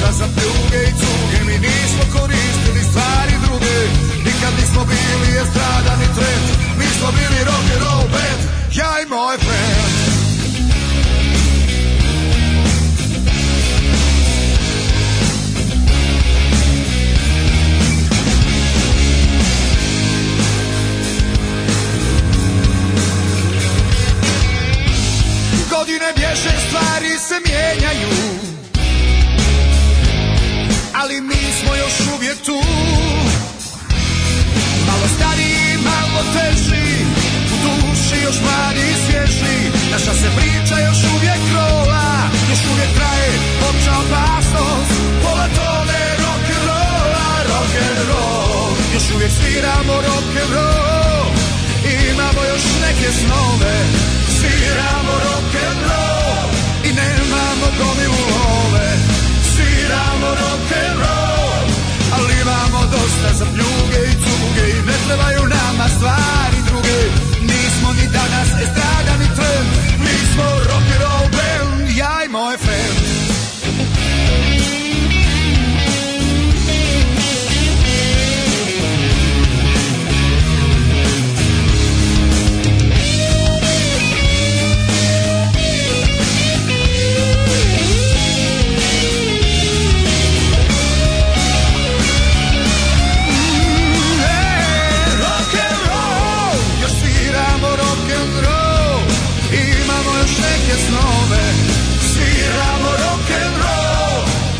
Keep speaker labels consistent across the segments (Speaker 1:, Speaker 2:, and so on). Speaker 1: Da za pljuge i cuge mi nismo koristili stvari druge Nikad nismo bili estrada ni tret Mi smo bili rock'n'roll band Ja i moj friend Godine bježe, stvari se mijenjaju Ali mi smo još uvijek tu Malo stariji, malo teži U duši još mladi i svježi Naša se priča još uvijek rola Još uvijek traje opća opasnost Pola tone rock'n'rolla, rock'n'roll Još uvijek sviramo rock'n'roll Imamo još neke snove Sviramo rock'n'roll I nemamo gomilu love Sviramo rock'n'roll Ali imamo dosta za pljuge i cuge I ne trebaju nama stvari druge Nismo ni danas estrada ni trend Mi smo rock'n'roll band Ja i moj friend E, rock and roll, još sviramo rock and roll, imamo još neke snove. Sviramo rock and roll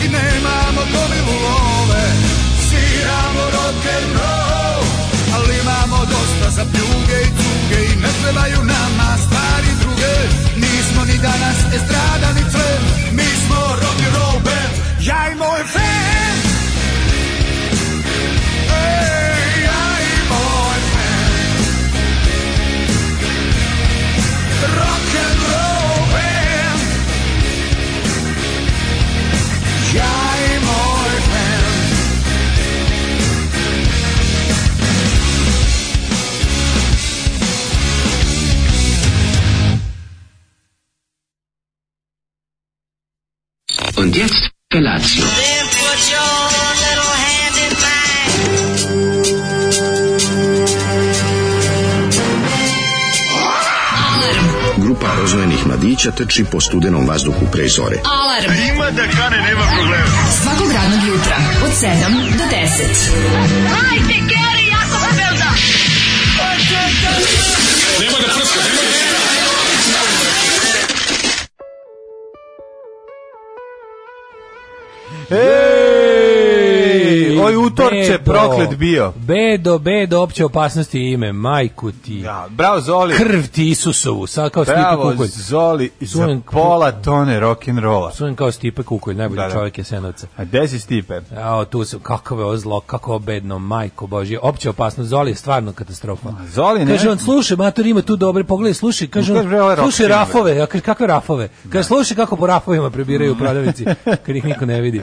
Speaker 1: i nemamo gomilu love. Sviramo rock and roll, ali imamo dosta za pljuge i tuge i ne trebaju nama stvari druge. Nismo ni danas estrada ni trend, mi smo rock and roll band, ja i moj friend. Hey, I boyfriend. Rock and roll band. Jaj, moj friend.
Speaker 2: Und jetzt Felatio.
Speaker 3: Then put your little hand in mine.
Speaker 4: Grupa rozvojenih mladića trči po studenom vazduhu pre zore.
Speaker 5: Alarm. Ima da kane, nema problema. Svakog radnog jutra, od 7 do 10.
Speaker 3: Hajde, Geri, jako se belda.
Speaker 6: Ej, oj utorče
Speaker 7: Bedo.
Speaker 6: proklet bio.
Speaker 7: Bedo, bedo, opće opasnosti je ime, majku ti.
Speaker 6: Ja, bravo Zoli.
Speaker 7: Krv ti Isusovu, sad kao Stipe
Speaker 6: Bravo
Speaker 7: Kukolj.
Speaker 6: Zoli za
Speaker 7: Čujem-
Speaker 6: pola tone rock and rolla.
Speaker 7: Čujem kao Stipe Kukolj, najbolji
Speaker 6: Da, da.
Speaker 7: čovjek Jasenovca.
Speaker 6: A gde si Stipe?
Speaker 7: Jao, tu se, kako je ovo zlo, kako je bedno, majko božje, opće opasno, Zoli je stvarno katastrofa.
Speaker 6: Zoli ne-
Speaker 7: Kaže on, slušaj, mater, ima tu dobre, pogledaj, slušaj, kaže
Speaker 6: Kaže, bre, ovo je
Speaker 7: on, slušaj
Speaker 6: rock film,
Speaker 7: rafove, ja kaže, kakve rafove? Kaže, slušaj kako po rafovima prebiraju u prodavnici, kad ih niko ne vidi.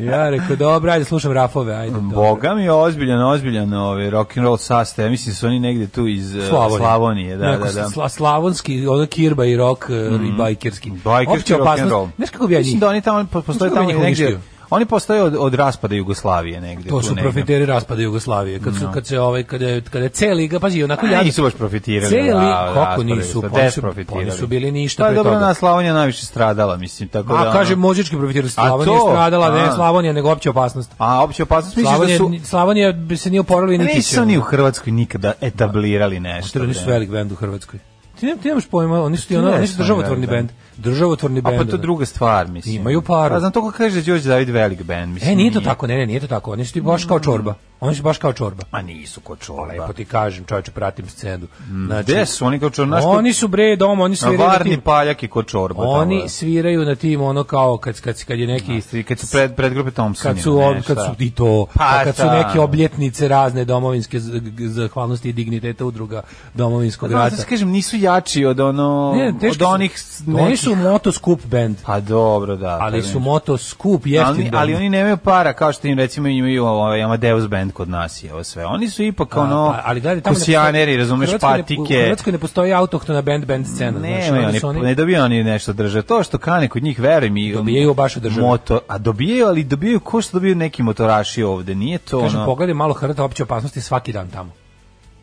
Speaker 7: Ja rekao, dobro, ajde, slušam rafove, ajde. dobro.
Speaker 6: Boga mi je ozbiljan, ozbiljan ovaj rock and roll sastav. Ja mislim su oni negde tu iz eh,
Speaker 7: Slavonije.
Speaker 6: Slavonije, da,
Speaker 7: Neko
Speaker 6: da, da.
Speaker 7: sla- slavonski, ono kirba i rok i bajkerski.
Speaker 6: Bajkerski
Speaker 7: Opća
Speaker 6: rock and
Speaker 7: opasnost-
Speaker 6: roll.
Speaker 7: Znaš kako bi ja
Speaker 6: Mislim
Speaker 7: njih?
Speaker 6: da oni tamo po- postoje
Speaker 7: kako bi
Speaker 6: tamo
Speaker 7: njih
Speaker 6: negde.
Speaker 7: uništio?
Speaker 6: Oni postoje od, od raspada Jugoslavije negde.
Speaker 7: To
Speaker 6: tu
Speaker 7: su
Speaker 6: negde.
Speaker 7: profiteri raspada Jugoslavije. Kad su kad se ovaj kada je kada je cela liga, pazi, onako
Speaker 6: A
Speaker 7: ja
Speaker 6: nisu baš profitirali.
Speaker 7: Celi,
Speaker 6: da,
Speaker 7: kako
Speaker 6: raspadali
Speaker 7: nisu,
Speaker 6: su,
Speaker 7: pa oni
Speaker 6: des
Speaker 7: su-
Speaker 6: profitirali.
Speaker 7: pa oni su bili ništa
Speaker 6: Pa
Speaker 7: pre
Speaker 6: dobro,
Speaker 7: toga.
Speaker 6: na Slavonija najviše stradala, mislim, tako da.
Speaker 7: A
Speaker 6: ono-
Speaker 7: kaže mođički profiteri
Speaker 6: A
Speaker 7: Slavonija
Speaker 6: to?
Speaker 7: je stradala, ne
Speaker 6: A.
Speaker 7: Slavonija, nego opća opasnost.
Speaker 6: A opće opasnost misliš da
Speaker 7: Slavonija,
Speaker 6: su Pa
Speaker 7: Slavonija bi se nije oporila i niti
Speaker 6: Nisu ni u Hrvatskoj nikada etablirali nešto.
Speaker 7: Oni su
Speaker 6: bre.
Speaker 7: velik bend u Hrvatskoj. Ti, ne, ti nemaš pojma, oni su ti
Speaker 6: Ti
Speaker 7: ono,
Speaker 6: ne
Speaker 7: oni
Speaker 6: znaš
Speaker 7: su
Speaker 6: šta je
Speaker 7: državotvorni
Speaker 6: velik
Speaker 7: bend. Državotvorni
Speaker 6: A
Speaker 7: bend.
Speaker 6: pa to
Speaker 7: ono.
Speaker 6: druga stvar, mislim.
Speaker 7: Imaju paru.
Speaker 6: A znam to ko kaže Đorđe David velik band, mislim.
Speaker 7: E, nije to tako, ne, ne, nije to tako. Oni su ti baš
Speaker 6: Mm.
Speaker 7: kao čorba. Oni su baš kao čorba.
Speaker 6: Ma nisu ko čorba.
Speaker 7: Lepo ti kažem, čovječe, pratim scenu. Znači,
Speaker 6: Mm. Gde su oni kao čorba? Znaš ko-
Speaker 7: Oni su bre dom, oni
Speaker 6: Na
Speaker 7: sviraju na
Speaker 6: varni
Speaker 7: tim.
Speaker 6: paljak i ko čorba. tamo, da.
Speaker 7: Oni sviraju na tim ono kao kad kad kad je neki
Speaker 6: I kad su pred, pred grupe Thompson.
Speaker 7: kad su on, kad su i to
Speaker 6: Pa
Speaker 7: pa kad su
Speaker 6: šta?
Speaker 7: neke obljetnice razne domovinske z- g- zahvalnosti i digniteta udruga domovinskog
Speaker 6: Pa Da,
Speaker 7: rata.
Speaker 6: sad kažem, nisu jači od ono, od
Speaker 7: teško su.
Speaker 6: onih... s-
Speaker 7: Oni
Speaker 6: nekih-
Speaker 7: su moto skup bend,
Speaker 6: Pa dobro, da.
Speaker 7: ali
Speaker 6: pa
Speaker 7: su
Speaker 6: ne.
Speaker 7: moto skup
Speaker 6: ali,
Speaker 7: jeftin
Speaker 6: ali oni nemaju para kao što im recimo imaju ovaj Amadeus band trend kod nas je ovo sve. Oni su ipak ono
Speaker 7: A, pa, ali gledaj, tamo ne
Speaker 6: kusijaneri,
Speaker 7: postoji-
Speaker 6: razumeš,
Speaker 7: u Hrvatskoj ne-
Speaker 6: patike.
Speaker 7: U Hrvatskoj ne postoji autohtona band band scena.
Speaker 6: Ne,
Speaker 7: znaš, onda
Speaker 6: oni,
Speaker 7: su oni-
Speaker 6: ne dobijaju oni nešto od države. To što kane kod njih, veruj mi,
Speaker 7: Dobijaju baš od države.
Speaker 6: Moto, a dobijaju, ali dobijaju ko što dobijaju neki motoraši ovde. Nije to
Speaker 7: Kažem,
Speaker 6: ono.
Speaker 7: pogledaj malo Hrvata opće opasnosti svaki dan tamo.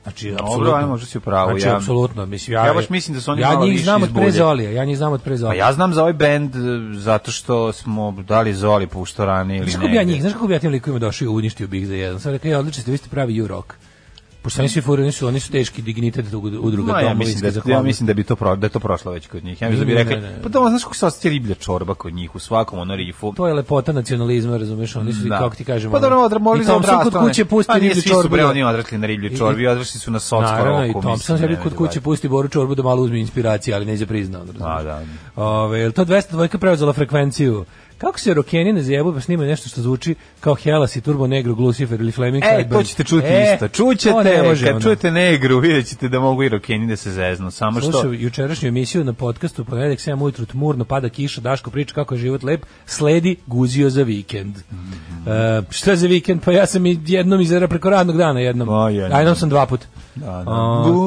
Speaker 7: Znači,
Speaker 6: Dobro, ajmo, možda si u pravu.
Speaker 7: Znači,
Speaker 6: ja,
Speaker 7: apsolutno. Mislim, ja,
Speaker 6: Ja baš mislim da su oni
Speaker 7: ja
Speaker 6: malo
Speaker 7: njih
Speaker 6: više
Speaker 7: znam od
Speaker 6: iz
Speaker 7: pre
Speaker 6: bulje.
Speaker 7: Zolija, ja njih znam od pre
Speaker 6: Pa
Speaker 7: Zolija.
Speaker 6: ja znam za ovaj bend e, zato što smo dali Zoli pušto rane ili
Speaker 7: Znaš kako bi ja
Speaker 6: negde.
Speaker 7: njih, znaš kako bi ja tim likovima došao i uništio bih za jedan. Sam rekao, ja, odlično ste, vi ste pravi U-Rock. Pošto oni svi furaju, oni su, oni su teški dignitet ud- udruga
Speaker 6: Ma, ja, mislim
Speaker 7: domovinske
Speaker 6: da, ja
Speaker 7: zahvalnosti.
Speaker 6: mislim da bi to pro, da je to prošlo već kod njih. Ja mislim da bi
Speaker 7: Ne,
Speaker 6: rekli,
Speaker 7: ne, ne.
Speaker 6: pa to znaš kako se ostaje riblja čorba kod njih u svakom ono rifu.
Speaker 7: To je lepota nacionalizma, razumeš, oni su, i
Speaker 6: Da.
Speaker 7: kako ti kažemo,
Speaker 6: pa dobro,
Speaker 7: ono,
Speaker 6: odra, morali
Speaker 7: i
Speaker 6: su
Speaker 7: Thompson
Speaker 6: odrastao,
Speaker 7: kod kuće
Speaker 6: ne.
Speaker 7: pusti
Speaker 6: pa nije
Speaker 7: riblju
Speaker 6: svi su
Speaker 7: čorbu.
Speaker 6: bre
Speaker 7: da-
Speaker 6: oni odrasli na riblju
Speaker 7: I-
Speaker 6: čorbi,
Speaker 7: i-
Speaker 6: odrasli su na socko
Speaker 7: Naravno, i
Speaker 6: roku.
Speaker 7: Thompson sebi kod kuće
Speaker 6: pusti.
Speaker 7: pusti Boru Čorbu da malo uzme inspiracije, ali neće priznao. Da,
Speaker 6: A,
Speaker 7: da.
Speaker 6: Pa, da.
Speaker 7: Ove, je li to 202 preuzela frekvenciju? Kako se rokeni ne zajebaju pa snimaju nešto što zvuči kao Hellas i Turbo Negro, Glucifer ili Flaming
Speaker 6: E,
Speaker 7: Sideburn?
Speaker 6: to ćete čuti
Speaker 7: E,
Speaker 6: isto. Čućete,
Speaker 7: to ne može,
Speaker 6: kad
Speaker 7: ono.
Speaker 6: čujete negru, vidjet ćete da mogu i rokeni da se zeznu. Samo što...
Speaker 7: Slušao jučerašnju emisiju na podcastu, ponedjeljak 7 ujutru, tmurno, pada kiša, Daško priča kako je život lep, sledi guzio za vikend.
Speaker 6: Mhm.
Speaker 7: E, šta za vikend? Pa ja sam i jednom izera preko radnog dana jednom.
Speaker 6: A, Pa, jednom.
Speaker 7: A jednom sam dva put.
Speaker 6: Da,
Speaker 7: A,
Speaker 6: da.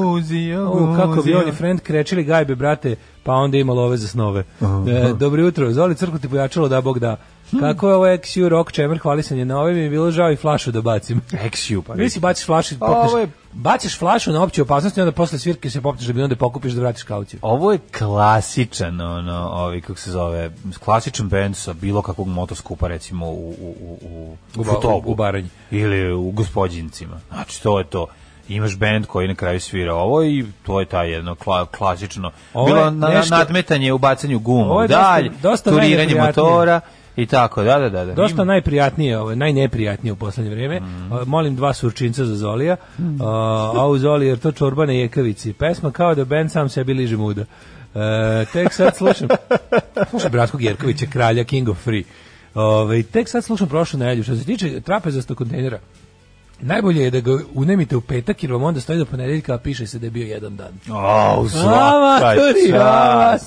Speaker 6: Guzio,
Speaker 7: O, kako bi
Speaker 6: guzio.
Speaker 7: oni friend krečili gajbe, brate, pa onda imalo ove za snove. E, dobro jutro, Zoli crkvu ti pojačalo da Bog da.
Speaker 6: Hmm.
Speaker 7: Kako je ovo XU rock čemer hvalisanje na ovim mi je bilo žao i flašu da bacim.
Speaker 6: Eksiju, pa
Speaker 7: Vi si baciš flašu, i
Speaker 6: A,
Speaker 7: popneš,
Speaker 6: ovo je-
Speaker 7: baciš flašu na opće opasnosti, onda posle svirke se popneš da bi onda pokupiš da vratiš kauciju.
Speaker 6: Ovo je klasičan, ono, ovi, kako se zove, klasičan band sa bilo kakvog motoskupa, recimo, u, u, u, u,
Speaker 7: U
Speaker 6: u
Speaker 7: Ba-
Speaker 6: Futogu.
Speaker 7: u Baranji.
Speaker 6: Ili u Gospodjincima. Znači, to je to. Imaš band koji na kraju svira ovo i to je taj jedno kla, klasično.
Speaker 7: Ovo je
Speaker 6: bilo na,
Speaker 7: nešto-
Speaker 6: nadmetanje u bacanju gumu,
Speaker 7: Ovo je dosta-
Speaker 6: dalj,
Speaker 7: dosta
Speaker 6: turiranje
Speaker 7: najneprijatnije.
Speaker 6: motora i tako, da, da, da. da.
Speaker 7: Dosta
Speaker 6: Ima-
Speaker 7: najprijatnije, ovo, najneprijatnije u poslednje vrijeme. A, Molim dva surčinca za Zolija. A, a u Zoli, jer to čorba na jekavici. Pesma kao da Ben sam sebi liže muda. E, tek sad slušam. slušam Bratko Gerkovića, kralja King of Free. Ove, tek sad slušam prošlu nedelju. Što se tiče trapezastog kontejnera, najbolje je da ga unemite u petak jer vam onda stoji do ponedeljka, a piše se da je bio jedan dan.
Speaker 6: Au, svaka
Speaker 7: Amatori,
Speaker 6: čast,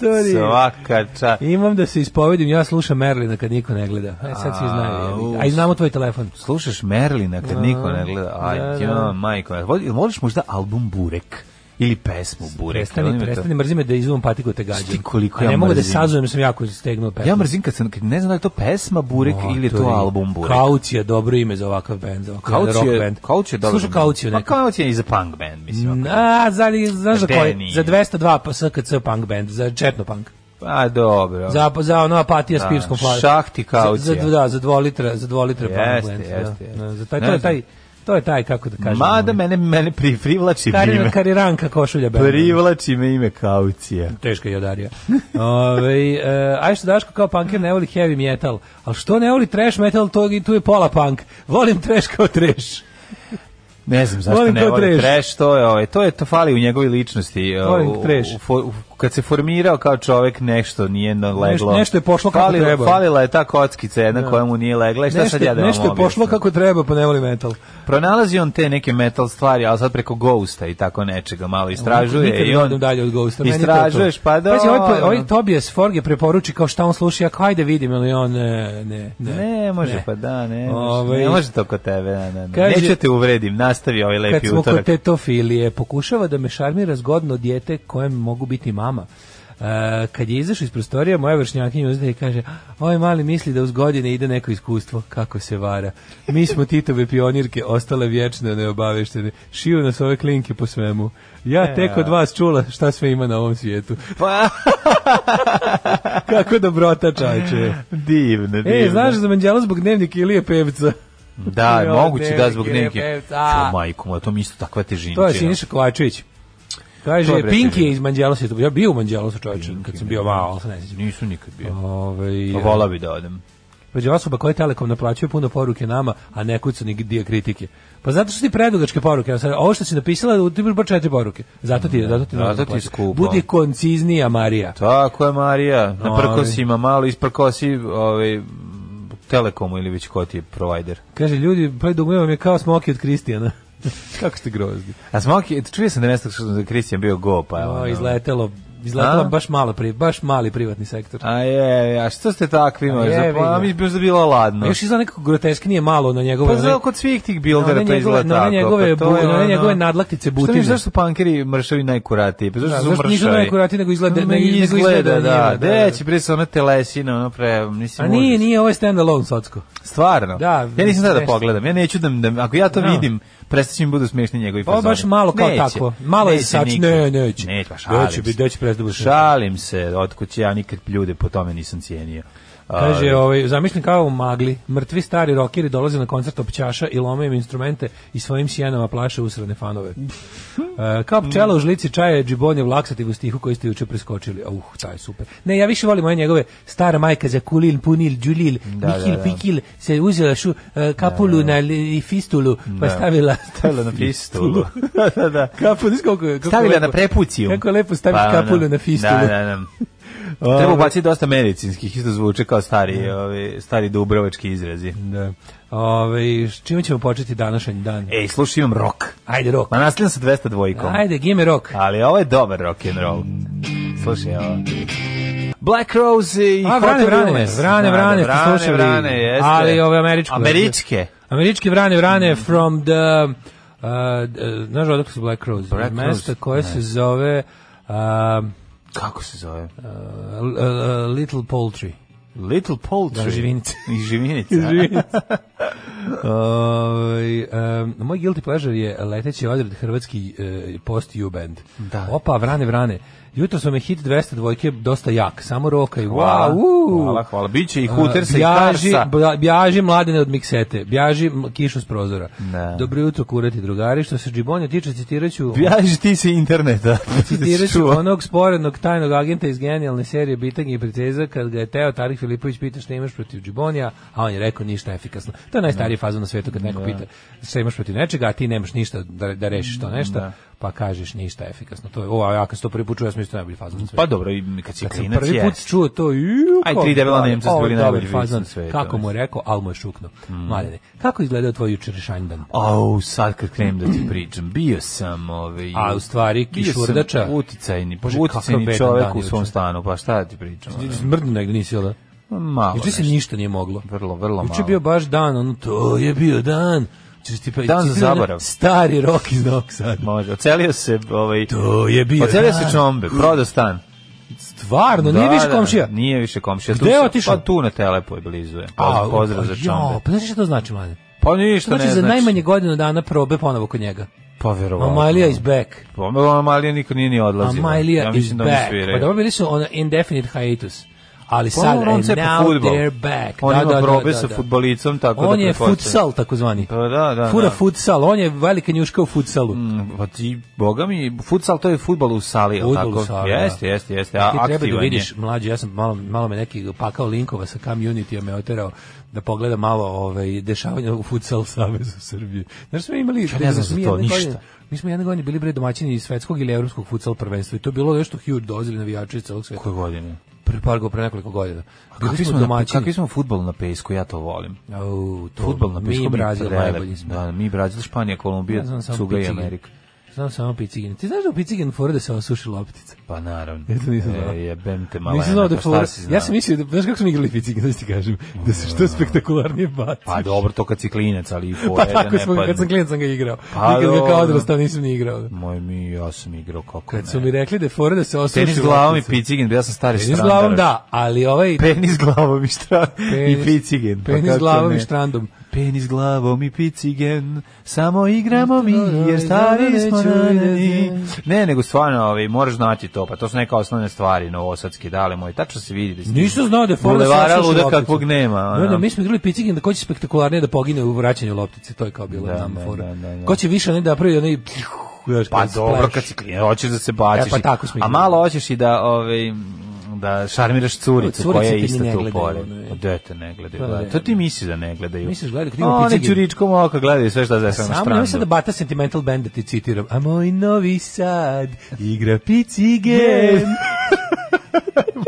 Speaker 7: amatori.
Speaker 6: svaka čast.
Speaker 7: Imam da se ispovedim, ja slušam Merlina kad niko ne gleda. E, sad svi znaju.
Speaker 6: Au.
Speaker 7: jebi ga. A i znamo tvoj telefon.
Speaker 6: Slušaš Merlina kad niko ne gleda. Aj,
Speaker 7: da,
Speaker 6: ja,
Speaker 7: da.
Speaker 6: majko. Voli- jel Voliš možda album Burek? Ili pesmu Burek?
Speaker 7: Prestani,
Speaker 6: Oni me to-
Speaker 7: prestani, mrzi me da izumam patiku te gađam.
Speaker 6: Šti koliko
Speaker 7: A
Speaker 6: ja
Speaker 7: ne mogu da
Speaker 6: mrzim.
Speaker 7: sazujem, jer sam jako stegnuo pesmu.
Speaker 6: Ja mrzim kad, sam, kad ne znam da je to pesma Burek ili je to
Speaker 7: Motori.
Speaker 6: album Burek.
Speaker 7: Kaucija, dobro ime za ovakav band, za ovakav
Speaker 6: Kauci
Speaker 7: rock
Speaker 6: je,
Speaker 7: band.
Speaker 6: Kauci je dobro.
Speaker 7: Slušaj Kauciju
Speaker 6: Pa
Speaker 7: neka.
Speaker 6: Kauci je i za punk band, mislim. ako-
Speaker 7: A, za, znaš za
Speaker 6: Gde
Speaker 7: koji?
Speaker 6: nije?
Speaker 7: Za 202 pa SKC punk band, za četno punk.
Speaker 6: Pa dobro.
Speaker 7: Za, za ono apatija s
Speaker 6: Da,
Speaker 7: pivskom hlačom.
Speaker 6: šahti
Speaker 7: Za,
Speaker 6: Kaucija.
Speaker 7: za, da, za 2 litra, za 2 litra punk
Speaker 6: Jeste,
Speaker 7: band. da.
Speaker 6: jeste, jeste.
Speaker 7: Da, Za taj,
Speaker 6: Ne
Speaker 7: to je
Speaker 6: znam.
Speaker 7: taj, to je taj, kako da kažem. ono.
Speaker 6: Mada mene, mene pri, privlači
Speaker 7: Karina,
Speaker 6: ime.
Speaker 7: kariranka košulja band.
Speaker 6: Privlači me ime Kaucija.
Speaker 7: teška jodarija. Ove, e, aj što Daško kao punker ne voli heavy metal, ali što ne voli trash metal, to, i tu je pola punk. Volim trash kao trash.
Speaker 6: Ne znam zašto
Speaker 7: Volim
Speaker 6: ne
Speaker 7: kao
Speaker 6: voli
Speaker 7: trash.
Speaker 6: trash, to je, ovaj, to je to fali u njegovoj ličnosti. e,
Speaker 7: Volim
Speaker 6: u- u-
Speaker 7: trash.
Speaker 6: u for- u- kad se formirao kao čovek nešto nije na- leglo.
Speaker 7: Nešto- nešto je pošlo kako
Speaker 6: Falilo-
Speaker 7: treba.
Speaker 6: Falila je ta kockica jedna koja mu nije legla i šta
Speaker 7: Nešto,
Speaker 6: sad ja da vam
Speaker 7: nešto je pošlo
Speaker 6: objasnim?
Speaker 7: kako treba, pa ne voli metal.
Speaker 6: Pronalazi on te neke metal stvari, ali sad preko Ghosta i tako nečega malo istražuje.
Speaker 7: Nikad
Speaker 6: I
Speaker 7: ne
Speaker 6: on
Speaker 7: odem dalje od Ghosta. meni je to to.
Speaker 6: Istražuješ, pa da.
Speaker 7: Pazi, ovaj, po- ovaj Tobias Forge preporuči kao šta on sluša, ja kao ajde vidim, ali on e, ne, ne, ne.
Speaker 6: Ne, može, pa da, ne. može.
Speaker 7: Ovaj-
Speaker 6: ne može to kod tebe, ne, ne, ne.
Speaker 7: Kaže-
Speaker 6: Neću te uvredim, nastavi ovaj lepi
Speaker 7: Kad smo
Speaker 6: utorak.
Speaker 7: kod tetofilije, pokušava da me šarmira zgodno dijete kojem mogu biti mama. E, kad je izašao iz prostorija, moja vršnjakinja uzde i kaže, ovaj mali misli da uz godine ide neko iskustvo, kako se vara. Mi smo Titove pionirke, ostale vječno neobaveštene. Šiju nas ove klinke po svemu. Ja tek od vas čula šta sve ima na ovom svijetu.
Speaker 6: Pa,
Speaker 7: Kako dobrota čače.
Speaker 6: divno, divno.
Speaker 7: E, znaš za Manđela zbog dnevnika Ilije Pevca?
Speaker 6: Da,
Speaker 7: Jo,
Speaker 6: moguće da
Speaker 7: devojke,
Speaker 6: zbog neke.
Speaker 7: pevca.
Speaker 6: Čo majko, moja, to mi isto takva težina.
Speaker 7: To je Siniša Kovačević. Kaže,
Speaker 6: To je bre
Speaker 7: Pinki je
Speaker 6: težina.
Speaker 7: iz Manđelosa. Ja bio u Manđelosu čovječe,
Speaker 6: Pinky,
Speaker 7: kad sam
Speaker 6: ne.
Speaker 7: bio malo, ali se ne sjećam.
Speaker 6: Nisu nikad bio.
Speaker 7: Ovaj,
Speaker 6: Pa Vola bi da odem.
Speaker 7: Među osoba koja Telekom naplaćuje puno poruke nama, a ne kucu ni dio kritike. Pa zato što ti predugačke poruke, evo sad, ovo što si napisala, ti imaš bar četiri poruke. Zato ti, zato ti,
Speaker 6: zato
Speaker 7: mnogo
Speaker 6: ti
Speaker 7: plaća.
Speaker 6: skupo.
Speaker 7: Budi konciznija, Marija.
Speaker 6: Tako je, Marija. Na
Speaker 7: Ovaj.
Speaker 6: prkosima, malo isprkosi ovaj, Telekomu ili već ko ti je provider.
Speaker 7: Kaže, ljudi, pa dugme vam je kao smoki od Kristijana. Kako ste grozni.
Speaker 6: A Smoki, čuo sam da je nešto što je Kristijan bio go, pa evo.
Speaker 7: O,
Speaker 6: ono.
Speaker 7: izletelo izletala
Speaker 6: A?
Speaker 7: baš malo pri, baš mali privatni sektor.
Speaker 6: A je, a što ste takvi,
Speaker 7: A
Speaker 6: možda?
Speaker 7: je,
Speaker 6: Pa
Speaker 7: vidi.
Speaker 6: mi bi možda bilo
Speaker 7: A
Speaker 6: ladno.
Speaker 7: još izgleda nekako grotesknije malo na njegove...
Speaker 6: Pa
Speaker 7: one-
Speaker 6: zna, kod svih tih
Speaker 7: na one
Speaker 6: bildera to
Speaker 7: njegove-
Speaker 6: izgleda
Speaker 7: na one
Speaker 6: tako.
Speaker 7: njegove
Speaker 6: pa to je
Speaker 7: bu- na one
Speaker 6: ono-
Speaker 7: njegove nadlaktice
Speaker 6: Što
Speaker 7: butine.
Speaker 6: mi zašto su pankeri mršavi najkuratiji? Pa zašto
Speaker 7: Da,
Speaker 6: su
Speaker 7: zašto nisu
Speaker 6: mršavi?
Speaker 7: najkuratiji, nego izgleda-
Speaker 6: Ma,
Speaker 7: nego izgleda
Speaker 6: izgleda,
Speaker 7: njima,
Speaker 6: da.
Speaker 7: da, da.
Speaker 6: Da, će prije se ona telesina, ono pre, nisi
Speaker 7: A nije,
Speaker 6: muž.
Speaker 7: nije, ovo je stand alone, socko.
Speaker 6: Stvarno.
Speaker 7: Da,
Speaker 6: ja nisam sada da
Speaker 7: nešto.
Speaker 6: pogledam. Ja neću da, da ako ja to
Speaker 7: Da. Pa
Speaker 6: vidim, prestaće mi budu smešni njegovi
Speaker 7: Ovo
Speaker 6: fazoni.
Speaker 7: je baš malo kao
Speaker 6: Neće.
Speaker 7: tako. Malo je
Speaker 6: Neće
Speaker 7: sač,
Speaker 6: nikad.
Speaker 7: ne, neće.
Speaker 6: Neće, pa šalim
Speaker 7: Doći bi,
Speaker 6: se.
Speaker 7: doći prezdubo se.
Speaker 6: Šalim se, otkud će ja nikad ljude po tome nisam cijenio. A,
Speaker 7: Kaže, ovaj, zamišljam kao u magli, mrtvi stari rokeri dolaze na koncert općaša i lome im instrumente i svojim sjenama plaše usrane fanove. E, kao pčela u žlici čaja je džibonjev laksativ u stihu koji ste juče preskočili. Uh, taj je super. Ne, ja više volim moje njegove stara majka za kulil, punil, džulil,
Speaker 6: Da,
Speaker 7: mihil,
Speaker 6: da, da.
Speaker 7: pikil, se uzela šu e, kapulu na li- i fistulu, pa
Speaker 6: Da.
Speaker 7: stavila...
Speaker 6: Stavila na fistulu. da, da.
Speaker 7: Kapulu, znaš kako je- kako je
Speaker 6: Stavila
Speaker 7: lepo?
Speaker 6: na prepuciju.
Speaker 7: Kako je lepo staviš
Speaker 6: ono,
Speaker 7: kapulu na fistulu.
Speaker 6: Da, da, da. Treba ubaciti dosta medicinskih, isto zvuče kao stari, ovi, stari dubrovački izrazi.
Speaker 7: Da. Ove, s čime ćemo početi današnji dan?
Speaker 6: Ej, slušaj, imam E, rock.
Speaker 7: Ajde, rok.
Speaker 6: Ma nastavljam sa 202-kom.
Speaker 7: Ajde, give me rock.
Speaker 6: Ali ovo je dobar rock and roll. Slušaj, ovo. Black Rose i
Speaker 7: A, Vrane,
Speaker 6: Hotel
Speaker 7: Vrane,
Speaker 6: Illness.
Speaker 7: Vrane,
Speaker 6: Da, da,
Speaker 7: Vrane, ste
Speaker 6: Vrane,
Speaker 7: slušali.
Speaker 6: Vrane, jeste.
Speaker 7: Ali ove američke
Speaker 6: Američke.
Speaker 7: Američki vrane, vrane
Speaker 6: Mhm.
Speaker 7: from the... Uh, d- znaš odakle su Black Crowes?
Speaker 6: Black
Speaker 7: Black Mesto
Speaker 6: Crowes,
Speaker 7: koje se zove uh,
Speaker 6: Kako se zove?
Speaker 7: l- l- Little Poultry.
Speaker 6: Little Poultry.
Speaker 7: Da, živinice.
Speaker 6: I živinice.
Speaker 7: Ovaj, em, moj guilty pleasure je leteći odred hrvatski eh, post U-band.
Speaker 6: Da.
Speaker 7: Opa, vrane, vrane. Jutro su me hit 200 dvojke dosta jak, samo roka i
Speaker 6: Hvala,
Speaker 7: wow, uuu.
Speaker 6: hvala, hvala. Biće i Hootersa i
Speaker 7: Bjaži-
Speaker 6: Starsa.
Speaker 7: bla- Bjaži mladene od miksete, bjaži m- kišu s prozora.
Speaker 6: Da.
Speaker 7: Dobro jutro, kurati drugari. Što se džibonja tiče, citiraću...
Speaker 6: Bjaži ti se interneta.
Speaker 7: Citirat ću
Speaker 6: Čuo.
Speaker 7: onog sporednog tajnog agenta iz genijalne serije Bitange i preceza kad ga je Teo Tarik Filipović pita šta imaš protiv Džibonija, a on je rekao ništa efikasno. To je najstariji fazon na svetu kad neko pita šta imaš protiv nečega, a ti nemaš ništa da, da rešiš to nešto, pa kažeš ništa efikasno. To je, o, a ja kad sam to prvi put čuo, ja sam isto najbolji fazon na svetu.
Speaker 6: Pa dobro, i kad si
Speaker 7: Kad sam
Speaker 6: klinac
Speaker 7: prvi put
Speaker 6: jest.
Speaker 7: čuo to, ju,
Speaker 6: Aj,
Speaker 7: kako
Speaker 6: tri debela
Speaker 7: pravi,
Speaker 6: Nemca su
Speaker 7: ovo je
Speaker 6: bili
Speaker 7: dobar
Speaker 6: najbolji vic na
Speaker 7: fazon.
Speaker 6: svetu,
Speaker 7: Kako
Speaker 6: mislim. Mm.
Speaker 7: mu je rekao, al mu je šuknuo. Mladene, kako je izgledao tvoj jučerašanj dan?
Speaker 6: Au, sad kad krenem da ti pričam, bio sam ovaj...
Speaker 7: A, u stvari,
Speaker 6: bio
Speaker 7: kišurdača?
Speaker 6: sam Uticajni,
Speaker 7: Bože, kakav
Speaker 6: uticajni
Speaker 7: bedan
Speaker 6: čovek
Speaker 7: dan
Speaker 6: u svom
Speaker 7: juče.
Speaker 6: stanu, pa šta da ti pričam? ono?
Speaker 7: Mrdno negdje nisi, jel da?
Speaker 6: Malo
Speaker 7: Juče se
Speaker 6: nešto.
Speaker 7: ništa nije moglo.
Speaker 6: Vrlo, vrlo
Speaker 7: Juče je
Speaker 6: malo.
Speaker 7: bio baš dan, ono, to je bio dan. Juče ti pa-
Speaker 6: Dan za
Speaker 7: ti bio onaj
Speaker 6: zaborav.
Speaker 7: Stari rok iz Novog Sada.
Speaker 6: Može, ocelio se, ovaj...
Speaker 7: To je bio
Speaker 6: Ocelio se
Speaker 7: dan.
Speaker 6: čombe, prodao stan.
Speaker 7: Stvarno, nije
Speaker 6: Da,
Speaker 7: više
Speaker 6: da,
Speaker 7: komšija.
Speaker 6: Nije više komšija.
Speaker 7: Gde
Speaker 6: Tu
Speaker 7: je
Speaker 6: se-
Speaker 7: otišao?
Speaker 6: Pa tu na telepo je blizu. je. Pozdrav, pozdrav za
Speaker 7: Jo,
Speaker 6: čombe.
Speaker 7: pa znaš šta to znači, mlade?
Speaker 6: Pa
Speaker 7: To
Speaker 6: ništa ne
Speaker 7: znači,
Speaker 6: znači.
Speaker 7: za najmanje godinu dana probe ponovo kod njega.
Speaker 6: Pa verovatno.
Speaker 7: Amalija is back.
Speaker 6: Pa Amalija niko nije ni odlazio.
Speaker 7: Amalija
Speaker 6: ja
Speaker 7: is
Speaker 6: mislim da oni
Speaker 7: back.
Speaker 6: sviraju.
Speaker 7: Pa dobro bili su ono indefinite hiatus. Ali
Speaker 6: Pa
Speaker 7: sad,
Speaker 6: dobro, on
Speaker 7: and
Speaker 6: cepa
Speaker 7: now
Speaker 6: fudbal.
Speaker 7: they're back.
Speaker 6: On
Speaker 7: Da,
Speaker 6: ima
Speaker 7: da, da,
Speaker 6: probe
Speaker 7: da,
Speaker 6: sa
Speaker 7: da.
Speaker 6: fudbalicom, tako da
Speaker 7: On je
Speaker 6: pretpostavljam.
Speaker 7: futsal, takozvani.
Speaker 6: Pa da, da,
Speaker 7: Fura
Speaker 6: da.
Speaker 7: futsal, on je velika njuška u futsalu.
Speaker 6: Mm, Pa ti, boga mi, futsal to je futbal u sali, jel
Speaker 7: Fudbal u
Speaker 6: tako?
Speaker 7: sali, da.
Speaker 6: Jeste, jeste, jeste,
Speaker 7: ti
Speaker 6: a
Speaker 7: treba da
Speaker 6: aktivan je.
Speaker 7: vidiš, mlađi, ja sam malo, malo me neki pakao linkova sa community me oterao da pogleda malo ovaj, dešavanja u futsal savezu Srbije. Znaš, smo imali...
Speaker 6: ne znam
Speaker 7: mi
Speaker 6: za
Speaker 7: smo
Speaker 6: to,
Speaker 7: jedne
Speaker 6: ništa.
Speaker 7: godine- mi smo jedne godine bili bre domaćini iz svetskog ili evropskog futsal prvenstva i to je bilo nešto huge dozili navijači iz celog sveta.
Speaker 6: Koje godine?
Speaker 7: Pre par go, pre nekoliko godina. Bili
Speaker 6: Kakvi
Speaker 7: smo,
Speaker 6: smo, na,
Speaker 7: domaćini.
Speaker 6: kakvi smo futbal na pesku, ja to volim.
Speaker 7: Au, to,
Speaker 6: Futbal na pesku
Speaker 7: mi i Brazil
Speaker 6: prelep.
Speaker 7: najbolji smo.
Speaker 6: Da, mi Brazil, Španija, Kolumbija,
Speaker 7: Ja znam samo
Speaker 6: Cuga i
Speaker 7: Picigin.
Speaker 6: Amerika.
Speaker 7: Znam samo Picigin. Ti znaš da u Picigin fora da se osuši loptica?
Speaker 6: Pa naravno.
Speaker 7: Ja to nisam
Speaker 6: E,
Speaker 7: znao.
Speaker 6: Jebem te malena,
Speaker 7: Nisam znao da
Speaker 6: pa
Speaker 7: je
Speaker 6: šta
Speaker 7: fora.
Speaker 6: si
Speaker 7: Ja
Speaker 6: znao? Mm.
Speaker 7: sam mislio da znaš kako smo igrali picik, da ti kažem, da se što spektakularnije baci.
Speaker 6: Pa dobro, to kad si klinec, ali i
Speaker 7: Pa
Speaker 6: fora je da
Speaker 7: tako
Speaker 6: ne
Speaker 7: smo ga, kad sam
Speaker 6: padne.
Speaker 7: klinac sam ga igrao.
Speaker 6: Pa
Speaker 7: Nikad ga kao
Speaker 6: dobro.
Speaker 7: odrastao nisam ni igrao.
Speaker 6: Moj mi, ja sam igrao kako
Speaker 7: Kad
Speaker 6: ne.
Speaker 7: su mi rekli da je fora da se osuši.
Speaker 6: Tenis glavom i
Speaker 7: loptica.
Speaker 6: picigin, ja sam stari
Speaker 7: Tenis
Speaker 6: strandaraš.
Speaker 7: glavom da, ali ovaj
Speaker 6: Penis glavom i, pa štra...
Speaker 7: Penis-
Speaker 6: i picigen.
Speaker 7: penis glavom i štrandom.
Speaker 6: Penis glavom i picigen, samo igramo mi
Speaker 7: Ne,
Speaker 6: jer stari smo
Speaker 7: neću
Speaker 6: ranjeni.
Speaker 7: da
Speaker 6: Ne, nego stvarno, ovaj, moraš znati to, pa to su neke osnovne stvari, novosadske dale moje, tačno se vidi. Da si-
Speaker 7: Nisam znao da je fora da se
Speaker 6: Bulevara
Speaker 7: osuši
Speaker 6: luda
Speaker 7: loptica.
Speaker 6: kakvog nema,
Speaker 7: I
Speaker 6: ono.
Speaker 7: onda mi smo igrali picigin da ko će spektakularnije da pogine u vraćanju loptice, to je kao bilo
Speaker 6: Da,
Speaker 7: da,
Speaker 6: da,
Speaker 7: fora.
Speaker 6: da, da, da.
Speaker 7: Ko će više ne da pravi onaj znaš,
Speaker 6: Pa
Speaker 7: kao
Speaker 6: dobro,
Speaker 7: splash.
Speaker 6: kad si klinac, hoćeš da se baciš.
Speaker 7: E, pa tako smo
Speaker 6: A
Speaker 7: igrali.
Speaker 6: malo hoćeš i da, ovaj, da šarmiraš curicu,
Speaker 7: Curice
Speaker 6: koja
Speaker 7: te
Speaker 6: je
Speaker 7: ni
Speaker 6: isto
Speaker 7: ne
Speaker 6: tu
Speaker 7: gledaju,
Speaker 6: pored.
Speaker 7: ono je.
Speaker 6: Pa Dete ne gledaju.
Speaker 7: Pa
Speaker 6: gledaju.
Speaker 7: ne.
Speaker 6: To ti misliš da ne gledaju.
Speaker 7: Misliš gledaju, kad
Speaker 6: A
Speaker 7: imamo
Speaker 6: Oni
Speaker 7: picigin.
Speaker 6: ćuričkom oka gledaju sve šta desam na
Speaker 7: Samo nemoj
Speaker 6: strandu.
Speaker 7: sad da bata sentimental band da ti citiram. A moj novi sad igra picigen.
Speaker 6: Gen.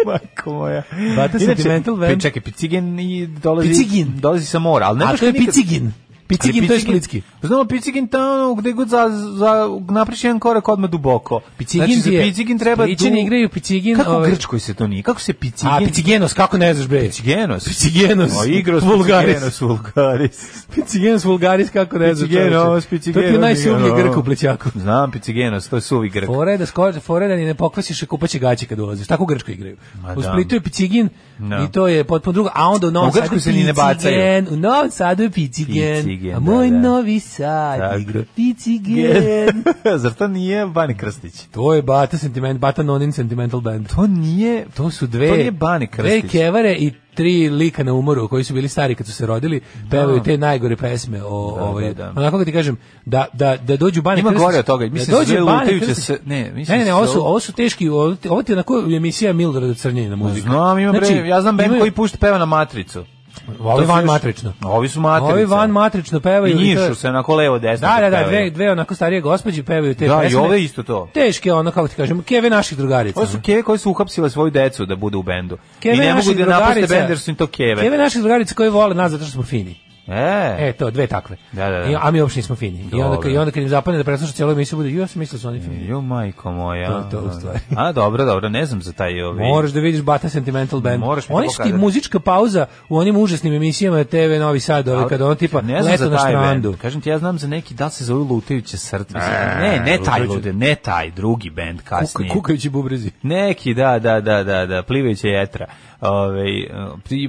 Speaker 6: Majko moja.
Speaker 7: Bata
Speaker 6: Inače,
Speaker 7: Sentimental Band.
Speaker 6: pe- Čekaj, Picigen i dolazi,
Speaker 7: Picigin.
Speaker 6: dolazi sa mora. Ali ne
Speaker 7: A
Speaker 6: možeš
Speaker 7: to je
Speaker 6: nikad-
Speaker 7: picigin. Picigin, to je splitski.
Speaker 6: Pa Znamo Picigin tamo gde god za, za napriš jedan korak odmah duboko. Picigin znači, za
Speaker 7: je-
Speaker 6: Picigin treba...
Speaker 7: Splićani
Speaker 6: du-
Speaker 7: igraju Picigin,
Speaker 6: Kako u
Speaker 7: ovaj-
Speaker 6: Grčkoj se to nije? Kako se Picigin...
Speaker 7: A, Picigenos, kako ne znaš, bre?
Speaker 6: Picigenos.
Speaker 7: Picigenos.
Speaker 6: O, igrao
Speaker 7: Vulgaris.
Speaker 6: Vulgaris. Vulgaris.
Speaker 7: Picigenos vulgaris, kako ne znaš.
Speaker 6: Picigenos,
Speaker 7: čoveče. To ti je
Speaker 6: Picigenos,
Speaker 7: najsuvniji
Speaker 6: Picigenos.
Speaker 7: grk u plećaku.
Speaker 6: Znam Picigenos, to je suvi Grk.
Speaker 7: Fore da skoče, fore da ni ne pokvasiš i kupaće gaće kad ulaziš. Tako u Grčkoj igraju.
Speaker 6: Ma
Speaker 7: U
Speaker 6: da.
Speaker 7: Splitu je Picigin
Speaker 6: Da.
Speaker 7: i to je potpuno drugo. A onda u Novom
Speaker 6: U Grčkoj
Speaker 7: Sadu
Speaker 6: se ni ne bacaju.
Speaker 7: Picigen, U Novom Sadu je Picigen.
Speaker 6: Picigen,
Speaker 7: a moj
Speaker 6: da, da.
Speaker 7: Novi Sad
Speaker 6: Tako.
Speaker 7: igra Picigen.
Speaker 6: Zar to nije Bani Krstić?
Speaker 7: to je Bata Sentiment, Bata Nonin Sentimental Band.
Speaker 6: To nije...
Speaker 7: To su dve,
Speaker 6: To nije Bane
Speaker 7: dve
Speaker 6: Krstić.
Speaker 7: kevare i tri lika na umoru koji su bili stari kad su se rodili, pevaju te najgore pesme o
Speaker 6: Da,
Speaker 7: ovaj,
Speaker 6: da, da.
Speaker 7: onako kako ti kažem, da, da, da dođu Bane
Speaker 6: Ima
Speaker 7: Krstić.
Speaker 6: gore od toga, mislim
Speaker 7: da
Speaker 6: se
Speaker 7: dođe
Speaker 6: zove
Speaker 7: Bane
Speaker 6: Lutajuća
Speaker 7: Krstić.
Speaker 6: se- ne,
Speaker 7: ne,
Speaker 6: mislim
Speaker 7: ne,
Speaker 6: se
Speaker 7: ne, ovo su,
Speaker 6: zove-
Speaker 7: ovo su teški, ovo, ti- ovo ti je onako emisija Milorada Crnjenina muzika.
Speaker 6: Znam, ima
Speaker 7: Znači,
Speaker 6: bre, ja znam band
Speaker 7: imaju-
Speaker 6: koji pušta peva na matricu.
Speaker 7: Ovi
Speaker 6: To su
Speaker 7: van
Speaker 6: još-
Speaker 7: matrično.
Speaker 6: Ovi su matrice.
Speaker 7: Ovi van matrično
Speaker 6: I
Speaker 7: pevaju. i to je-
Speaker 6: njišu se onako levo desno.
Speaker 7: Da,
Speaker 6: kad
Speaker 7: da, da, dve,
Speaker 6: pevaju.
Speaker 7: dve onako starije gospođe pevaju te
Speaker 6: Da, i
Speaker 7: pesme.
Speaker 6: ove isto to.
Speaker 7: Teške, ono, kako ti kažem, keve naših drugarica.
Speaker 6: Ovo su
Speaker 7: ono.
Speaker 6: keve koje su uhapsile svoju decu da budu u bendu.
Speaker 7: Keve
Speaker 6: I ne mogu
Speaker 7: naših
Speaker 6: da napuste
Speaker 7: drugarica.
Speaker 6: bend jer su im to keve.
Speaker 7: Keve naših drugarica koje vole nas zato što smo fini.
Speaker 6: E,
Speaker 7: E, to, dve takve.
Speaker 6: Da, da, da.
Speaker 7: I, a mi uopšte nismo fini. I onda,
Speaker 6: Dobro.
Speaker 7: I onda kad im zapadne da presluša cijelu emisiju, bude, "Ju, ja sam mislio da su oni fini.
Speaker 6: Jo, majko moja.
Speaker 7: To- to u stvari.
Speaker 6: A, dobro, dobro, ne znam za taj ovi.
Speaker 7: Moraš da vidiš Bata Sentimental Band.
Speaker 6: Moraš mi
Speaker 7: Oni
Speaker 6: to
Speaker 7: su ti
Speaker 6: pokazati.
Speaker 7: muzička pauza u onim užasnim emisijama TV Novi Sad, ove, kada ono tipa
Speaker 6: Ne znam
Speaker 7: leto
Speaker 6: za
Speaker 7: na
Speaker 6: taj
Speaker 7: štrandu.
Speaker 6: bend. Kažem ti, ja znam za neki, da li se zove Lutajuće srce. Mislim, Ne, ne taj
Speaker 7: E, Lutajuće-
Speaker 6: Lute, ne taj, drugi bend
Speaker 7: Kuka,
Speaker 6: kasnije.
Speaker 7: kukajući bubrezi.
Speaker 6: Neki, da, da, da, da, da, plivajuća jetra. Ove,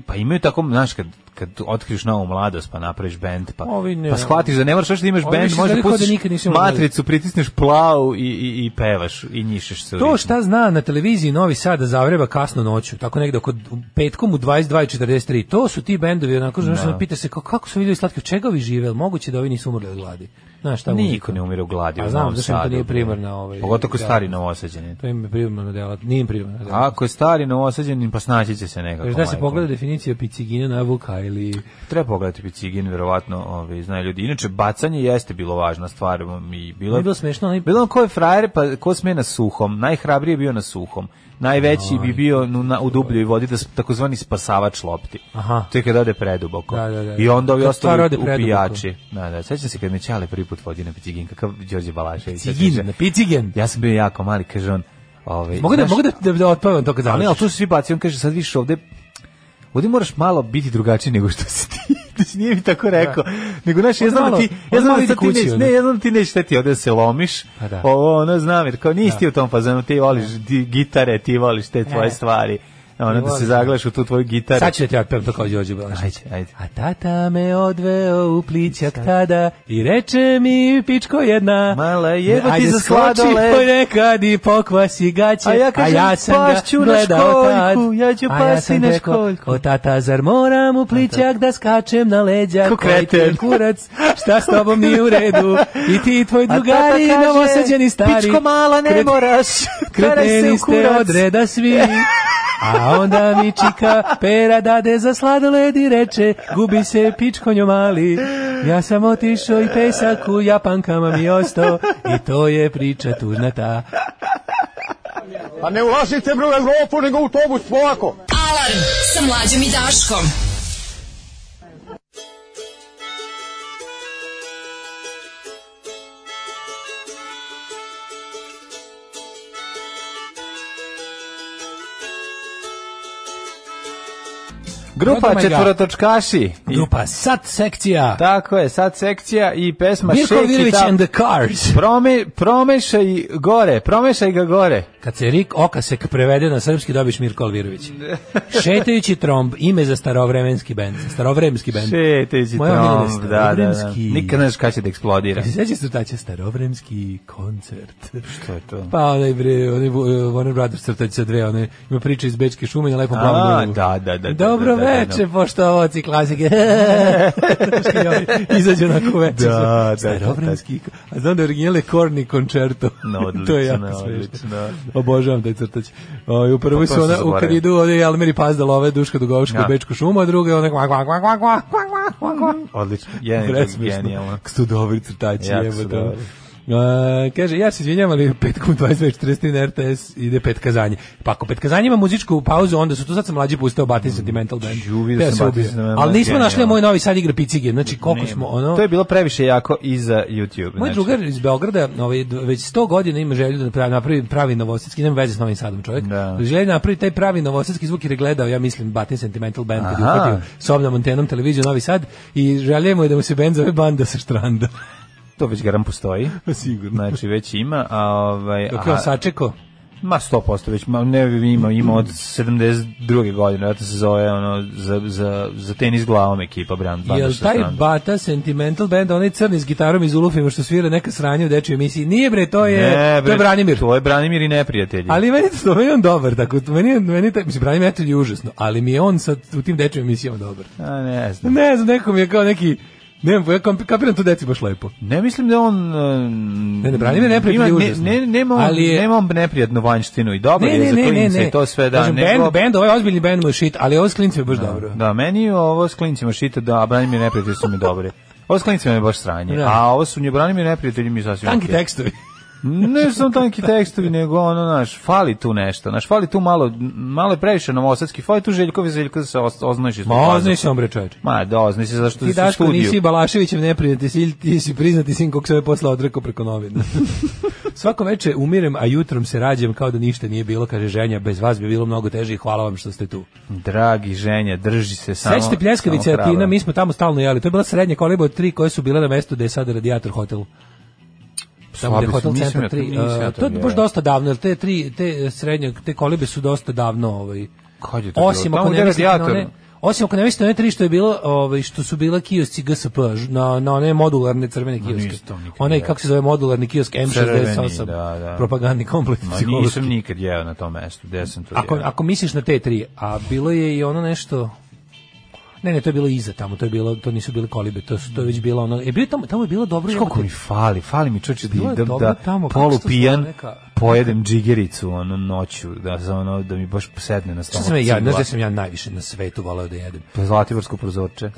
Speaker 6: pa imaju tako, znaš, kad, kad otkriš novu mladost, pa napraviš bend, pa,
Speaker 7: Ovi ne.
Speaker 6: pa shvatiš da ne moraš još da imaš
Speaker 7: Ovi
Speaker 6: bend,
Speaker 7: više
Speaker 6: možeš da
Speaker 7: izgledaju kao da
Speaker 6: pustiš
Speaker 7: nikad nisu imali.
Speaker 6: matricu, pritisneš plavu i, i, i pevaš i njišeš se. u
Speaker 7: To
Speaker 6: ritmu.
Speaker 7: šta zna na televiziji Novi Sad da zavreba kasno noću, tako negde oko petkom u 22.43, to su ti bendovi, onako, znaš, ono, pita se kao, kako su vidjeli slatke, od čega vi žive, jel moguće da ovi nisu umrli od gladi? Znaš, šta
Speaker 6: Niko ne umire u gladi.
Speaker 7: A
Speaker 6: u
Speaker 7: znam,
Speaker 6: Novom
Speaker 7: zašto im to
Speaker 6: Sadu,
Speaker 7: nije
Speaker 6: bre.
Speaker 7: primarna, ovaj,
Speaker 6: Pogotovo kod
Speaker 7: da.
Speaker 6: stari novosađeni.
Speaker 7: To im je primarno dela, nije im primarno dela.
Speaker 6: Ako je stari novosađeni, pa snaći će se nekako.
Speaker 7: Još da se
Speaker 6: majko.
Speaker 7: pogleda definicija picigina na vuka ili...
Speaker 6: Treba pogledati Picigin, verovatno, ovaj, znaju ljudi. Inače, bacanje jeste bilo važna stvar. um, I bilo,
Speaker 7: Nije bilo smešno, ali-
Speaker 6: Bilo ko je frajer, pa ko sme na suhom. Najhrabriji je bio na suhom. Najveći bi bio nu, na, u dubljoj vodi, da, s- takozvani spasavač lopti.
Speaker 7: Aha.
Speaker 6: To je kad ode preduboko.
Speaker 7: Da, da, da.
Speaker 6: I onda ovi
Speaker 7: Kad stvar
Speaker 6: ostali
Speaker 7: ode preduboko.
Speaker 6: upijači. Da, da. Sećam se kad me Ćale prvi put vodi na Picigin, kakav Đorđe Balašević.
Speaker 7: Picigin, na picigen.
Speaker 6: Ja sam bio jako mali, kaže on. Ovaj,
Speaker 7: Mogu da,
Speaker 6: znaš-
Speaker 7: mogu da, da, da otpavam to kad
Speaker 6: ali Pa ne, ali
Speaker 7: završiš.
Speaker 6: tu su svi baci, on kaže sad više ovde Ovdje moraš malo biti drugačiji nego što si ti. Znači, nije mi tako rekao. Nego, znaš, ja
Speaker 7: Onda
Speaker 6: znam da
Speaker 7: malo-
Speaker 6: ti, ja
Speaker 7: onda
Speaker 6: znam
Speaker 7: malo
Speaker 6: da
Speaker 7: ide
Speaker 6: sad ti
Speaker 7: kući,
Speaker 6: neće,
Speaker 7: ono.
Speaker 6: ne, ja znam da ti neće teti ovde da se lomiš.
Speaker 7: Pa da.
Speaker 6: Ovo, ono, znam, jer kao nisi ti u tom fazonu, ti voliš di- gitare, ti voliš te tvoje stvari. Ono, da
Speaker 7: voliš.
Speaker 6: se zaglaš u tu tvoju gitaru.
Speaker 7: Sad ću da ti otpevam to kao Đorđe Balašić.
Speaker 6: Ajde, ajde.
Speaker 7: A tata me odveo u plićak tada i reče mi pičko jedna.
Speaker 6: Mala, jebo ti
Speaker 7: ajde
Speaker 6: za
Speaker 7: skoči
Speaker 6: sladoled."
Speaker 7: ponekad i pokvasi gaće.
Speaker 6: A ja kažem, pašću na školjku, ja ću
Speaker 7: A
Speaker 6: pasti
Speaker 7: sam
Speaker 6: na
Speaker 7: rekao,
Speaker 6: školjku.
Speaker 7: O tata, zar moram u plićak da skačem na leđa?
Speaker 6: Ko
Speaker 7: Koji ti
Speaker 6: kreten.
Speaker 7: Kurac, šta s tobom nije u redu? I ti i tvoj
Speaker 6: A tata
Speaker 7: drugari
Speaker 6: kaže,
Speaker 7: novoseđeni stari.
Speaker 6: Pičko mala, ne
Speaker 7: Kret-
Speaker 6: moraš. Karaj se
Speaker 7: Kreteni
Speaker 6: u
Speaker 7: ste
Speaker 6: kurac.
Speaker 7: od reda svi. A onda mi čika pera dade za sladoled i reče Gubi se pičkonjo mali Ja sam otišao i pesak u Japankama mi ostao I to je priča tužna ta
Speaker 1: Pa ne ulazite bre u Evropu, nego u autobus, polako.
Speaker 5: Alarm sa mlađom i Daškom.
Speaker 7: Oh my
Speaker 6: Grupa
Speaker 7: God.
Speaker 6: četvorotočkaši. I-
Speaker 7: Grupa Sat pa sekcija
Speaker 6: Tako je, sad sekcija i pesma
Speaker 7: Mirko
Speaker 6: Shake It
Speaker 7: Virović
Speaker 6: Up.
Speaker 7: and the Cars
Speaker 6: Prome, promešaj gore, promešaj ga gore.
Speaker 7: Kad se Rik Okasek prevede na srpski dobiš Mirko Alvirović Šetajući tromb ime za starovremenski bend Starovremski bend
Speaker 6: Šeteći
Speaker 7: Moja omiljena
Speaker 6: trom,
Speaker 7: je
Speaker 6: da, da, da.
Speaker 7: starovremski.
Speaker 6: Nikad ne znaš kada će da eksplodira.
Speaker 7: Sjećaš se šta će starovremski koncert
Speaker 6: Što je to?
Speaker 7: Pa onaj bre, onaj Vu- eh, Warner Brothers crtač sa dve, onaj ima priče iz Bečke šume na lepom
Speaker 6: A,
Speaker 7: plavom nebu.
Speaker 6: Pa, da, da, da, da,
Speaker 7: Dobro
Speaker 6: da, da, da, da.
Speaker 7: veče, poštovaoci klasike. Znaš kad ovi Izađe na kuveče.
Speaker 6: Da, da,
Speaker 7: Starovrenski. A znam da je original je Korni koncerto.
Speaker 6: No,
Speaker 7: to je
Speaker 6: odlično,
Speaker 7: jako smešno.
Speaker 6: odlično.
Speaker 7: Obožavam taj crtač. O, u prvoj
Speaker 6: Pa to
Speaker 7: su ona,
Speaker 6: sam
Speaker 7: u kad
Speaker 6: zaboravio.
Speaker 7: idu ovdje Almer i Pazda love Duška Dugovška
Speaker 6: Da.
Speaker 7: u Bečku šumu, a druga je ona kvak, kvak, kvak, kvak, kvak, kvak, kvak, kvak.
Speaker 6: Odlično, jedan je
Speaker 7: Presmešno.
Speaker 6: genijalno.
Speaker 7: Kako su to dobri crtači,
Speaker 6: Jako
Speaker 7: jebo
Speaker 6: su
Speaker 7: to.
Speaker 6: dobri.
Speaker 7: E, kaže, ja se izvinjam, ali petkom u 22.40 na RTS ide pet kazanje. Pa ako pet kazanje ima muzičku pauzu, onda su tu sad sam mlađi pustao Batin Sentimental Band.
Speaker 6: Mm, Ju, vidio
Speaker 7: Te
Speaker 6: sam
Speaker 7: se
Speaker 6: Batin
Speaker 7: ubio.
Speaker 6: Sentimental
Speaker 7: Ali nismo
Speaker 6: Band,
Speaker 7: našli
Speaker 6: genijalno.
Speaker 7: moj novi sad igra picige. Znači, koliko smo, ono...
Speaker 6: To je bilo previše jako i za YouTube.
Speaker 7: Moj
Speaker 6: znači.
Speaker 7: drugar iz Beograda, ovaj d- već 100 godina ima želju da pravi napravi pravi novosadski, nema veze s Novim Sadom čovjek.
Speaker 6: Da.
Speaker 7: Želja da napravi taj pravi novosadski zvuk jer je gledao, ja mislim, Batin Sentimental Band kad je
Speaker 6: Aha.
Speaker 7: uhvatio sobnom antenom televiziju Novi Sad i želje mu je da mu se bend zove Banda sa Štranda.
Speaker 6: To već garam postoji.
Speaker 7: Sigurno.
Speaker 6: Znači već ima, a ovaj
Speaker 7: Dok je on
Speaker 6: a-
Speaker 7: sačeko,
Speaker 6: Ma 100% već, ma ne ima, ima od 72. godine, vjerojatno se zove ono, za, za, za tenis glavom ekipa Brand Banda.
Speaker 7: jel
Speaker 6: što
Speaker 7: taj
Speaker 6: znam.
Speaker 7: Bata Sentimental Band, onaj crni s gitarom iz Ulufima što svira neka sranja u dečjoj emisiji? Nije bre, to je,
Speaker 6: Ne,
Speaker 7: to
Speaker 6: bre,
Speaker 7: je Branimir.
Speaker 6: To je Branimir i neprijatelji.
Speaker 7: Ali meni to meni je on dobar, tako meni je- meni taj mislim Branimir Etelj je užasno, ali mi je on sad u tim dečjim emisijama dobar.
Speaker 6: A, ne znam.
Speaker 7: Ne znam, nekom je kao neki Ne znam, ja komp- kapiram tu deci baš lepo.
Speaker 6: Ne mislim da on... um,
Speaker 7: Ne, ne, Branimir je neprijatelj
Speaker 6: ima-
Speaker 7: užasno.
Speaker 6: Ne, ne, nema, on,
Speaker 7: Ali je-
Speaker 6: nema on neprijatnu vanjštinu i dobro je za klince i to sve, da.
Speaker 7: Kažem,
Speaker 6: nego-
Speaker 7: band, band, ovaj ozbiljni band mu je shit, ali ovo s klincima je baš dobro.
Speaker 6: Da, meni je ovo s klincima šita, da, a Branimir i neprijatelji su mi dobri. Ovo s klincima je baš sranje,
Speaker 7: Da.
Speaker 6: a ovo su nje Branimir i neprijatelji mi sasvim
Speaker 7: Tanki
Speaker 6: okej.
Speaker 7: tekstovi.
Speaker 6: Ne samo tanki tekstovi, nego ono, naš, fali tu nešto. Naš, fali tu malo, malo je previše novosadski, fali tu Željkovi, Željko da se oz- oznojiši.
Speaker 7: Ma, oznoj se on bre čoveče.
Speaker 6: Ma, da, oznoj se zašto
Speaker 7: Ti
Speaker 6: si u
Speaker 7: Daško
Speaker 6: studiju.
Speaker 7: nisi Balaševićem neprijatelj, ti, ti si priznati sin kog se ove posla odrekao preko novina. Svako veče umirem, a jutrom se rađem kao da ništa nije bilo, kaže ženja, bez vas bi bilo mnogo teže i hvala vam što ste tu.
Speaker 6: Dragi ženja, drži se samo.
Speaker 7: Sećate pljeskavice
Speaker 6: samo hrabro.
Speaker 7: Atina, mi smo tamo stalno jeli. To je bila srednja koliba od tri koje su bile na mestu gde je sada radijator hotel. Tamo gde je
Speaker 6: Slabi su,
Speaker 7: hotel
Speaker 6: nisam
Speaker 7: centar
Speaker 6: ja to-
Speaker 7: 3.
Speaker 6: nisam ja
Speaker 7: to je
Speaker 6: bio.
Speaker 7: baš dosta davno, jer te, tri, te srednje, te kolibe su dosta davno. Ovaj.
Speaker 6: Kad je to bilo?
Speaker 7: Osim
Speaker 6: Tamo
Speaker 7: ako
Speaker 6: gde
Speaker 7: ne
Speaker 6: je
Speaker 7: mislite na
Speaker 6: radijator.
Speaker 7: one... Osim ako ne mislite na one tri što je bilo, ovaj, što su bila kiosci GSP, ž- na, na one modularne crvene
Speaker 6: nisam
Speaker 7: kioske.
Speaker 6: to nikad
Speaker 7: Onaj,
Speaker 6: jeo.
Speaker 7: kako se zove modularni kiosk M68,
Speaker 6: da, da.
Speaker 7: propagandni komplet.
Speaker 6: Ma,
Speaker 7: psihološki.
Speaker 6: nisam nikad jeo na tom mestu, gde sam to
Speaker 7: Ako,
Speaker 6: jeo.
Speaker 7: ako misliš na te tri, a bilo je i ono nešto... Ne, ne, to je bilo iza tamo, to je bilo, to nisu bile kolibe, to su to je već bilo ono. E bio tamo, tamo je bilo dobro.
Speaker 6: Koliko
Speaker 7: jebote.
Speaker 6: mi fali, fali mi čoče
Speaker 7: Bilo
Speaker 6: da
Speaker 7: je
Speaker 6: idem
Speaker 7: dobro
Speaker 6: da
Speaker 7: tamo, kako se to zove,
Speaker 6: polupijan
Speaker 7: neka-
Speaker 6: pojedem džigericu ono noću, da, za ono, da mi baš sedne na
Speaker 7: Šta
Speaker 6: stomak.
Speaker 7: sam ja, ja, znaš
Speaker 6: cigla.
Speaker 7: da sam ja najviše na svetu voleo da jedem.
Speaker 6: Pa Zlatiborsko prozorče.
Speaker 7: E,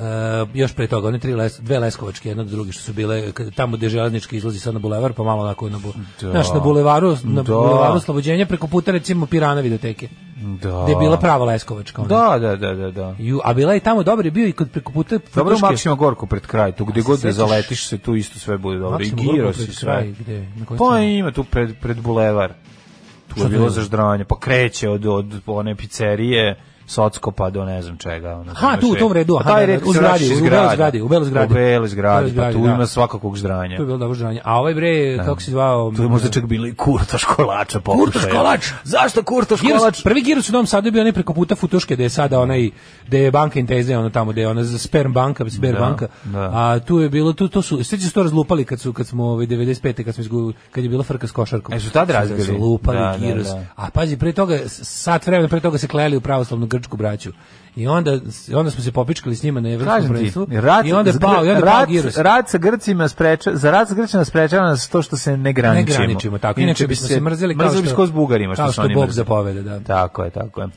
Speaker 7: još pre toga, one tri les, dve leskovačke, jedna od druge što su bile k- tamo gde železnički izlazi sad na bulevar, pa malo onako na, bu,
Speaker 6: Da.
Speaker 7: znaš, na bulevaru, na
Speaker 6: Da.
Speaker 7: bulevaru Slobođenja, preko puta recimo Pirana videoteke,
Speaker 6: Da.
Speaker 7: gde je bila prava leskovačka. ona.
Speaker 6: Da, da, da, da, da.
Speaker 7: Ju, a bila je i tamo dobar je bio i kod preko puta
Speaker 6: Dobro,
Speaker 7: Fruške.
Speaker 6: Maksima Gorku pred kraj, tu gde
Speaker 7: Pa se
Speaker 6: god da
Speaker 7: sećaš?
Speaker 6: zaletiš se, tu isto sve bude dobro. I
Speaker 7: Maksimo Gorku
Speaker 6: giro
Speaker 7: pred
Speaker 6: si
Speaker 7: kraj,
Speaker 6: sve.
Speaker 7: gde? Na kojoj
Speaker 6: Pa
Speaker 7: strani?
Speaker 6: ima tu pred, pred bulevar. Tu
Speaker 7: Šta
Speaker 6: je
Speaker 7: to
Speaker 6: bilo
Speaker 7: ima?
Speaker 6: zaždravanje. Pa kreće od, od one pizzerije, Socko pa do ne znam čega. Ono,
Speaker 7: Ha, tu u tom redu, aha,
Speaker 6: aha, taj
Speaker 7: da,
Speaker 6: red
Speaker 7: u
Speaker 6: se
Speaker 7: zgradi,
Speaker 6: vraćaš iz
Speaker 7: u
Speaker 6: grada.
Speaker 7: Beloj zgradi, u Beloj zgradi.
Speaker 6: U Beloj zgradi,
Speaker 7: U Beloj
Speaker 6: pa tu
Speaker 7: zgradi, da.
Speaker 6: ima svakakog zdranja.
Speaker 7: To je bilo dobro žranje. A ovaj bre, kako se zvao?
Speaker 6: Tu je možda čak bilo i kurtoš kolača pokušaja.
Speaker 7: Kurtoš kolač!
Speaker 6: Zašto kurtoš
Speaker 7: Giros,
Speaker 6: kolač?
Speaker 7: prvi Giros u Novom Sadu je bio onaj preko puta Futuške, gde je sada onaj, gde je banka Inteze, ono tamo, gde je ona za Sperm banka, Sperm
Speaker 6: Da,
Speaker 7: banka.
Speaker 6: da.
Speaker 7: A tu je bilo, tu, to su, sve su to razlupali kad su, kad smo ovaj, 95. kad smo izgu, kad je bila frka s košarkom.
Speaker 6: E, su tad razbili?
Speaker 7: Su lupali
Speaker 6: Da, da,
Speaker 7: Giros.
Speaker 6: da.
Speaker 7: A pazi, pre toga, s- sat vremena pre toga se klejali u pravoslavnu grčku braću. I onda, onda smo se popičkali s njima na evropskom
Speaker 6: Kažem ti,
Speaker 7: prvenstvu.
Speaker 6: rat,
Speaker 7: I onda je pao, i onda je pao
Speaker 6: rat,
Speaker 7: Giros.
Speaker 6: rat sa Grcima spreča, za rat sa Grcima sprečava nas to što se ne
Speaker 7: ne
Speaker 6: graničimo.
Speaker 7: graničimo tako. Inače bismo se mrzeli kao što
Speaker 6: Mrzeli bi se kao s Bugarima, što,
Speaker 7: kao
Speaker 6: su oni
Speaker 7: Bog
Speaker 6: mrzeli.
Speaker 7: zapoveda, da.
Speaker 6: Tako je, tako je.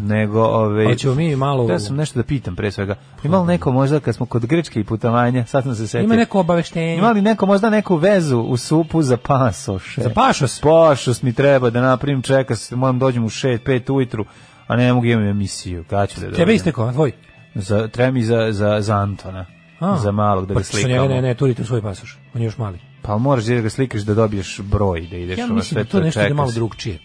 Speaker 6: Nego, ove...
Speaker 7: Hoćemo mi malo- Pa-
Speaker 6: Ja sam nešto da pitam pre svega. Ima li neko možda, kad smo kod Grčke i putovanja, sad sam se setio.
Speaker 7: Ima neko obaveštenje.
Speaker 6: Ima li neko možda neku vezu u supu za pasoše?
Speaker 7: Za pašos?
Speaker 6: Pašos mi treba da napravim, čeka se, moram dođem u 6, 5 ujutru, a ne mogu imam emisiju. Kada ću da dođem?
Speaker 7: Tebe isteko, a tvoj?
Speaker 6: Za, treba mi za, za, za Antona.
Speaker 7: A.
Speaker 6: za malog da
Speaker 7: Pa
Speaker 6: ga
Speaker 7: što njega
Speaker 6: slikamo.
Speaker 7: Ne, ne, turite u svoj pasoš. On je još mali.
Speaker 6: Pa moraš da ga slikaš da dobiješ broj, da ideš
Speaker 7: Ja
Speaker 6: ono sve
Speaker 7: mislim da to nešto ide
Speaker 6: čeka
Speaker 7: malo
Speaker 6: se.
Speaker 7: drugčije.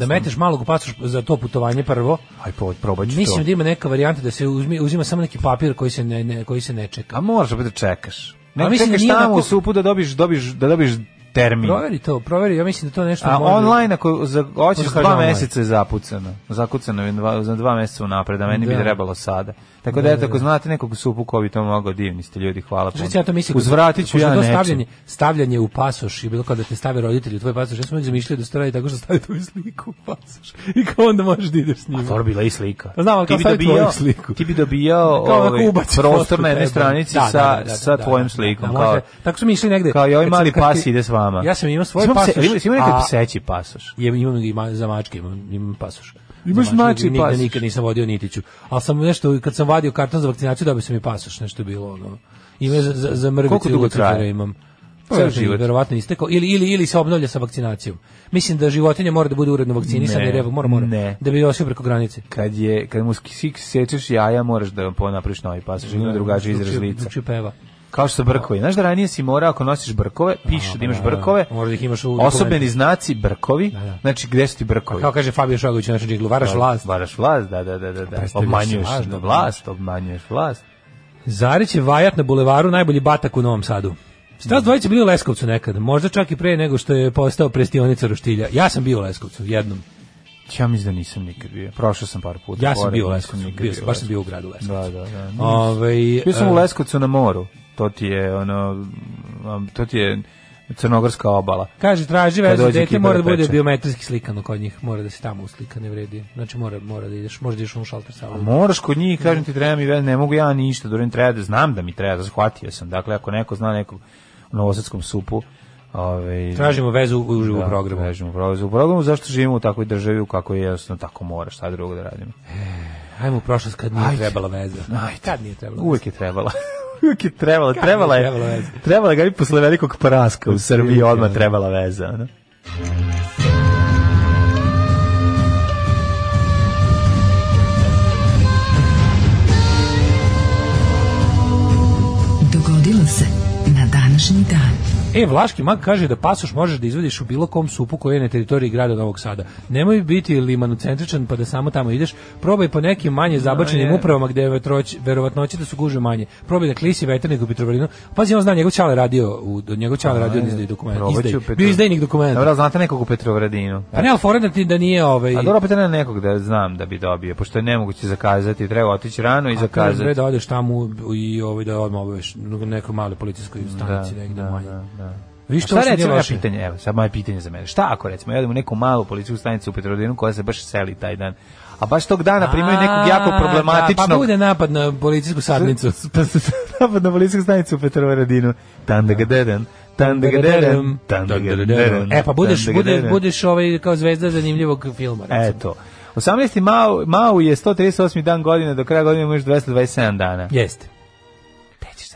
Speaker 7: Da meteš malog u pasoš za to putovanje prvo.
Speaker 6: Aj, po- probat ću
Speaker 7: Mislim
Speaker 6: to.
Speaker 7: da ima neka varijanta da se uzmi, uzima samo neki papir koji se ne, ne, koji se ne čeka.
Speaker 6: A Pa moraš opet da čekaš.
Speaker 7: A
Speaker 6: Ne
Speaker 7: Pa mislim da
Speaker 6: čekaš
Speaker 7: nije
Speaker 6: tamo
Speaker 7: onako-
Speaker 6: u supu da dobiš, dobiš, da dobiš termin.
Speaker 7: Proveri to, proveri, ja mislim da to nešto
Speaker 6: Mm. A
Speaker 7: može.
Speaker 6: online, ako za, hoćeš
Speaker 7: Može kaže
Speaker 6: dva
Speaker 7: online.
Speaker 6: meseca je zapucano. Zakucano je dva, za dva meseca unapred, a meni
Speaker 7: Da.
Speaker 6: bi trebalo sada. Tako da, eto, ako znate nekog u supu ko bi to mogao, divni ste ljudi, hvala puno.
Speaker 7: Znači, ja to mislim,
Speaker 6: Uzvratit ću
Speaker 7: pošto
Speaker 6: ja
Speaker 7: to
Speaker 6: nečim.
Speaker 7: stavljanje, stavljanje u pasoš i bilo kao da te stave roditelji u tvoj pasoš, ja sam uvijek zamišljao da se to radi tako što stavi tvoju sliku u pasoš i kao onda možeš da ideš s njima.
Speaker 6: Dobro bila i slika.
Speaker 7: Pa znam, ali
Speaker 6: ti
Speaker 7: kao
Speaker 6: bi
Speaker 7: stavi tvoju
Speaker 6: dobijao,
Speaker 7: sliku.
Speaker 6: ti bi dobijao
Speaker 7: Kao onako
Speaker 6: ovaj,
Speaker 7: ubaci
Speaker 6: prostor
Speaker 7: fotku
Speaker 6: na jednoj
Speaker 7: tebe.
Speaker 6: stranici
Speaker 7: Da, da,
Speaker 6: sa,
Speaker 7: da, da,
Speaker 6: sa
Speaker 7: da,
Speaker 6: tvojom
Speaker 7: da,
Speaker 6: slikom.
Speaker 7: da,
Speaker 6: kao,
Speaker 7: može. Tako su mi išli negde.
Speaker 6: kao i ovaj
Speaker 7: Kad sam-
Speaker 6: mali
Speaker 7: kad
Speaker 6: pas
Speaker 7: ti-
Speaker 6: ide s vama.
Speaker 7: Ja sam imao svoj
Speaker 6: Imam se-
Speaker 7: pasoš.
Speaker 6: Ima ima neki
Speaker 7: a-
Speaker 6: pseći pasoš.
Speaker 7: Jem, imam ga i ma, za mačke, imam, imam pasoš.
Speaker 6: Imaš
Speaker 7: Za mačke,
Speaker 6: mačji
Speaker 7: nigde
Speaker 6: pasoš?
Speaker 7: nikad nisam vodio nitiću. Ali sam nešto, kad sam vadio karton za vakcinaciju, dobio sam i pasoš, nešto je bilo ono. Ima za, za, za mrvicu
Speaker 6: Koliko
Speaker 7: i
Speaker 6: dugo
Speaker 7: lucifere
Speaker 6: traje? Pa
Speaker 7: imam. Ceo život verovatno istekao ili ili ili se obnavlja sa vakcinacijom. Mislim da životinje mora da bude uredno vakcinisane,
Speaker 6: Ne,
Speaker 7: jer evo mora mora
Speaker 6: ne.
Speaker 7: da bi došao preko granice.
Speaker 6: Kad, je, kad mu sik- sečeš jaja, moraš da napriš novi pasoš, ima drugačiji izraz
Speaker 7: Drugčije-
Speaker 6: lica.
Speaker 7: drugčije peva.
Speaker 6: Kao što su brkovi. Znaš da ranije si morao, ako nosiš brkove, piše da imaš brkove,
Speaker 7: Možda ih imaš u
Speaker 6: osobeni
Speaker 7: dokumentu.
Speaker 6: znaci brkovi,
Speaker 7: da.
Speaker 6: znači gde su ti brkovi?
Speaker 7: Kao kaže Fabio Šagović u našem džinglu, varaš vlast.
Speaker 6: Varaš vlast, da, da, da, da. da.
Speaker 7: Predstavljaš
Speaker 6: Obmanjuješ
Speaker 7: se lažno,
Speaker 6: da vlast, obmanjuješ vlast.
Speaker 7: Zarić je vajat na bulevaru najbolji batak u Novom Sadu. Stas dvojice bili u Leskovcu nekad, možda čak i pre nego što je postao prestionica Roštilja. Ja sam bio u Leskovcu, jednom.
Speaker 6: Ja mislim da nisam nikad bio. Prošao sam par puta.
Speaker 7: Ja sam
Speaker 6: pored,
Speaker 7: bio u
Speaker 6: nisam
Speaker 7: Leskovcu,
Speaker 6: nikad
Speaker 7: bio sam,
Speaker 6: u
Speaker 7: baš sam bio u
Speaker 6: Leskovcu.
Speaker 7: gradu Leskovcu.
Speaker 6: Da, da, da.
Speaker 7: Ovaj,
Speaker 6: Bio sam
Speaker 7: e,
Speaker 6: u Leskovcu na moru. To ti je ono um, to ti je crnogorska obala.
Speaker 7: Kaže, traži
Speaker 6: Kad
Speaker 7: vezu
Speaker 6: dođe
Speaker 7: dete,
Speaker 6: ekipa
Speaker 7: mora da
Speaker 6: da
Speaker 7: bude
Speaker 6: peče.
Speaker 7: biometrijski slikano kod njih, mora da se tamo uslika, ne vredi. Znači, mora, mora da ideš, možda ideš u šalter
Speaker 6: A
Speaker 7: salu.
Speaker 6: Moraš kod njih, kažem ti, treba mi, ve- ne mogu ja ništa, dobro im treba da znam da mi treba, da shvatio sam. Dakle, ako neko zna nekog u novosadskom supu, ovaj,
Speaker 7: Tražimo vezu u uživu
Speaker 6: da,
Speaker 7: programu.
Speaker 6: tražimo u programu. U programu zašto živimo u takvoj državi u kakvoj je jednostavno tako mora, šta drugo da radimo.
Speaker 7: Ajmo u prošlost kad nije
Speaker 6: Ajde.
Speaker 7: trebala veza.
Speaker 6: Ajde.
Speaker 7: Kad nije trebala veza.
Speaker 6: Uvek je trebala. Uvijek je trebala, trebala
Speaker 7: je trebala
Speaker 6: je,
Speaker 7: veza?
Speaker 6: trebala ga i posle velikog praska u Srbiji
Speaker 7: prilike,
Speaker 6: odmah
Speaker 7: da.
Speaker 6: trebala veza. Ono.
Speaker 5: Dogodilo se na današnji dan.
Speaker 7: E, Vlaški mag kaže da pasoš možeš da izvadiš u bilo kom supu koji je na teritoriji grada Novog Sada. Nemoj biti limanocentričan pa da samo tamo ideš. Probaj po nekim manje zabačenim
Speaker 6: je.
Speaker 7: upravama gde je vetroć, verovatnoće da su guže manje. Probaj da klisi veternik u Petrovarinu. Pazi, on zna, njegov čale radio, u, njegov čale radio izdaj dokument.
Speaker 6: Probat ću
Speaker 7: Izdaj,
Speaker 6: u Petro-
Speaker 7: bio izdajnik
Speaker 6: Dobro,
Speaker 7: dokumenta.
Speaker 6: ali znate nekog u Petrovradinu?
Speaker 7: Pa ne, ali fora da ti da nije ovaj...
Speaker 6: A dobro, opet ne nekog da znam da bi dobio, pošto je nemoguće zakazati, treba otići rano i
Speaker 7: A kažeš, bre,
Speaker 6: zakazati.
Speaker 7: da odeš tamo i ovaj da odmah obaveš u nekoj maloj policijskoj stanici negde
Speaker 6: da,
Speaker 7: manje.
Speaker 6: da, da.
Speaker 7: Viš
Speaker 6: Šta
Speaker 7: to se
Speaker 6: recimo,
Speaker 7: nije
Speaker 6: ja
Speaker 7: loše.
Speaker 6: pitanje, evo, sad moje pitanje za mene. Šta ako recimo, ja idem u neku malu policijsku stanicu u Petrovradinu koja se baš seli taj dan, a baš tog dana primaju nekog jako
Speaker 7: A,
Speaker 6: problematičnog...
Speaker 7: Da, pa bude napad na policijsku sadnicu.
Speaker 6: Pa se napad na policijsku stanicu u Petrovaradinu. Tandagadeden. Tandagadeden. Tandagadeden.
Speaker 7: E pa budeš, budeš,
Speaker 6: tandagadeden.
Speaker 7: budeš ovaj kao zvezda zanimljivog filma. recimo.
Speaker 6: Eto. 18. Mao, Mao je 138. dan godine, do kraja godine imaš 227 dana.
Speaker 7: Jeste.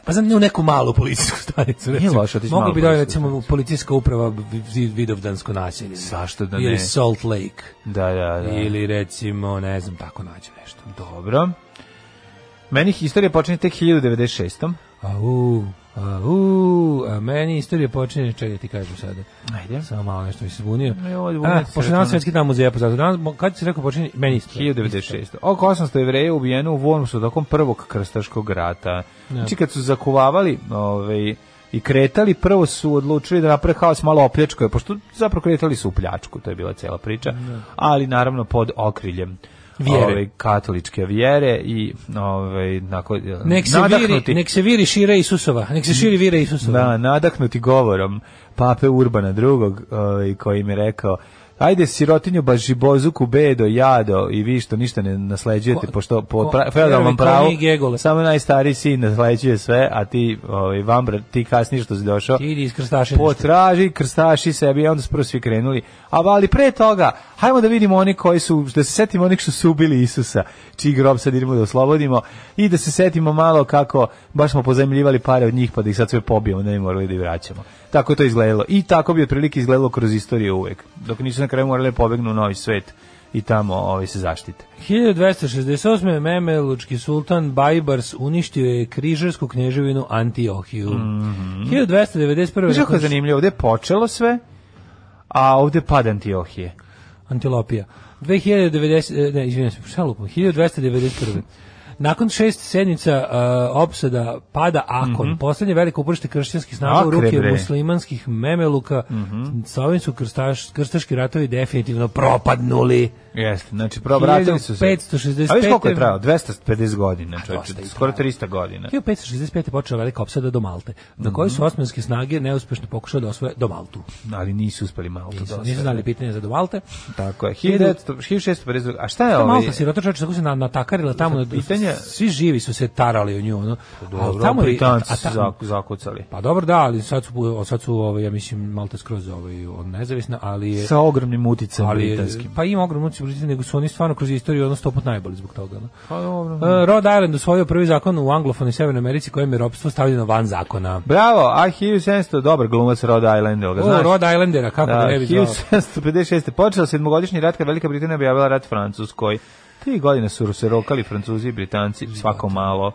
Speaker 7: Pa znam, ne u neku malu policijsku stanicu. Recimo.
Speaker 6: loše otići
Speaker 7: Mogu
Speaker 6: malu
Speaker 7: bi da je,
Speaker 6: policijsku
Speaker 7: recimo policijska uprava Vi- Vi- Vidovdansko naselje.
Speaker 6: Zašto da ne?
Speaker 7: Ili Salt Lake.
Speaker 6: Da, da, da.
Speaker 7: Ili recimo, ne znam, tako nađe nešto.
Speaker 6: Dobro. Meni historija počinje tek 1096.
Speaker 7: Au, au, a meni istorija počinje, čekaj da ti kažem sada.
Speaker 6: Ajde.
Speaker 7: Samo malo nešto mi se zbunio.
Speaker 6: Ne, ovo je zbunio
Speaker 7: A,
Speaker 6: se
Speaker 7: pošto je
Speaker 6: računa.
Speaker 7: danas svetski dan muzeja, pa zato danas, mo- kad si rekao počinje, meni
Speaker 6: Dakle,
Speaker 7: istorija.
Speaker 6: 1096. Oko 800 jevreja ubijeno u Vormsu tokom prvog krstaškog rata. Znači kad su zakuvavali ovaj, i kretali, prvo su odlučili da naprave haos malo opljačkoje, pošto zapravo kretali su u pljačku, to je bila cela priča, ali naravno pod okriljem
Speaker 7: Vjere.
Speaker 6: ovaj, katoličke vjere i ovaj, nako,
Speaker 7: Nek se, viri, nek se viri šire Isusova, nek se širi vire Isusova.
Speaker 6: Da, nadahnuti govorom pape Urbana II, ovaj, koji mi je rekao Ajde sirotinju bažibozuku bedo jado i vi što ništa ne nasleđujete
Speaker 7: Ko-
Speaker 6: pošto po
Speaker 7: ko-
Speaker 6: pra, feudalnom
Speaker 7: veruj, ko
Speaker 6: pravu
Speaker 7: mi Gegole.
Speaker 6: samo najstariji sin nasleđuje sve, a ti ovaj vambra ti kasnije što si došao.
Speaker 7: Ti idi iz krstaša.
Speaker 6: Potraži krstaši sebi, onda su prvo svi krenuli. A ali pre toga, hajmo da vidimo oni koji su, da se setimo onih što su ubili Isusa, čiji grob sad idemo da oslobodimo i da se setimo malo kako baš smo pozajmljivali pare od njih pa da ih sad sve pobijemo, ne bi morali da ih vraćamo. Tako je to izgledalo. I tako bi otprilike izgledalo kroz istoriju uvek. Dok nisu na kraju morali da pobegnu u novi svet i tamo ovaj, se zaštite.
Speaker 7: 1268. Memelučki sultan Bajbars uništio je križarsku knježevinu Antiohiju. 1291.
Speaker 6: Mhm. Znaš kako je
Speaker 7: nakon-
Speaker 6: zanimljivo, ovde je počelo sve, a ovde pada Antiohije.
Speaker 7: Antilopija. 2090, e, ne, izvinjam se, šta lupam, 1291. Nakon šest sednica uh, opsada pada Akon, poslednje veliko upršte kršćanskih snaga u
Speaker 6: Mhm. Akre,
Speaker 7: ruke
Speaker 6: bre. Mhm.
Speaker 7: muslimanskih memeluka, sa ovim su krstaš, krstaški ratovi definitivno propadnuli.
Speaker 6: Jeste, znači probratili su se.
Speaker 7: 1565.
Speaker 6: A viš koliko je trajalo? 250 godina, čovječe,
Speaker 7: dosta i
Speaker 6: skoro
Speaker 7: trajalo.
Speaker 6: 300 godina.
Speaker 7: 1565. je počela velika opsada do Malte, na kojoj
Speaker 6: Mhm.
Speaker 7: su osmanske snage neuspešno pokušale da osvoje do Maltu.
Speaker 6: Ali nisu uspeli malo to
Speaker 7: Nisu,
Speaker 6: dosta.
Speaker 7: nisu znali pitanje za do Malte. pa
Speaker 6: Tako je, ovaj, 1900 1652. A šta je ovo?
Speaker 7: Malta, sirota čovječe, tako se na- natakarila tamo. na-
Speaker 6: Pitanje Britanija-
Speaker 7: svi živi su se tarali u nju, ono.
Speaker 6: Dobro,
Speaker 7: Ali tamo je-
Speaker 6: Britanci
Speaker 7: a
Speaker 6: su
Speaker 7: ta-
Speaker 6: zaku- zakucali.
Speaker 7: Pa dobro, da, ali sad su, sad su ovaj, ja mislim, malta skroz ovaj, on nezavisna, ali je...
Speaker 6: Sa ogromnim uticajem
Speaker 7: ali je-
Speaker 6: britanskim.
Speaker 7: Pa ima ogromnu uciju Britanije, nego su oni stvarno kroz istoriju ono stoput najbolji zbog toga. No.
Speaker 6: Pa dobro.
Speaker 7: E, Rhode Island usvojio prvi zakon u anglofonoj Severnoj Americi kojem je ropstvo stavljeno van zakona.
Speaker 6: Bravo, a 1700, dobar glumac Rhode Island, ga
Speaker 7: O,
Speaker 6: znaš?
Speaker 7: Rhode Islandera, kako da,
Speaker 6: Da,
Speaker 7: ne bi zvao.
Speaker 6: 1756. Počeo sedmogodišnji rat kad Velika Britanija objavila rat Francuskoj. Tri godine su se rokali Francuzi i Britanci, svako malo.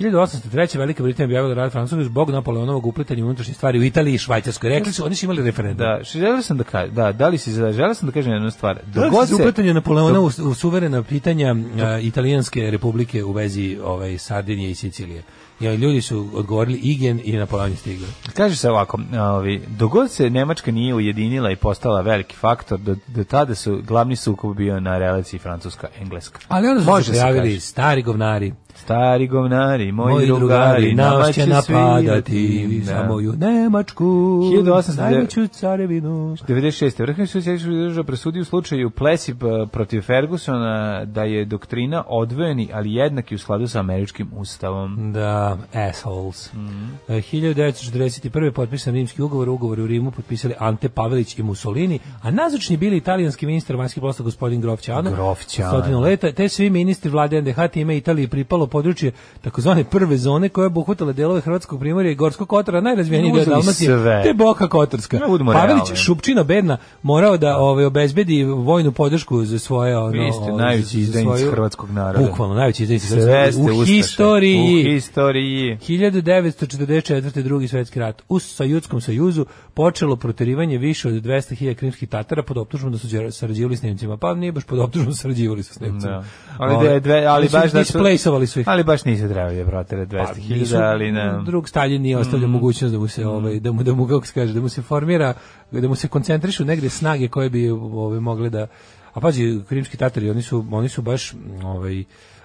Speaker 7: 1803. Velika Britanija objavila rad Francuskoj zbog Napoleonovog uplitanja u unutrašnje stvari u Italiji i Švajcarskoj. Rekli su, oni su imali referendum.
Speaker 6: Da, š- želeo sam da kažem, da, da li si, za- želeo sam da kažem jednu stvar.
Speaker 7: Da,
Speaker 6: Dok god
Speaker 7: se
Speaker 6: se-
Speaker 7: upletanje Napoleona u, u suverena pitanja a, italijanske republike u vezi ovaj, Sardinije i Sicilije. I ovi ljudi su odgovorili Igen i Napoleon je stigao.
Speaker 6: Kaže se ovako, ovi, dogod se Nemačka nije ujedinila i postala veliki faktor, do, do tada su glavni sukob bio na relaciji Francuska-Engleska.
Speaker 7: Ali onda su
Speaker 6: Može
Speaker 7: se
Speaker 6: se
Speaker 7: pojavili
Speaker 6: kaže.
Speaker 7: stari govnari,
Speaker 6: Stari govnari, moji,
Speaker 7: moji drugari, nas će napadati,
Speaker 6: da.
Speaker 7: samo ju Nemačku,
Speaker 6: 1809
Speaker 7: najveću carevinu.
Speaker 6: 96. Vrhovni sud Sjedišćeg država presudio u slučaju Plessy p- protiv Fergusona da je doktrina odvojeni, ali jednaki u skladu sa američkim
Speaker 7: Mm,
Speaker 6: ustavom.
Speaker 7: Da, assholes.
Speaker 6: Mhm.
Speaker 7: E, 1941. potpisan rimski ugovor, ugovor u Rimu potpisali Ante Pavelić i Mussolini, a nazočni bili italijanski ministar vanjskih poslova gospodin Grofćano.
Speaker 6: Grofćano.
Speaker 7: Stotinu leta, te svi ministri vlade NDH time Italiji pripalo područje takozvane prve zone koja je obuhvatala delove Hrvatskog primorja i Gorskog Kotora, najrazvijeniji deo
Speaker 6: Uzeli
Speaker 7: Dalmacije,
Speaker 6: sve.
Speaker 7: te Boka Kotorska.
Speaker 6: Ne budemo
Speaker 7: Pavelić,
Speaker 6: realni.
Speaker 7: Šupčina bedna, morao da ovaj, obezbedi vojnu podršku za svoje... Ono,
Speaker 6: Vi ste
Speaker 7: ovaj,
Speaker 6: najveći
Speaker 7: za
Speaker 6: izdajnici
Speaker 7: svoju-
Speaker 6: hrvatskog naroda.
Speaker 7: Bukvalno, najveći izdajnici
Speaker 6: Sve
Speaker 7: hrvatskog naroda.
Speaker 6: ste
Speaker 7: U
Speaker 6: ustaše.
Speaker 7: historiji.
Speaker 6: U historiji.
Speaker 7: 1944. drugi svetski rat u Sojutskom sajuzu počelo proterivanje više od 200.000 krimskih Tatara pod optužbom da su đer- sarađivali s Nemcima. Pa nije baš pod optužbom da su sarađivali sa Nemcima.
Speaker 6: Da. Ali, da je dve, ali baš da su...
Speaker 7: Ovaj, Displejsovali su ih. Pa,
Speaker 6: Ali baš nisu trebali da protele 200.000,
Speaker 7: nisu- Mm,
Speaker 6: ali ne... Mm.
Speaker 7: Drug Stalin nije ostavljao mogućnost da mu se ovaj da mu da mu kako se kaže, da mu se formira, da mu se koncentrišu negde snage koje bi ovaj mogle da A pazi, krimski Tatari, oni su oni su baš mm, ovaj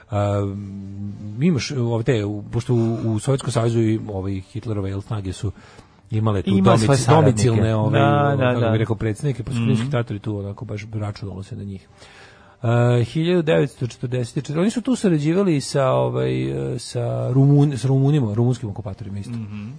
Speaker 7: a, imaš ovaj te, u- pošto u, u Sovjetskom savezu i ovaj Hitlerove jel snage su imale tu
Speaker 6: Ima svoje
Speaker 7: domic,
Speaker 6: saradnike.
Speaker 7: domicilne ovaj,
Speaker 6: Da, da,
Speaker 7: kako bih
Speaker 6: da. Mhm.
Speaker 7: rekao predsjednike, pa su krimski Tatari tu onako baš računalo se na njih. Uh, 1944. Oni su tu sarađivali sa ovaj eh, sa Rumun s Rumunima, rumunskim okupatorima isto. Mhm.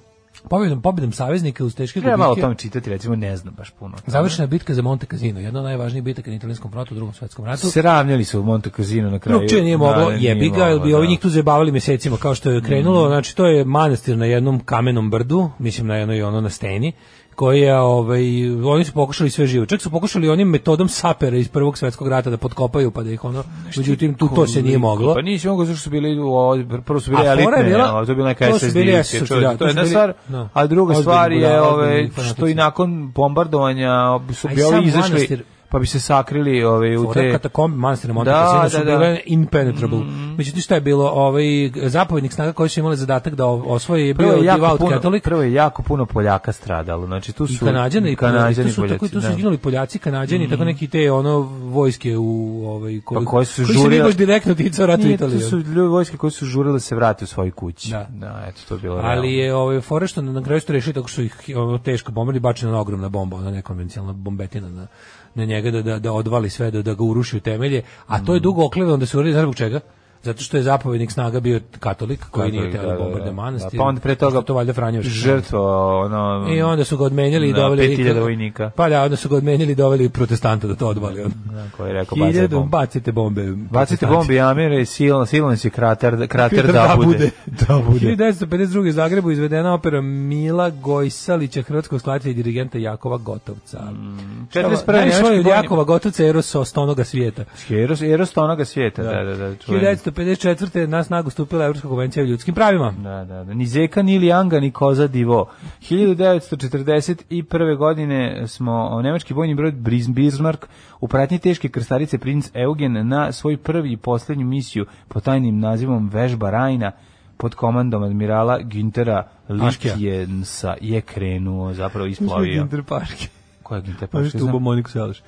Speaker 7: pobjedom, pobjedom saveznika uz teške
Speaker 6: Treba malo o
Speaker 7: gubitke.
Speaker 6: tome čitati, recimo, ne znam baš puno.
Speaker 7: Završena je bitka za Monte Casino, jedna od najvažnijih bitaka na italijanskom frontu u Drugom svjetskom ratu.
Speaker 6: Sravnjali su u Monte Casino na kraju.
Speaker 7: Drugčije nije
Speaker 6: Da,
Speaker 7: moglo,
Speaker 6: nije
Speaker 7: jebi ga, jer bi
Speaker 6: moglo,
Speaker 7: ovi
Speaker 6: da. Mhm.
Speaker 7: njih tu zabavili mesecima kao što je krenulo, znači to je manastir na jednom kamenom brdu, mislim na jednoj ono na steni, koji je, ovaj, oni su pokušali sve živo. Čak su pokušali onim metodom sapera iz Prvog svjetskog rata da potkopaju, pa da ih ono, međutim, tu to se nije moglo.
Speaker 6: Pa nisi mogao zato što su bili u ovo- prvo su
Speaker 7: A
Speaker 6: bili
Speaker 7: fora je
Speaker 6: elitne,
Speaker 7: bila-
Speaker 6: ali to je bila neka
Speaker 7: to su bili
Speaker 6: SSD-ovske,
Speaker 7: SS-ovci,
Speaker 6: čovječe,
Speaker 7: da,
Speaker 6: to
Speaker 7: to
Speaker 6: je
Speaker 7: su
Speaker 6: jedna
Speaker 7: bili-
Speaker 6: stvar,
Speaker 7: da.
Speaker 6: a druga
Speaker 7: Ozbiljni
Speaker 6: stvar je
Speaker 7: budala,
Speaker 6: ove,
Speaker 7: ozbiljni
Speaker 6: što i
Speaker 7: fanatici.
Speaker 6: nakon bombardovanja su
Speaker 7: A i
Speaker 6: bi
Speaker 7: sam
Speaker 6: ovi izašli
Speaker 7: manastir-
Speaker 6: pa bi se sakrili ove, u
Speaker 7: Fora
Speaker 6: te...
Speaker 7: katakombe manastira Monte
Speaker 6: Da,
Speaker 7: Cassino
Speaker 6: da, Mhm.
Speaker 7: su
Speaker 6: da.
Speaker 7: bile impenetrable. Međutim, šta je bilo? Ovaj, zapovjednik snaga koji su imali zadatak da o- osvoje je
Speaker 6: Prvo
Speaker 7: bio
Speaker 6: je, jako
Speaker 7: devout
Speaker 6: puno,
Speaker 7: katolik.
Speaker 6: prvo je jako puno Poljaka stradalo. Znači, tu su
Speaker 7: i Kanadjani i
Speaker 6: Kanađani
Speaker 7: Kanadjani su tako i tu su
Speaker 6: da. Mhm.
Speaker 7: ginuli Poljaci, Kanadjani, tako neki te ono vojske u ovaj koji
Speaker 6: Pa koje su
Speaker 7: koji se nije
Speaker 6: žurile-
Speaker 7: baš direktno ticao rata u
Speaker 6: Nije, tu
Speaker 7: Italiji.
Speaker 6: su ljudi vojske koji su žurile da se vrate u svoju kući.
Speaker 7: Da.
Speaker 6: eto, to je bilo realno.
Speaker 7: Ali je ovaj fore što na kraju su to rešili tako što ih ono, teško bombardovali, bačena ona ogromna bomba, ona nekonvencionalna bombetina na na njega da, da, da odvali sve, da, da ga uruši u temelje, a
Speaker 6: Mhm.
Speaker 7: to je dugo oklevano da se uredi, znaš zbog čega? Zato što je zapovednik snaga bio katolik koji nije
Speaker 6: Katolik,
Speaker 7: teo da, bombarde manastir.
Speaker 6: Pa onda pre toga
Speaker 7: Isto to valjda Franjević.
Speaker 6: žrtvo, ono...
Speaker 7: I onda su ga odmenjali i
Speaker 6: Da,
Speaker 7: doveli...
Speaker 6: 5000 vojnika.
Speaker 7: Pa da, onda su ga odmenjali i doveli protestanta da to odvali. ono.
Speaker 6: Koji je rekao, bacaj
Speaker 7: Hiljadu,
Speaker 6: bombu.
Speaker 7: bacite bombe.
Speaker 6: Bacite bombe Amire i silan, silan si krater, krater
Speaker 7: Peter
Speaker 6: da bude.
Speaker 7: Da bude. 1952. u Zagrebu izvedena opera Mila Gojsalića, hrvatskog skladatelja i dirigenta Jakova Gotovca. Mm.
Speaker 6: 41.
Speaker 7: od
Speaker 6: nemački
Speaker 7: Jakova Gotovca, Eros onoga svijeta.
Speaker 6: Heros, Eros tonoga svijeta, da, da, da. čuveni.
Speaker 7: 1954. na snagu stupila Evropska konvencija o ljudskim pravima.
Speaker 6: Da, da, da. Ni Zeka, ni Lijanga, ni Koza Divo. 1941. godine smo o, nemački vojni brod Bris- Bismarck u pratnji teške krstarice princ Eugen na svoj prvi i posljednju misiju pod tajnim nazivom Vežba Rajna pod komandom admirala Güntera
Speaker 7: Paškija.
Speaker 6: Lichtensa je krenuo, zapravo isplavio.
Speaker 7: Interparke.
Speaker 6: Ko je
Speaker 7: Pa
Speaker 6: Günther Paškija?
Speaker 7: što ubo Moniku Salaš.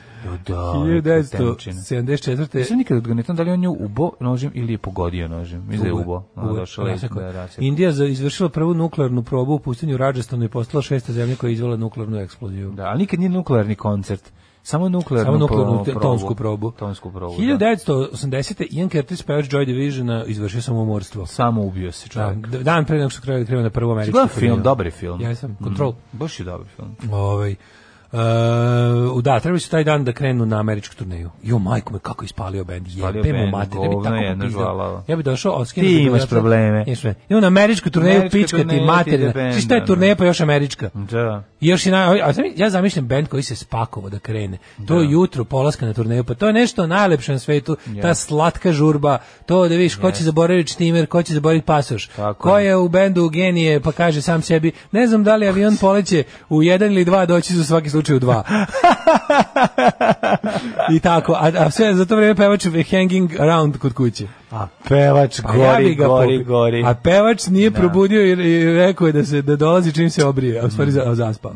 Speaker 6: Da,
Speaker 7: 1974.
Speaker 6: Nisam nikad odgledao da li on nju ubo nožem ili je pogodio nožem. Mislim da je ubo. Ono,
Speaker 7: Ubo je
Speaker 6: došao je
Speaker 7: rasekao.
Speaker 6: da je rasekao.
Speaker 7: Indija za- izvršila prvu nuklearnu probu u pustinju Rajasthana i postala šesta zemlja koja je izvela nuklearnu eksploziju.
Speaker 6: Da, ali nikad nije nuklearni koncert. Samo nuklearnu,
Speaker 7: Samo nuklearnu te-
Speaker 6: pro-
Speaker 7: tonsku probu.
Speaker 6: Tonsku probu, da.
Speaker 7: 1980. Ian Curtis, pevač Joy Divisiona, izvršio samoumorstvo.
Speaker 6: Samo ubio se
Speaker 7: Da,
Speaker 6: čovjek.
Speaker 7: d- dan pre nego što krenu krenuo na prvu američku.
Speaker 6: Gledam
Speaker 7: turneju.
Speaker 6: film, dobar je film.
Speaker 7: Ja sam, Control.
Speaker 6: Mm, baš je dobar film.
Speaker 7: Ovaj Uh, da, treba se taj dan da krenu na američku turneju. Jo, majko me, kako je ispalio bend.
Speaker 6: Ispalio
Speaker 7: Jebe mu
Speaker 6: bend,
Speaker 7: mater, ja bi
Speaker 6: govno
Speaker 7: tako
Speaker 6: jedno,
Speaker 7: popizdeo.
Speaker 6: žvalavo.
Speaker 7: Ja bi došao, oskinu.
Speaker 6: Ti imaš probleme.
Speaker 7: Imam na američku turneju,
Speaker 6: Američka
Speaker 7: pička ti
Speaker 6: turneja, ti
Speaker 7: materina.
Speaker 6: ide bend,
Speaker 7: Čista je
Speaker 6: da.
Speaker 7: turneja, pa još američka.
Speaker 6: Da.
Speaker 7: I još i na, a sam- ja zamišljam bend koji se spakovo da krene. To je jutro polaska na turneju, pa to je nešto najlepše na svetu, ta slatka žurba, to da vidiš ko će zaboraviti štimer, ko će zaboraviti pasoš,
Speaker 6: Tako
Speaker 7: ko
Speaker 6: je.
Speaker 7: je u bendu genije, pa kaže sam sebi, ne znam da li avion poleće u jedan ili dva, doći za svaki slučaj u dva. I tako, a, a sve za to vreme pevač je hanging around kod kuće.
Speaker 6: A pevač
Speaker 7: Pa
Speaker 6: gori,
Speaker 7: ja bi ga
Speaker 6: gori,
Speaker 7: popi-
Speaker 6: gori.
Speaker 7: A pevač nije probudio i, i rekao je da se da dolazi čim se obrije, a u stvari
Speaker 6: Mm.
Speaker 7: za, zaspao.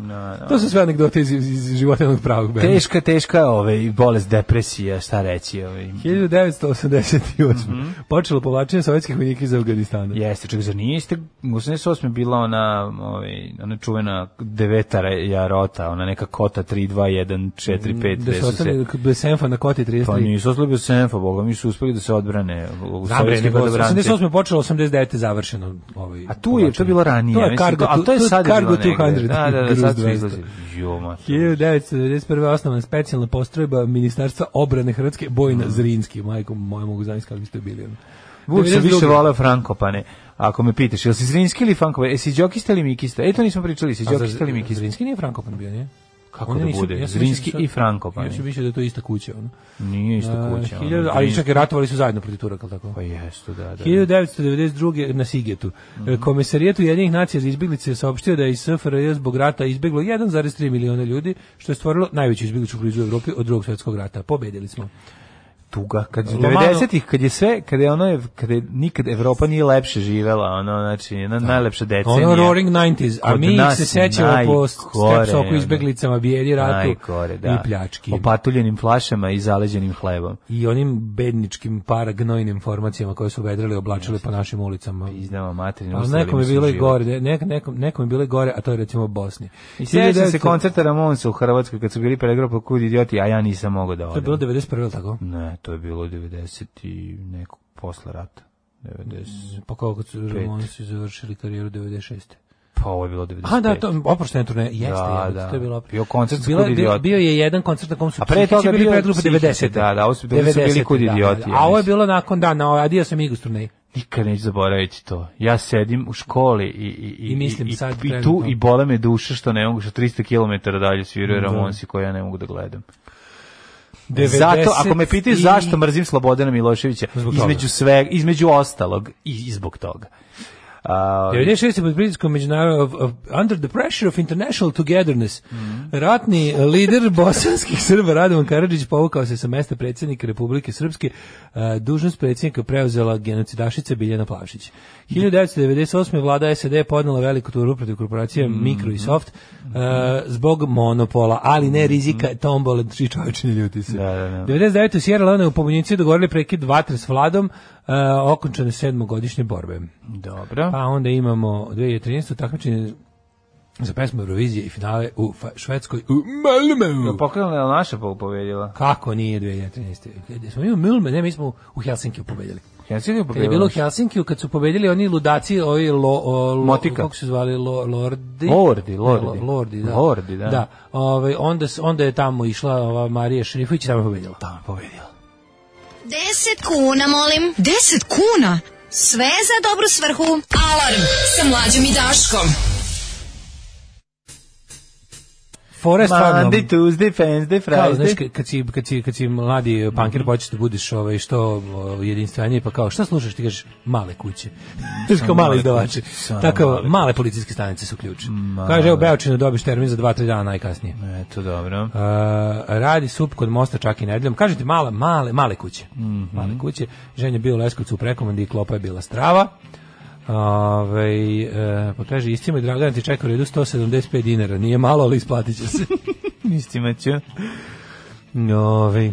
Speaker 7: To su sve anegdote iz, iz, iz života jednog pravog benda.
Speaker 6: Teška, teška ove, i bolest depresija, šta reći. ovaj. Ove.
Speaker 7: 1988.
Speaker 6: Mhm.
Speaker 7: Počelo povlačenje sovjetskih vojnika iz Afganistana.
Speaker 6: Jeste, čak zar nije iste, u 88. bila ona, ovaj, ona čuvena devetara jarota, ona neka kota 3, 2, 1, 4, 5,
Speaker 7: Da su ostali kod Besenfa na koti 33.
Speaker 6: Pa nisu ostali bez senfa, boga, mi su uspeli da se odbrane u
Speaker 7: Znam, bre,
Speaker 6: sovjetski
Speaker 7: nego
Speaker 6: odbrance.
Speaker 7: 88 je počelo, 89 je završeno. Ovaj,
Speaker 6: A tu je, to je bilo ranije.
Speaker 7: To je
Speaker 6: mislim,
Speaker 7: Cargo,
Speaker 6: a to je sad
Speaker 7: Cargo
Speaker 6: bilo negde.
Speaker 7: 200.
Speaker 6: Da, da, da,
Speaker 7: Gruz
Speaker 6: sad su
Speaker 7: 200.
Speaker 6: izlazi. Jo, mater.
Speaker 7: 1991. osnovana specijalna postrojba Ministarstva obrane Hrvatske,
Speaker 6: Mm.
Speaker 7: Bojna Zrinski. Majko, moja mogu zamisliti kako biste bili. ono.
Speaker 6: Vuč
Speaker 7: 92..
Speaker 6: sam više volao Frankopane. Ako me pitaš, jel si Zrinski ili Frankopane? E, si Đokista ili Mikista? E, to nismo pričali, si
Speaker 7: A zar-
Speaker 6: Đokista ili Mikista?
Speaker 7: Zrinski nije Frankopan bio, nije?
Speaker 6: Kako
Speaker 7: Oni
Speaker 6: da
Speaker 7: nisu-
Speaker 6: bude?
Speaker 7: ja sam
Speaker 6: Zrinski
Speaker 7: mislio da
Speaker 6: i
Speaker 7: su-
Speaker 6: Frankopani.
Speaker 7: Ja sam mislio da je to ista kuća. Ono.
Speaker 6: Nije isto kuća.
Speaker 7: A,
Speaker 6: ono,
Speaker 7: 1000 ali
Speaker 6: Zrinski.
Speaker 7: čak i ratovali su zajedno protiv Turaka, jel tako?
Speaker 6: Pa jesu, da, da.
Speaker 7: 1992. na Sigetu.
Speaker 6: Mhm.
Speaker 7: Mm. Komesarijet Ujedinjenih nacija za izbjeglice je saopštio da je iz SFRJ zbog rata izbjeglo 1,3 miliona ljudi, što je stvorilo najveću izbjegličku krizu u Evropi od drugog svjetskog rata. Pobedili smo.
Speaker 6: tuga kad je
Speaker 7: Lomano-
Speaker 6: 90-ih kad je sve kad je ono kad je nikad Evropa nije lepše živela ono znači jedna najlepša decenija
Speaker 7: Ono Roaring 90s, a
Speaker 6: Kod
Speaker 7: mi ih
Speaker 6: nas
Speaker 7: se sećamo po
Speaker 6: najgore,
Speaker 7: stepsoku
Speaker 6: ono.
Speaker 7: izbeglicama, bijedi ratu
Speaker 6: najgore da
Speaker 7: i pljački.
Speaker 6: opatuljenim flašama i zaleđenim hlebom
Speaker 7: I onim bedničkim paragnojnim formacijama koje su vedrali i oblačile po našim ulicama.
Speaker 6: izdama materinu
Speaker 7: Ali nekom je bilo i gore, ne- nek, nekom, nekom je bilo i gore, a to je recimo Bosni.
Speaker 6: I sjećam
Speaker 7: 1900
Speaker 6: se koncerta Ramonsa u Hrvatskoj kad su bili pregropa kud idioti, a ja nisam mogao da odem.
Speaker 7: To je bilo 91. ili tako?
Speaker 6: Ne, to je bilo 90 i nekog posle rata. 90.
Speaker 7: Pa kako kad su Ramonsi završili karijeru 96.
Speaker 6: Pa ovo je bilo 95.
Speaker 7: A da, to oproštena turneja, jeste,
Speaker 6: Da,
Speaker 7: jebote,
Speaker 6: da.
Speaker 7: to je bilo. opra-
Speaker 6: Bio koncert s
Speaker 7: Bila-
Speaker 6: Kud
Speaker 7: bio-
Speaker 6: idioti.
Speaker 7: Bio je jedan koncert na kom su
Speaker 6: A pre
Speaker 7: Psihići
Speaker 6: toga
Speaker 7: bili
Speaker 6: bio
Speaker 7: predgrupa
Speaker 6: Psihići,
Speaker 7: 90.
Speaker 6: da, da, ovo su bili- ovo su bili
Speaker 7: 90-te,
Speaker 6: Kud
Speaker 7: da, da,
Speaker 6: idioti,
Speaker 7: da.
Speaker 6: ja
Speaker 7: A ovo je
Speaker 6: mislim.
Speaker 7: bilo nakon dana, adio sam Igus turneji.
Speaker 6: Nikad neću zaboraviti to. Ja sedim u školi i, i,
Speaker 7: I mislim sad
Speaker 6: i tu
Speaker 7: trenutno.
Speaker 6: i bole me duše što ne mogu, što 300 km dalje sviraju Ramonsi koje ja ne mogu da gledam. Zato, ako me pitaš
Speaker 7: i-
Speaker 6: zašto mrzim Slobodana Miloševića,
Speaker 7: Zbog toga.
Speaker 6: između, sveg, između ostalog i, i zbog toga. A,
Speaker 7: 96. pod pritiskom međunarodnog of- of- under the pressure of international togetherness ratni lider bosanskih Srba Radovan Karadžić povukao se sa mesta predsjednika Republike Srpske e, dužnost predsjednika preuzela genocidašica Biljana Plavšić 1998. vlada SED podnela veliku turu protiv korporacije
Speaker 6: Mhm.
Speaker 7: Micro i Soft e, zbog monopola ali ne rizika tombole tri čovječine ljuti se
Speaker 6: Mhm. Da, da, da.
Speaker 7: 99. u Sierra Leone u pobunjenici dogovorili prekid vatre s vladom e, okončane sedmogodišnje borbe
Speaker 6: dobro.
Speaker 7: pa onda imamo 2013. takmičenje za pesmu Eurovizije i finale u Fa- Švedskoj u Malmö.
Speaker 6: Pokrenula je naša pol pobedila.
Speaker 7: Kako nije 2013. Gde smo mi u Malmö, ne, mi smo u Helsinkiju pobedili.
Speaker 6: Helsinki je
Speaker 7: Kad je
Speaker 6: pobedila.
Speaker 7: bilo u Helsinkiju, kad su pobedili oni ludaci, ovi lo, o, lo-
Speaker 6: Motika.
Speaker 7: kako se zvali, lo- lordi?
Speaker 6: Lordi, lordi.
Speaker 7: Lo- lordi, da.
Speaker 6: Lordi, da.
Speaker 7: da. Ovaj, onda, s- onda je tamo išla ova Marija Šerifović i tamo je pobedila.
Speaker 6: Tamo je pobedila.
Speaker 5: 10 kuna, molim.
Speaker 8: 10 kuna?
Speaker 5: Sve za dobru svrhu.
Speaker 8: Alarm sa mlađom i Daškom.
Speaker 7: Fora je stvarno-
Speaker 6: Monday, Tuesday, Wednesday,
Speaker 7: Kao, znaš,
Speaker 6: Friday.
Speaker 7: kad- kad si, kad si, kad si mladi
Speaker 6: Mhm.
Speaker 7: punker, počeš da budiš ovaj, što o, jedinstveniji, pa kao, šta slušaš? Ti kažeš, male kuće. Znaš, kao male
Speaker 6: male
Speaker 7: izdavače.
Speaker 6: kuće, samo
Speaker 7: Tako,
Speaker 6: male
Speaker 7: male policijske stanice su ključ. Kaže, evo, Beočinu dobiš termin za 2-3 dana najkasnije.
Speaker 6: Eto, dobro.
Speaker 7: Uh, radi sup kod mosta čak i nedeljom. Kažete male, male, male kuće.
Speaker 6: Mhm.
Speaker 7: Male kuće. Ženja je bio u Leskovcu u prekomandi i klopa je bila strava. Ovaj e, pa kaže, istima i Dragan ti čeka u redu 175 dinara. Nije malo, ali isplatit će se.
Speaker 6: Mislim da će.
Speaker 7: Ovaj.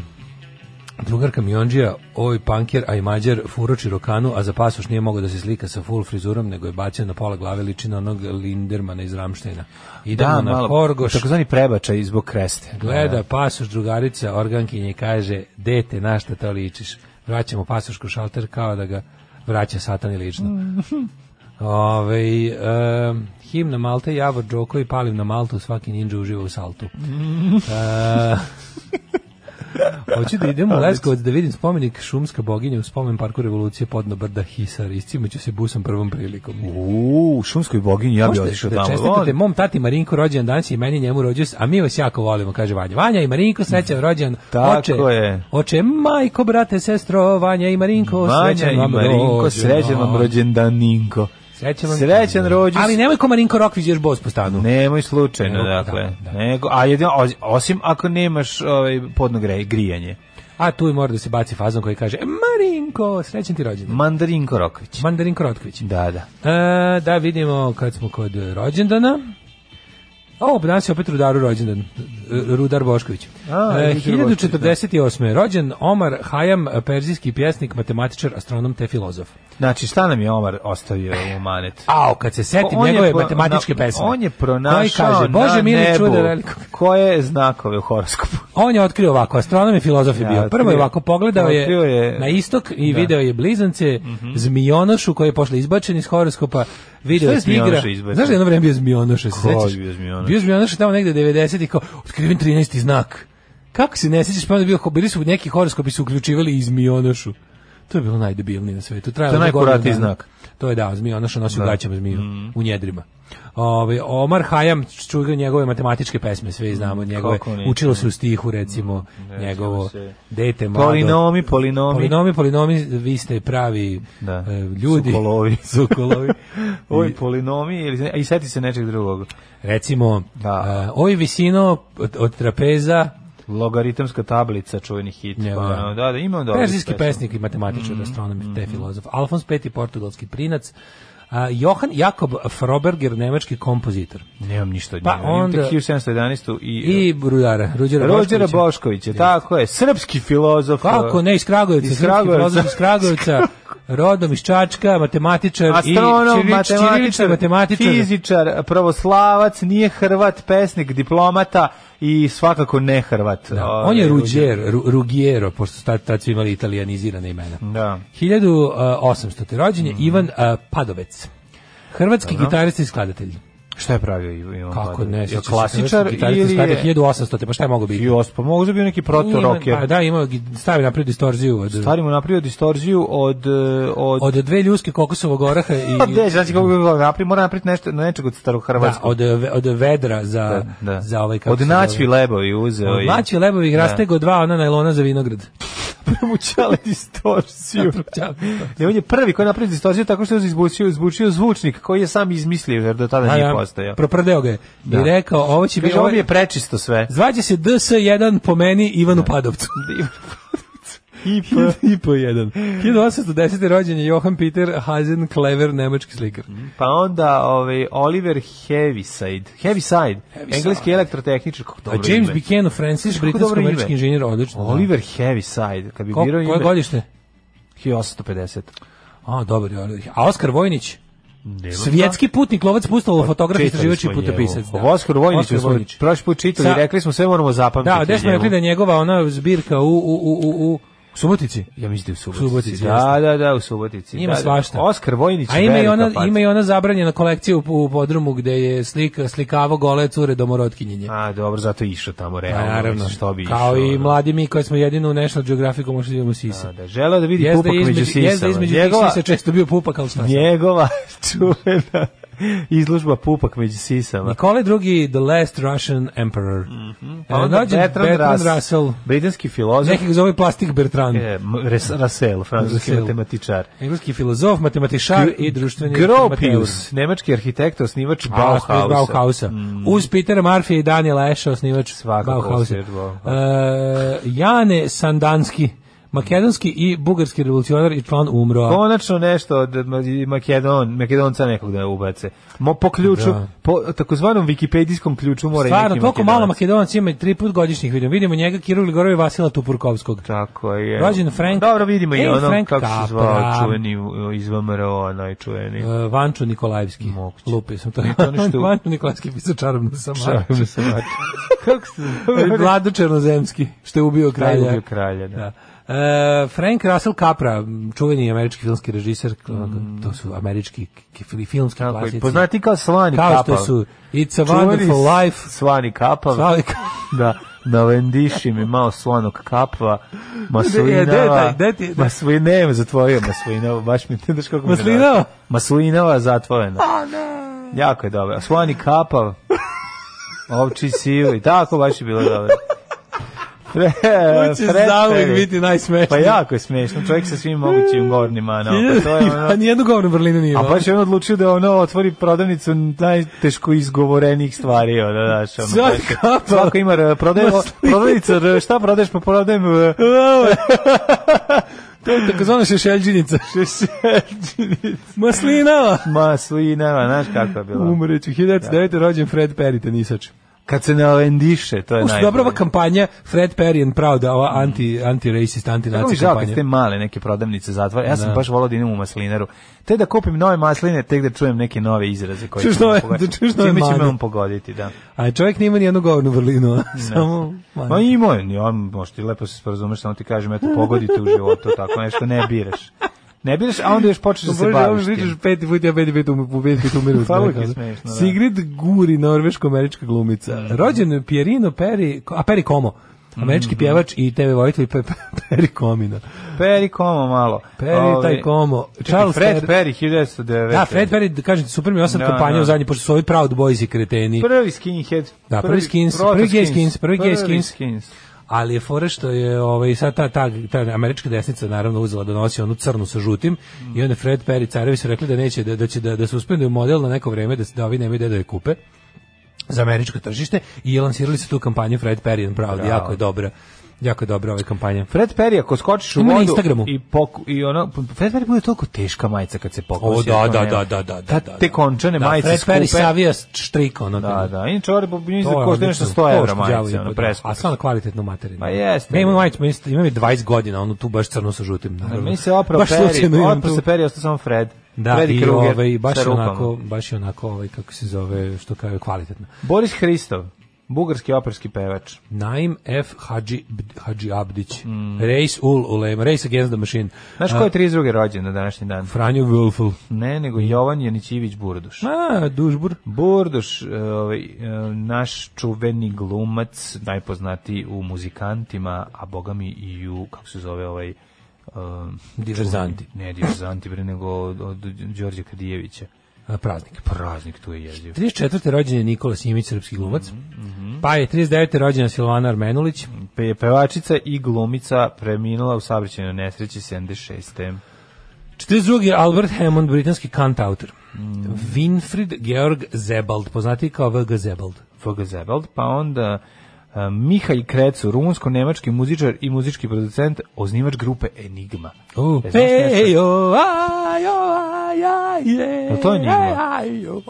Speaker 7: Drugar kamionđija, oj panker, a i mađar, furoči rokanu, a za pasoš nije mogao da se slika sa full frizurom, nego je bacio na pola glave ličina onog Lindermana iz Ramštajna. Idemo
Speaker 6: Da,
Speaker 7: na
Speaker 6: malo,
Speaker 7: Horgoš,
Speaker 6: takozvani prebačaj zbog kreste.
Speaker 7: gleda pasoš drugarica organkinje i kaže, dete, na šta to ličiš? Vraćamo pasošku šalter kao da ga vraća satani lično. Ove, um, himna Malte, Javor Džoko i palim na Maltu, svaki ninja uživa u saltu. E, Hoću da idem u Leskovac da vidim spomenik šumska boginja u spomen parku revolucije podno brda Hisar. Iscimaću se busom prvom prilikom.
Speaker 6: U, šumskoj boginji, ja bih
Speaker 7: Možete
Speaker 6: otišao
Speaker 7: da
Speaker 6: tamo.
Speaker 7: čestitate mom tati Marinku rođendan danas i meni njemu rođus, a mi vas jako volimo, kaže Vanja. Vanja i Marinko, srećan rođen.
Speaker 6: Tako
Speaker 7: oče,
Speaker 6: je.
Speaker 7: Oče, majko, brate, sestro, Vanja i Marinko,
Speaker 6: Manja
Speaker 7: srećan
Speaker 6: i
Speaker 7: vam
Speaker 6: Marinko,
Speaker 7: rođendan.
Speaker 6: srećan vam rođendaninko.
Speaker 7: Srećan, vam-
Speaker 6: Srećan rođus.
Speaker 7: Ali nemoj ko Marinko Rokvić još bos po stanu.
Speaker 6: Nemoj slučajno,
Speaker 7: Nego,
Speaker 6: dakle.
Speaker 7: da, da.
Speaker 6: Nego, a jedino, o- osim ako nemaš ovaj, podno gre- grijanje.
Speaker 7: A tu i mora da se baci fazon koji kaže, Marinko, srećan ti rođendan.
Speaker 6: Mandarinko Rokvić.
Speaker 7: Mandarinko Rokvić.
Speaker 6: Da, da.
Speaker 7: E, da vidimo kad smo kod e, rođendana. O, danas je opet rudaru rođendan. E, Rudar Bošković.
Speaker 6: A,
Speaker 7: E,
Speaker 6: Rudar Bošković,
Speaker 7: 1048. Rođen Omar Hayam, perzijski pjesnik, matematičar, astronom te filozof.
Speaker 6: Znači, šta nam je Omar ostavio u manet?
Speaker 7: Ao, kad se setim
Speaker 6: On je
Speaker 7: njegove
Speaker 6: pro-
Speaker 7: matematičke
Speaker 6: na-
Speaker 7: pesme.
Speaker 6: On je
Speaker 7: Koji
Speaker 6: pronašao
Speaker 7: kaže, Bože
Speaker 6: na
Speaker 7: mili
Speaker 6: nebu
Speaker 7: čuda velikog.
Speaker 6: koje znakove u horoskopu.
Speaker 7: On je otkrio ovako, astronom i filozof je
Speaker 6: Ja,
Speaker 7: bio. Prvo je
Speaker 6: otkrio-
Speaker 7: ovako pogledao je,
Speaker 6: otkrio je- Mhm.
Speaker 7: na istok i video je blizance, zmijonošu koji je pošle izbačen iz horoskopa, video
Speaker 6: Šta je
Speaker 7: je tigra.
Speaker 6: zmijonoš izbačen?
Speaker 7: Znaš da je jedno vreme bio zmijonoš, se
Speaker 6: Ko je
Speaker 7: sećaš?
Speaker 6: bio zmijonoš?
Speaker 7: Bio zmijonoš tamo negde 90 i kao, otkriven 13. znak. Kako se ne sećaš, pa onda je bio, bili su neki horoskopi su uključivali i zmijonošu. To je bilo najdebilnije na svetu. Trajalo
Speaker 6: To je
Speaker 7: je godinu
Speaker 6: najkuratiji
Speaker 7: dana.
Speaker 6: znak.
Speaker 7: To je da, zmija, ona što nosi u gaćama zmiju,
Speaker 6: Mhm.
Speaker 7: u njedrima. Ove, Omar Hayam, čuje njegove matematičke pesme, sve znamo njegove.
Speaker 6: Mhm. kako ne.
Speaker 7: Učilo se u stihu, recimo, njegovo
Speaker 6: se.
Speaker 7: dete mlado.
Speaker 6: Polinomi, polinomi.
Speaker 7: Pa, Polinomi, polinomi, vi ste pravi
Speaker 6: Da.
Speaker 7: e, ljudi.
Speaker 6: Sokolovi.
Speaker 7: Sokolovi.
Speaker 6: Ovi polinomi, ili, i seti se nečeg drugog.
Speaker 7: Recimo,
Speaker 6: Da.
Speaker 7: e, oj visino od, od trapeza,
Speaker 6: Logaritamska tablica, čuveni hit.
Speaker 7: Njegov,
Speaker 6: pa,
Speaker 7: da.
Speaker 6: ono, da, da, ima on dobro.
Speaker 7: Perzijski pesnik i matematičar,
Speaker 6: Mhm.
Speaker 7: astronom i te filozof. Alfons V, portugalski prinac. A, Johan Jakob Froberger, nemački kompozitor.
Speaker 6: Nemam ništa od
Speaker 7: Pa
Speaker 6: njega. Imam tek
Speaker 7: onda-
Speaker 6: 1711. I,
Speaker 7: I Rudara, Ruđera
Speaker 6: Rođera
Speaker 7: Boškovića.
Speaker 6: Boškovića, tako je, srpski filozof.
Speaker 7: Kako ne, iz Kragujevca,
Speaker 6: Iz
Speaker 7: iz Kragujevca.
Speaker 6: Kragujevca.
Speaker 7: iz Kragujevca, rodom iz Čačka, matematičar
Speaker 6: Astronom,
Speaker 7: i čirič,
Speaker 6: matematičar,
Speaker 7: čirilični matematičar.
Speaker 6: fizičar, pravoslavac, nije Hrvat, pesnik, diplomata i svakako ne Hrvat.
Speaker 7: Da,
Speaker 6: Ovaj,
Speaker 7: on je Ruđer, Ru- Rugiero, pošto su tad, tad su imali italijanizirane imena. e,
Speaker 6: Da.
Speaker 7: 1800. rođenje,
Speaker 6: Mm.
Speaker 7: Ivan a, Padovec. Hrvatski gitarista i skladatelj.
Speaker 6: Šta je pravio Iv- Ivan
Speaker 7: Kako
Speaker 6: Padović?
Speaker 7: ne,
Speaker 6: Je
Speaker 7: sjećam se,
Speaker 6: klasičar
Speaker 7: hrvatski gitarista
Speaker 6: ili
Speaker 7: i skladatelj,
Speaker 6: je...
Speaker 7: 1800. Pa šta je mogao biti?
Speaker 6: I ospa, možda bi bio neki
Speaker 7: Ima- pa
Speaker 6: protoroker.
Speaker 7: Da, imao, je gi- stavi napred distorziju od,
Speaker 6: Stvari mu napravio distorziju od... e, od,
Speaker 7: od dve ljuske kokosovog oraha i...
Speaker 6: Gde, znači kako bi ga napravio, mora napraviti nešto, nečeg od
Speaker 7: Da,
Speaker 6: starohrvatskog.
Speaker 7: od, ve- od vedra za,
Speaker 6: Da, da.
Speaker 7: za ovaj kako
Speaker 6: Od
Speaker 7: se zove.
Speaker 6: naćvi lebovi uzeo.
Speaker 7: Od
Speaker 6: i-
Speaker 7: Maći Lebovih rastego dva ona najlona za vinograd.
Speaker 6: Mućale distorziju.
Speaker 7: Napravljali distorziju.
Speaker 6: Ne, on je prvi koji je napravio distorziju tako što je izbučio, izbučio zvučnik koji je sam izmislio jer do tada
Speaker 7: A
Speaker 6: nije
Speaker 7: ja,
Speaker 6: postojao.
Speaker 7: Proprdeo ga je
Speaker 6: Da.
Speaker 7: i rekao ovo će biti...
Speaker 6: Kaže, ovo
Speaker 7: Ovo,
Speaker 6: mi je prečisto sve.
Speaker 7: Zvaće se DS1 po meni Ivanu Padovcu.
Speaker 6: I
Speaker 7: I po jedan. 1810. rođen je Johan Peter Hazen Klever, nemački slikar.
Speaker 6: Pa onda ovaj, Oliver Heaviside. Heaviside. Engleski elektrotehničar. Kako
Speaker 7: A
Speaker 6: dobro
Speaker 7: James
Speaker 6: ime.
Speaker 7: Buchanan Francis,
Speaker 6: dobro
Speaker 7: britansko-američki
Speaker 6: ime.
Speaker 7: inženjer, odlično. da.
Speaker 6: Oliver Heaviside. Kad bi
Speaker 7: Ko,
Speaker 6: birao
Speaker 7: koje
Speaker 6: ime...
Speaker 7: godište?
Speaker 6: 1850.
Speaker 7: A, dobar je Oliver. A Oskar Vojnić?
Speaker 6: Nemam
Speaker 7: Svjetski putnik, lovac pustalo, fotograf,
Speaker 6: Pa Čitali
Speaker 7: istraživač i
Speaker 6: smo
Speaker 7: putopisac.
Speaker 6: njegovo.
Speaker 7: da.
Speaker 6: O Oskaru Vojniću
Speaker 7: Oskar
Speaker 6: smo
Speaker 7: Vojnić.
Speaker 6: prošli put čitali i
Speaker 7: Sa-
Speaker 6: rekli smo sve moramo zapamtiti.
Speaker 7: Da, gde smo
Speaker 6: njegovo.
Speaker 7: rekli da je njegova ona zbirka u, u, u, u, u Subotici.
Speaker 6: Ja mislim da je u Subotici.
Speaker 7: Subotici,
Speaker 6: da,
Speaker 7: jeste.
Speaker 6: da, da, u Subotici.
Speaker 7: Ima
Speaker 6: da, da.
Speaker 7: svašta.
Speaker 6: Oskar Vojnić
Speaker 7: A ima i
Speaker 6: velika
Speaker 7: ona
Speaker 6: faca.
Speaker 7: ima i ona zabranjena kolekcija u, u podrumu gde je slika slikavo gole cure domorotkinje.
Speaker 6: A, dobro, zato je išao tamo, realno.
Speaker 7: Pa, naravno,
Speaker 6: mislim, što bi
Speaker 7: kao
Speaker 6: išao,
Speaker 7: i
Speaker 6: ono.
Speaker 7: mladi mi koji smo jedino u National Geographicu možda vidimo sise.
Speaker 6: A, Da, želeo da vidi
Speaker 7: Jezda
Speaker 6: pupak
Speaker 7: je
Speaker 6: među
Speaker 7: između,
Speaker 6: sisama.
Speaker 7: jezda je između
Speaker 6: njegova,
Speaker 7: tih sisa često bio pupak, ali šta sam.
Speaker 6: njegova čuvena izlužba pupak među sisama.
Speaker 7: Nikole II, The Last Russian Emperor. Mm
Speaker 6: Pa onda Bertrand, Russell,
Speaker 7: Russell.
Speaker 6: britanski filozof,
Speaker 7: Neki ga zove plastik Bertrand.
Speaker 6: e, M- Res- Russell, francuski
Speaker 7: Russell.
Speaker 6: matematičar.
Speaker 7: Engleski filozof, matematičar i društveni
Speaker 6: Gropius, nemački arhitekt, osnivač
Speaker 7: Bauhausa.
Speaker 6: Bauhausa. Mm.
Speaker 7: Bauhausa. Uz Peter Murphy i Daniela Asha, osnivač
Speaker 6: Svakako
Speaker 7: Bauhausa.
Speaker 6: osnivač Bauhausa.
Speaker 7: E, Jane Sandanski, makedonski i bugarski revolucionar i član umro.
Speaker 6: Konačno nešto od Ma- Makedon, Makedonca nekog da ubace. Mo po ključu,
Speaker 7: Da.
Speaker 6: po takozvanom wikipedijskom ključu mora i
Speaker 7: Stvarno,
Speaker 6: neki
Speaker 7: toliko malo
Speaker 6: Makedonac.
Speaker 7: Makedonaca ima i tri put godišnjih vidimo. Vidimo njega, Kiru Gligorov i Vasila Tupurkovskog.
Speaker 6: Tako je.
Speaker 7: Rođen Frank-
Speaker 6: Dobro, vidimo i
Speaker 7: E,
Speaker 6: ono
Speaker 7: Frank
Speaker 6: kako se zvao
Speaker 7: Capra.
Speaker 6: čuveni u- iz VMRO, najčuveni.
Speaker 7: Uh, Vančo Nikolajevski.
Speaker 6: Moguće.
Speaker 7: Lupio sam to.
Speaker 6: E, to je ono što-
Speaker 7: Vančo Nikolajevski pisao čarobno sama.
Speaker 6: Šalim se, znači. kako se zvao?
Speaker 7: Vlado Černozemski, što je ubio
Speaker 6: Taj
Speaker 7: kralja.
Speaker 6: ubio kralja, da.
Speaker 7: Da. E, Frank Russell Capra, čuveni američki filmski režiser, ono, to su američki k- k- filmski
Speaker 6: Tako Mm. je,
Speaker 7: klasici.
Speaker 6: poznati kao Slani
Speaker 7: Kao
Speaker 6: Kapav.
Speaker 7: što su It's a
Speaker 6: Čuveni
Speaker 7: Wonderful Life,
Speaker 6: Slani kapav.
Speaker 7: Slani Kapav.
Speaker 6: da, na vendiši mi malo slanog kapva,
Speaker 7: Gde- gde je taj-
Speaker 6: maslinava,
Speaker 7: gde ti je-
Speaker 6: maslinava, zatvorio maslinava, baš mi, ne daš kako mi je
Speaker 7: Maslinava?
Speaker 6: drago. Maslinava zatvorena. Jako je dobro. A Slani kapav, ovči sivi, tako baš je bilo dobro. Pre,
Speaker 7: koji će
Speaker 6: Fred
Speaker 7: zauvek
Speaker 6: Perry.
Speaker 7: biti najsmešniji.
Speaker 6: Pa jako je smešno, čovjek sa svim mogućim gornima, no, pa to je ono,
Speaker 7: A nijedno govno Berlinu nije.
Speaker 6: a
Speaker 7: imao.
Speaker 6: baš je on odlučio da ono otvori prodavnicu najteško izgovorenih stvari, ono, znaš, ono,
Speaker 7: Sad
Speaker 6: baš je-
Speaker 7: kapao.
Speaker 6: svako ima, r- prodajem,
Speaker 7: Ma
Speaker 6: o-
Speaker 7: slika.
Speaker 6: prodavnica, r- šta prodaješ, pa prodajem, r-
Speaker 7: to je takozvana šešeljđinica. Maslinava.
Speaker 6: maslina, znaš kako je bilo.
Speaker 7: Umreću, 1909. rođen Fred Perry, tenisač.
Speaker 6: Kad se nalendiše, to je
Speaker 7: Ušto
Speaker 6: najbolje.
Speaker 7: dobra ova kampanja Fred Perry and Proud, ova anti, anti-racist,
Speaker 6: Kako mi
Speaker 7: anti-nazi
Speaker 6: žao kad
Speaker 7: kampanja.
Speaker 6: ste male neke prodavnice zatvore, ja sam baš volao da idem u maslinaru. Te da kupim nove masline, tek da čujem neke nove izraze koje
Speaker 7: Čuješ
Speaker 6: će me
Speaker 7: nove-
Speaker 6: pogoditi.
Speaker 7: da čuješ nove
Speaker 6: Time će
Speaker 7: mane.
Speaker 6: me on pogoditi, da.
Speaker 7: A čovjek nima nijednu govnu vrlinu, a samo...
Speaker 6: Ma Pa imao je, ja, možda ti lepo se sporazumeš, samo ti kažem, eto, pogodite u životu, tako nešto ne biraš. Ne biraš, a onda još počneš da se baviš
Speaker 7: Bože,
Speaker 6: tim.
Speaker 7: vidiš peti put, ja peti put, um, peti put umiru. od
Speaker 6: Pa, uvijek
Speaker 7: smeha.
Speaker 6: je smešno, da.
Speaker 7: ono.
Speaker 6: Mm.
Speaker 7: Sigrid Guri, norveško-američka glumica. Rođen je Pierino Peri, a Peri Como, američki
Speaker 6: Mhm.
Speaker 7: pjevač i TV vojitelj Pe- Pe- Peri Komina.
Speaker 6: Peri Como malo.
Speaker 7: Peri taj Como.
Speaker 6: Charles
Speaker 7: Charles
Speaker 6: Fred
Speaker 7: Ter-
Speaker 6: Perry, 1909.
Speaker 7: Da, Fred Perry, kažete, super mi je osam
Speaker 6: Da,
Speaker 7: kampanja
Speaker 6: da.
Speaker 7: u zadnji, pošto su ovi Proud Boys i kreteni.
Speaker 6: Prvi skinhead.
Speaker 7: Da, prvi skins,
Speaker 6: proto
Speaker 7: prvi gay skins, prvi gay skins.
Speaker 6: skins.
Speaker 7: ali je fora što je ovaj sad ta ta ta američka desnica naravno uzela da nosi onu crnu sa žutim i onda je Fred Perry carevi su rekli da neće da da će da da suspenduju model na neko vrijeme da se- da ovi nemaju gde da je kupe za američko tržište i lansirali su tu kampanju Fred Perry and Proud, jako je dobra. Jako je dobra ova kampanja.
Speaker 6: Fred Perry, ako skočiš u
Speaker 7: Ima na
Speaker 6: vodu
Speaker 7: Instagramu.
Speaker 6: i, poku, i ono, Fred Perry bude toliko teška majica kad se
Speaker 7: O,
Speaker 6: pokusi.
Speaker 7: da,
Speaker 6: ako
Speaker 7: da,
Speaker 6: ne-
Speaker 7: da, da, da, da, da.
Speaker 6: Te končane
Speaker 7: da,
Speaker 6: majice
Speaker 7: Fred
Speaker 6: skupe.
Speaker 7: Perry savija štrik, ono.
Speaker 6: Da, da, inače ovo je po njih
Speaker 7: To je
Speaker 6: košta nešto
Speaker 7: odlično.
Speaker 6: 100 evra
Speaker 7: Košta đavo
Speaker 6: majice,
Speaker 7: i
Speaker 6: ono,
Speaker 7: po, da.
Speaker 6: preskupo.
Speaker 7: A stvarno kvalitetno materijalno.
Speaker 6: Ma jeste.
Speaker 7: Ne, imam majicu, meni isto- imam je 20 godina, onu tu baš crno sa žutim. naravno.
Speaker 6: Meni se opravo
Speaker 7: Baš slučajno
Speaker 6: Perry,
Speaker 7: imam
Speaker 6: opravo
Speaker 7: tu.
Speaker 6: se Perry, ostao samo Fred.
Speaker 7: Da,
Speaker 6: Freddy
Speaker 7: i
Speaker 6: Krueger
Speaker 7: ovaj, baš
Speaker 6: sa
Speaker 7: je
Speaker 6: rupama.
Speaker 7: onako, baš je onako ovaj, kako se zove, što kaže, kvalitetno.
Speaker 6: Boris Hristov, bugarski operski pevač.
Speaker 7: Naim F. Hadži, Bd- Hadži Abdić,
Speaker 6: Mm.
Speaker 7: Race Ul Ulema, Race Against the Machine,
Speaker 6: Znaš ko je 32. rođen na današnji dan?
Speaker 7: Franjo Wulfel,
Speaker 6: Ne, nego Jovan Janićivić Burduš.
Speaker 7: a, Dužbur,
Speaker 6: Burduš, e, ovaj, e, naš čuveni glumac, najpoznatiji u muzikantima, a boga mi i u, kako se zove ovaj... Um,
Speaker 7: Diverzanti,
Speaker 6: ne diverzanti, bre, nego od, od Đorđa Kadijevića.
Speaker 7: a, praznik.
Speaker 6: Praznik tu je jeziv.
Speaker 7: 34. rođen je Nikola Simić, srpski glumac,
Speaker 6: Mm-hmm,
Speaker 7: pa je 39. rođena Silvana Armenulić,
Speaker 6: Pe, pevačica i glumica preminula u saobraćajnoj nesreći 76.
Speaker 7: 42. je Albert Hammond, britanski kantautor, Winfried Georg Zebald, poznati kao VG Zebald.
Speaker 6: VG Zebald, pa onda e, Mihalj Krecu, rumunsko-nemački muzičar i muzički producent, osnivač grupe Enigma.
Speaker 7: Uh,
Speaker 6: E, znaš nešto?
Speaker 7: pejo, ajo, oh, aj, aj, je,
Speaker 6: Jel to je njihova?
Speaker 7: aj, ajo,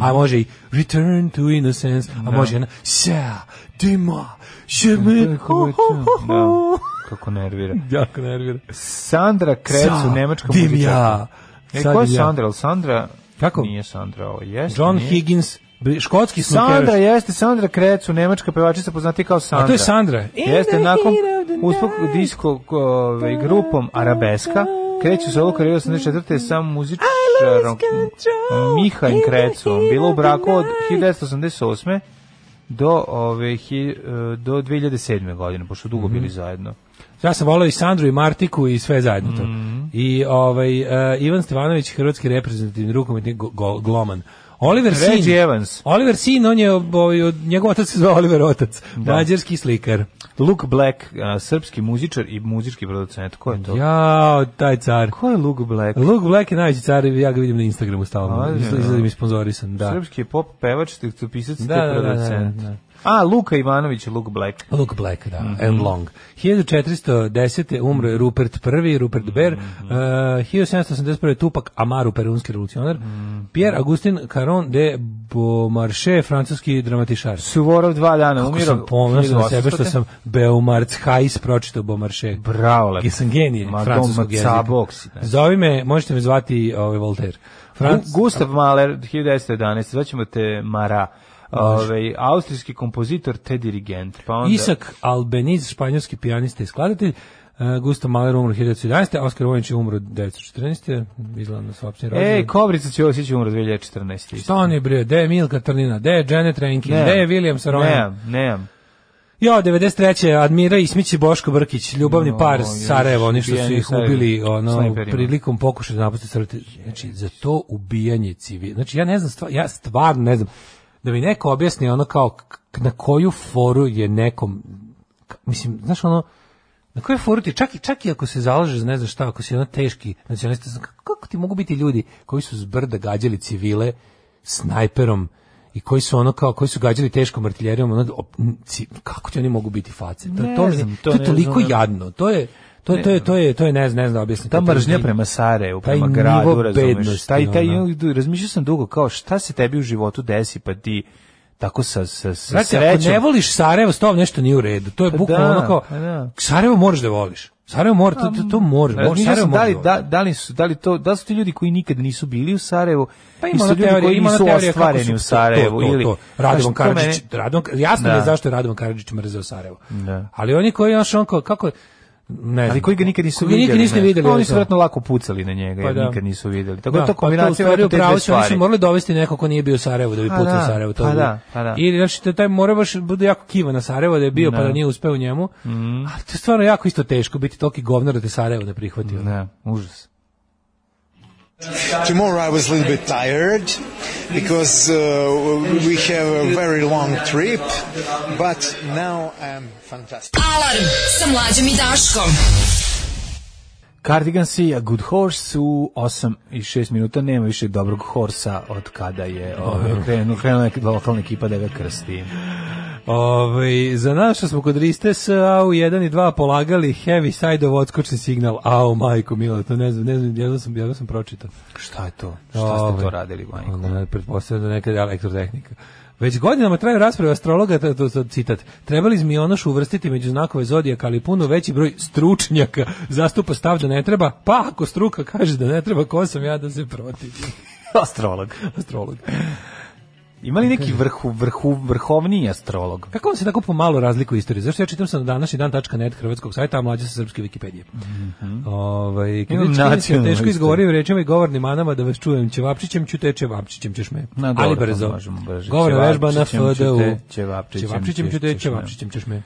Speaker 7: aj. A može i Return to Innocence, a može i ona Sa, Dima, Šeme, ho, ho, ho, ho.
Speaker 6: Da, kako nervira.
Speaker 7: Jako nervira.
Speaker 6: Sandra Krecu,
Speaker 7: Sa,
Speaker 6: nemačka
Speaker 7: dim
Speaker 6: muzičarka.
Speaker 7: ja.
Speaker 6: E,
Speaker 7: Sad
Speaker 6: ko je
Speaker 7: dim ja.
Speaker 6: Sandra? Jel Sandra?
Speaker 7: Kako?
Speaker 6: Nije Sandra, ovo jeste.
Speaker 7: John
Speaker 6: nije.
Speaker 7: Higgins, bri- škotski
Speaker 6: Sandra
Speaker 7: snukeraš.
Speaker 6: jeste, Sandra Krecu, nemačka pevačica poznati kao Sandra. E,
Speaker 7: A to je Sandra.
Speaker 6: Jeste, nakon uspog disko ovaj, grupom Arabeska, kreću se ovu karijeru 84. sa muzičarom eh, Mihajn Krecu. Bila u braku od 1988. do, ove, hi, eh, do 2007. godine, pošto su dugo
Speaker 7: Mhm.
Speaker 6: bili zajedno.
Speaker 7: Ja sam volao i Sandru i Martiku i sve zajedno to.
Speaker 6: Mhm.
Speaker 7: I ovaj, e, Ivan Stevanović, hrvatski reprezentativni rukometni go- go- gloman. Oliver Sin.
Speaker 6: Reggie Evans,
Speaker 7: Oliver Sin, on je, ovaj, od- njegov otac se zvao Oliver Otac, mađarski slikar.
Speaker 6: Luke Black, eh, srpski muzičar i muzički producent. Ko je to?
Speaker 7: Jao, taj car.
Speaker 6: Ko je Luke Black?
Speaker 7: Luke Black je najveći car, ja ga vidim na Instagramu stalno.
Speaker 6: Ajde,
Speaker 7: Izla-
Speaker 6: da.
Speaker 7: Izgleda mi sponzorisan, da.
Speaker 6: Srpski je pop, pevač, tekstopisac,
Speaker 7: Da,
Speaker 6: te
Speaker 7: da, da, da,
Speaker 6: producent.
Speaker 7: da.
Speaker 6: A, Luka Ivanović, Luke Black.
Speaker 7: Luke Black, da,
Speaker 6: Mhm.
Speaker 7: and Long. 1410. umro je Rupert I, Rupert
Speaker 6: Mhm.
Speaker 7: Ber, uh, 1781. Tupak Amaru, perunski revolucionar,
Speaker 6: Mhm.
Speaker 7: Pierre Augustin Caron de Beaumarchais, francuski dramatišar.
Speaker 6: Suvorov dva dana
Speaker 7: Kako
Speaker 6: umirao.
Speaker 7: sam ponosan na sebe što
Speaker 6: 1800-te.
Speaker 7: sam Beaumarc Hais pročitao Beaumarchais.
Speaker 6: Bravo, lepo.
Speaker 7: I sam genije
Speaker 6: Ma,
Speaker 7: francuskog
Speaker 6: doma
Speaker 7: jezika.
Speaker 6: cabok si, ne.
Speaker 7: Zovi me, možete me zvati ovaj, Voltaire. Franc,
Speaker 6: Gu- Gustav Mahler, 1911, zvaćemo te Mara. Ove, austrijski kompozitor te dirigent. Pa onda,
Speaker 7: Isak Albeniz, španjolski pijanista i skladatelj, Uh, Gustav Mahler umro 1911. a Oskar Vojnić je umro 1914. Izgleda na svapšnji rođen.
Speaker 6: Ej, E, Kobrica će ovo sići umro 2014.
Speaker 7: Šta oni bre, gde je Milka Trnina, gde je Janet Rankin,
Speaker 6: Nemam.
Speaker 7: gde je William Sarojan?
Speaker 6: Nemam, nemam.
Speaker 7: Jo, 93. Admira Ismić i Boško Brkić, ljubavni
Speaker 6: No,
Speaker 7: par
Speaker 6: još
Speaker 7: Sarajeva, oni što su
Speaker 6: ubijeni
Speaker 7: ih
Speaker 6: Sarajevo.
Speaker 7: ubili ono,
Speaker 6: Snajperima.
Speaker 7: prilikom pokušaja da napuste Sarajevo. Znači, za to ubijanje civila. Znači, ja ne znam, stvar, ja stvarno ne znam. Da mi neko objasni ono kao k- na koju foru je nekom, k- mislim, znaš ono, Na koje foru ti, čak i, čak i ako se zalaže za ne znam šta, ako si ono teški nacionalista, znam, kako, kako ti mogu biti ljudi koji su zbrda gađali civile snajperom i koji su ono kao, koji su gađali teškom artiljerijom, ono, op- n- ci- kako ti oni mogu biti face? To,
Speaker 6: Ne
Speaker 7: to, mi-
Speaker 6: znam, to
Speaker 7: to, je
Speaker 6: ne
Speaker 7: toliko
Speaker 6: znam.
Speaker 7: jadno, to je, to, to je, to je, to je, ne znam, ne znam da objasnim.
Speaker 6: Ta
Speaker 7: To je
Speaker 6: mržnja
Speaker 7: taj-
Speaker 6: prema Sarajevu,
Speaker 7: taj
Speaker 6: prema
Speaker 7: nivo
Speaker 6: gradu, razumeš.
Speaker 7: bednosti,
Speaker 6: Taj, taj,
Speaker 7: ono.
Speaker 6: razmišljao sam dugo kao šta se tebi u životu desi pa ti tako sa, sa, sa
Speaker 7: Znači, ako
Speaker 6: srećom.
Speaker 7: ne voliš Sarajevo, s tobom nešto nije u redu. To je
Speaker 6: Pa
Speaker 7: bukvalno
Speaker 6: da,
Speaker 7: ono kao,
Speaker 6: pa da.
Speaker 7: Sarajevo moraš da voliš. Sarajevo mora, to, to, to moraš, moraš,
Speaker 6: Razmišljao
Speaker 7: Sarajevo
Speaker 6: sam da
Speaker 7: moraš
Speaker 6: li,
Speaker 7: da
Speaker 6: da, da, li su, da li to, da su ti ljudi koji nikad nisu bili u Sarajevu
Speaker 7: Pa
Speaker 6: i
Speaker 7: ima
Speaker 6: su
Speaker 7: ona
Speaker 6: ljudi
Speaker 7: teorija,
Speaker 6: koji
Speaker 7: ima ona
Speaker 6: nisu
Speaker 7: teorija kako
Speaker 6: ostvareni
Speaker 7: su
Speaker 6: u Sarajevu.
Speaker 7: to, to,
Speaker 6: ili,
Speaker 7: to, Radovan
Speaker 6: Znaš, to
Speaker 7: Karadžić,
Speaker 6: mene-
Speaker 7: Radovan, jasno
Speaker 6: Da.
Speaker 7: mi je zašto je Radovan Karadžić mrzeo Sarajevo.
Speaker 6: Da.
Speaker 7: Ali oni koji još on kao, kako ne
Speaker 6: Ali
Speaker 7: znam,
Speaker 6: koji ga nikad nisu
Speaker 7: koji
Speaker 6: vidjeli.
Speaker 7: nikad nisu
Speaker 6: ne. Pa
Speaker 7: ni videli.
Speaker 6: Oni
Speaker 7: ono
Speaker 6: su
Speaker 7: to.
Speaker 6: vjerojatno lako pucali na njega,
Speaker 7: Pa
Speaker 6: jer
Speaker 7: da.
Speaker 6: nikad nisu vidjeli. Tako da
Speaker 7: Da,
Speaker 6: je to
Speaker 7: pa u
Speaker 6: kombinacija
Speaker 7: stvari,
Speaker 6: vjerojatno te
Speaker 7: upravo
Speaker 6: dve
Speaker 7: su, Oni su
Speaker 6: stvari.
Speaker 7: morali dovesti nekog ko nije bio u Sarajevu da bi
Speaker 6: Pa
Speaker 7: pucao
Speaker 6: da,
Speaker 7: u Sarajevu. To
Speaker 6: pa
Speaker 7: bi-
Speaker 6: da, pa da.
Speaker 7: I znači, taj- taj mora baš bude jako kiva na Sarajevo da je bio, pa
Speaker 6: Da. Mhm.
Speaker 7: da nije uspeo u njemu. Ali to je stvarno jako isto teško biti toliki govnar da te Sarajevo ne prihvati. ono.
Speaker 6: Ne, užas.
Speaker 9: Tomorrow I was a little bit tired because uh, we have a very long trip, but now I'm fantastic.
Speaker 8: Alarm sa mlađom i Daškom.
Speaker 6: Cardigan si a good horse u 8 i 6 minuta nema više dobrog horsa od kada je ovaj, krenuo krenula neka lokalna ekipa da ga krsti.
Speaker 7: Ove, Ovaj, za nas što smo kod Riste s AU1 i 2 polagali heavy side of odskočni signal. Au, majko, mila, to ne znam, ne znam, jedno sam, jedno sam pročitao.
Speaker 6: Šta je to? Šta ste to
Speaker 7: Ovaj,
Speaker 6: radili, majko?
Speaker 7: Ne, pretpostavljam da neka elektrotehnika. Već godinama traju rasprave astrologa, to, to, to citat, trebali smo i onoš uvrstiti među znakove zodijaka, ali puno veći broj stručnjaka zastupa stav da ne treba, pa ako struka kaže da ne treba, ko sam ja da se protiv
Speaker 6: Astrolog.
Speaker 7: astrolog.
Speaker 6: Ima li neki vrhu, vrhu, vrhovni astrolog?
Speaker 7: Kako vam se tako pomalo razlikuje istorija? Zašto ja čitam sa današnji dan.net hrvatskog sajta, a mlađe sa srpske Wikipedije. Ovaj, kad
Speaker 6: Mhm. Imam
Speaker 7: vidiš klinicu,
Speaker 6: nacionalnu
Speaker 7: teško
Speaker 6: istoriju.
Speaker 7: izgovorim rečima i govornim manama da vas čujem ćevapčićem ću te ćevapčićem ćeš me.
Speaker 6: Na, dobro,
Speaker 7: Ali
Speaker 6: to
Speaker 7: brzo.
Speaker 6: možemo brže.
Speaker 7: Govorna vežba na
Speaker 6: Ćevapčićem ću
Speaker 7: FDU.
Speaker 6: te, ćevapčićem
Speaker 7: Ćevapčićem ću te
Speaker 6: ćeš me.
Speaker 7: ćevapčićem ćeš me.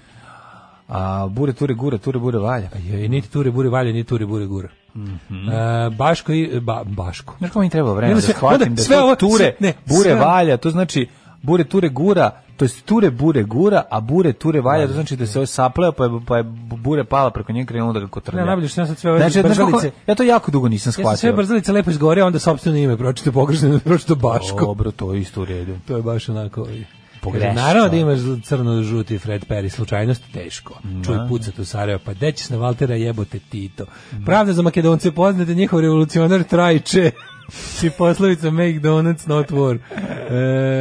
Speaker 6: A, bure, ture, gura, ture, bure, valja.
Speaker 7: Je, niti ture bure valja, niti ture bure gura.
Speaker 6: Mhm.
Speaker 7: E, Baško i... Ba, Baško.
Speaker 6: Znaš kako mi treba vremena
Speaker 7: Onda
Speaker 6: da
Speaker 7: sve-
Speaker 6: shvatim
Speaker 7: onda
Speaker 6: da
Speaker 7: sve
Speaker 6: to
Speaker 7: ovo-
Speaker 6: ture,
Speaker 7: sve- ne,
Speaker 6: bure
Speaker 7: sve-
Speaker 6: valja, to znači bure ture gura, to jest ture bure gura, a bure ture valja, to znači da se ovo sapleo pa je, pa je bure pala preko nje i krenula da ga kotrlja.
Speaker 7: Ne, najbolje što ja sad sve ove
Speaker 6: znači, znaš kako,
Speaker 7: brzalice-
Speaker 6: ja to jako dugo nisam
Speaker 7: Ja sam sve
Speaker 6: shvatio.
Speaker 7: brzalice lepo izgovorio, a onda sopstveno ime pročito pogrešno, pročito Baško.
Speaker 6: Dobro, to je isto u redu.
Speaker 7: To je baš onako... ovaj,
Speaker 6: Pogrešno.
Speaker 7: kaže, Naravno da imaš crno-žuti Fred Perry, slučajnost teško. Čuj pucat u Sarajevo, pa gde ćeš na Valtera jebote Tito. Pravda za Makedonce poznate, njihov revolucionar trajče. I poslovica make donuts, not war.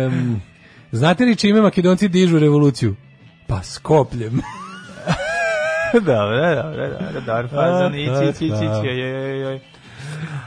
Speaker 7: Em, znate li čime Makedonci dižu revoluciju? Pa skopljem.
Speaker 6: dobro, dobro, dobro, dobro, fazon, ići, ići, ići, ići, joj, joj, joj.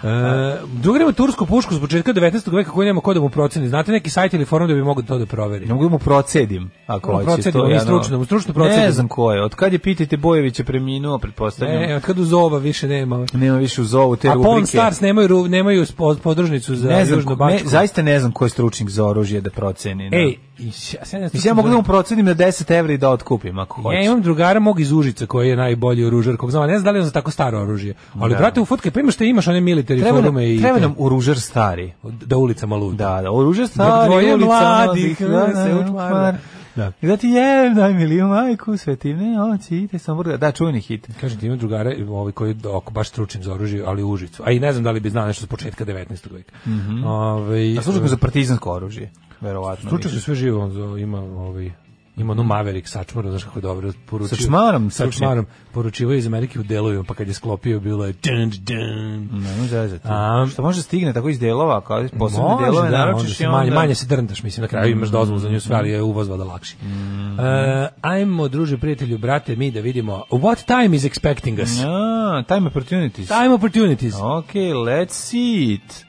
Speaker 7: E, Drugarimo tursku pušku s početka 19. veka koju nema ko da mu proceni. Znate neki sajt ili forum da bi mogli to da proveri?
Speaker 6: Ne mogu da mu procedim, ako
Speaker 7: Ono,
Speaker 6: hoće.
Speaker 7: procedim,
Speaker 6: to je
Speaker 7: i
Speaker 6: ono-
Speaker 7: stručno, stručno procedim.
Speaker 6: Ne znam ko je, od kad je Pitajte Bojević je preminuo, pretpostavljam.
Speaker 7: E, od kad uz ova više nema.
Speaker 6: Nema više uz ovu te
Speaker 7: A
Speaker 6: rubrike.
Speaker 7: Pawn Stars nemaju, ru- nemaju spo- podružnicu za
Speaker 6: ne znam,
Speaker 7: Južnu
Speaker 6: ko- ne,
Speaker 7: Bačku.
Speaker 6: zaista ne znam ko je stručnik za oružje da proceni.
Speaker 7: Ej,
Speaker 6: da.
Speaker 7: i sja- sad ja,
Speaker 6: Mislim, ja mogu da mu procenim na 10 evra i da otkupim ako hoće.
Speaker 7: Ja imam drugara mog iz Užica koji je najbolji oružar kog znam, a ne znam da li je on za tako staro oružje. Ali, brate, u fotke, pa imaš što imaš one military
Speaker 6: treba nam,
Speaker 7: forume i...
Speaker 6: treba
Speaker 7: te-
Speaker 6: nam oružar stari.
Speaker 7: Da ulicama luda.
Speaker 6: Da, da, oružar
Speaker 7: Dok
Speaker 6: stari,
Speaker 7: dvoje
Speaker 6: ulica,
Speaker 7: mladih,
Speaker 6: ono,
Speaker 7: da, se učmara.
Speaker 6: Da.
Speaker 7: Da.
Speaker 6: I da ti jevem, daj mi liju majku, sve ti ne, oči, ide sam burga. Da, čuveni hit.
Speaker 7: Kažem ti, imam drugara ovaj, koji je oko, baš stručen za oružje, ali u Užicu. A i ne znam da li bi znao nešto s početka 19. veka. Mm
Speaker 6: Mhm. pa A služak mu za partizansko oružje, verovatno.
Speaker 7: Stručan za sve živo, on za, ima ovaj Ima onu Maverick sačmaru, znaš kako je dobro poručio.
Speaker 6: Sačmarom,
Speaker 7: sačmarom. Poručivo je iz Amerike u delovima, pa kad je sklopio, bilo je dun, dun.
Speaker 6: Ne može zezati.
Speaker 7: A-
Speaker 6: Mm. Što može stigne tako iz delova, kao iz posebne
Speaker 7: Može,
Speaker 6: delove,
Speaker 7: da,
Speaker 6: naročiš
Speaker 7: onda se
Speaker 6: i
Speaker 7: manje,
Speaker 6: onda-
Speaker 7: manje se drndaš, mislim, na kraju imaš dozvolu za nju sve, ali je uvoz vada lakši.
Speaker 6: Mm.
Speaker 7: E, ajmo, druže, prijatelju, brate, mi da vidimo what time is expecting us.
Speaker 6: A, time opportunities.
Speaker 7: Time opportunities.
Speaker 6: Ok, let's see it.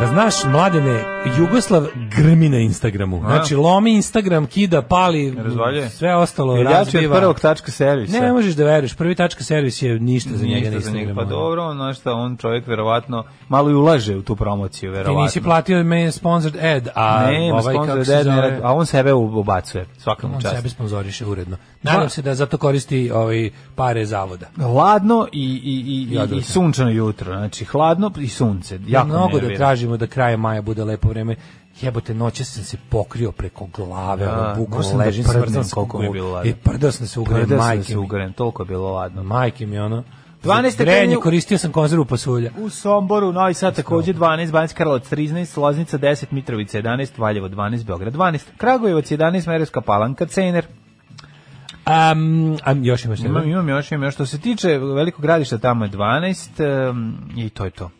Speaker 7: Da znaš, mladene, Jugoslav grmi na Instagramu. Znači, lomi Instagram, kida, pali,
Speaker 6: Razvaljuje.
Speaker 7: sve ostalo
Speaker 6: Jači od
Speaker 7: razbiva.
Speaker 6: prvog tačka servisa.
Speaker 7: Ne možeš da veruješ, prvi tačka servis je ništa za njega na
Speaker 6: Ništa za njega.
Speaker 7: Instagramu.
Speaker 6: Pa dobro, on, znaš šta, on čovjek verovatno malo i ulaže u tu promociju,
Speaker 7: Ti
Speaker 6: verovatno.
Speaker 7: nisi platio me sponsored ad, a
Speaker 6: Ne, ima
Speaker 7: ovaj
Speaker 6: sponzor
Speaker 7: kako se
Speaker 6: da je
Speaker 7: zove-
Speaker 6: ne- a on sebe u- ubacuje, svaka mu
Speaker 7: on
Speaker 6: čast.
Speaker 7: sebe sponzoriše uredno. Nadam se da zato koristi ovaj pare zavoda.
Speaker 6: Hladno i, i, i, i,
Speaker 7: Jadro.
Speaker 6: i sunčano jutro, znači hladno i sunce, jako
Speaker 7: Mnogo da
Speaker 6: nervira.
Speaker 7: tražimo da krajem maja bude lepo vreme. Jebote, noće sam se pokrio preko glave,
Speaker 6: Da,
Speaker 7: ono,
Speaker 6: morao sam
Speaker 7: bukvalno
Speaker 6: da
Speaker 7: ležim,
Speaker 6: prdnem
Speaker 7: smrzam se
Speaker 6: koliko mi je
Speaker 7: kuku.
Speaker 6: bilo ladno.
Speaker 7: I prdao sam se ugrem,
Speaker 6: Prdeo sam
Speaker 7: majke
Speaker 6: se
Speaker 7: mi.
Speaker 6: ugrem, toliko je bilo hladno.
Speaker 7: Majke mi, ono.
Speaker 6: 12
Speaker 7: Za grejanje
Speaker 6: stepeni u-
Speaker 7: koristio sam konzervu pasulja.
Speaker 6: U Somboru, Novi Sad takođe 12, Banjska Karlovac 13, Loznica 10, Mitrovica 11, Valjevo 12, Beograd 12, Kragujevac 11, Merevska Palanka, Cener.
Speaker 7: Um, am, još imaš
Speaker 6: Imam,
Speaker 7: jedan.
Speaker 6: imam još, imam još. Što se tiče velikog gradišta, tamo je 12 em, i to je to.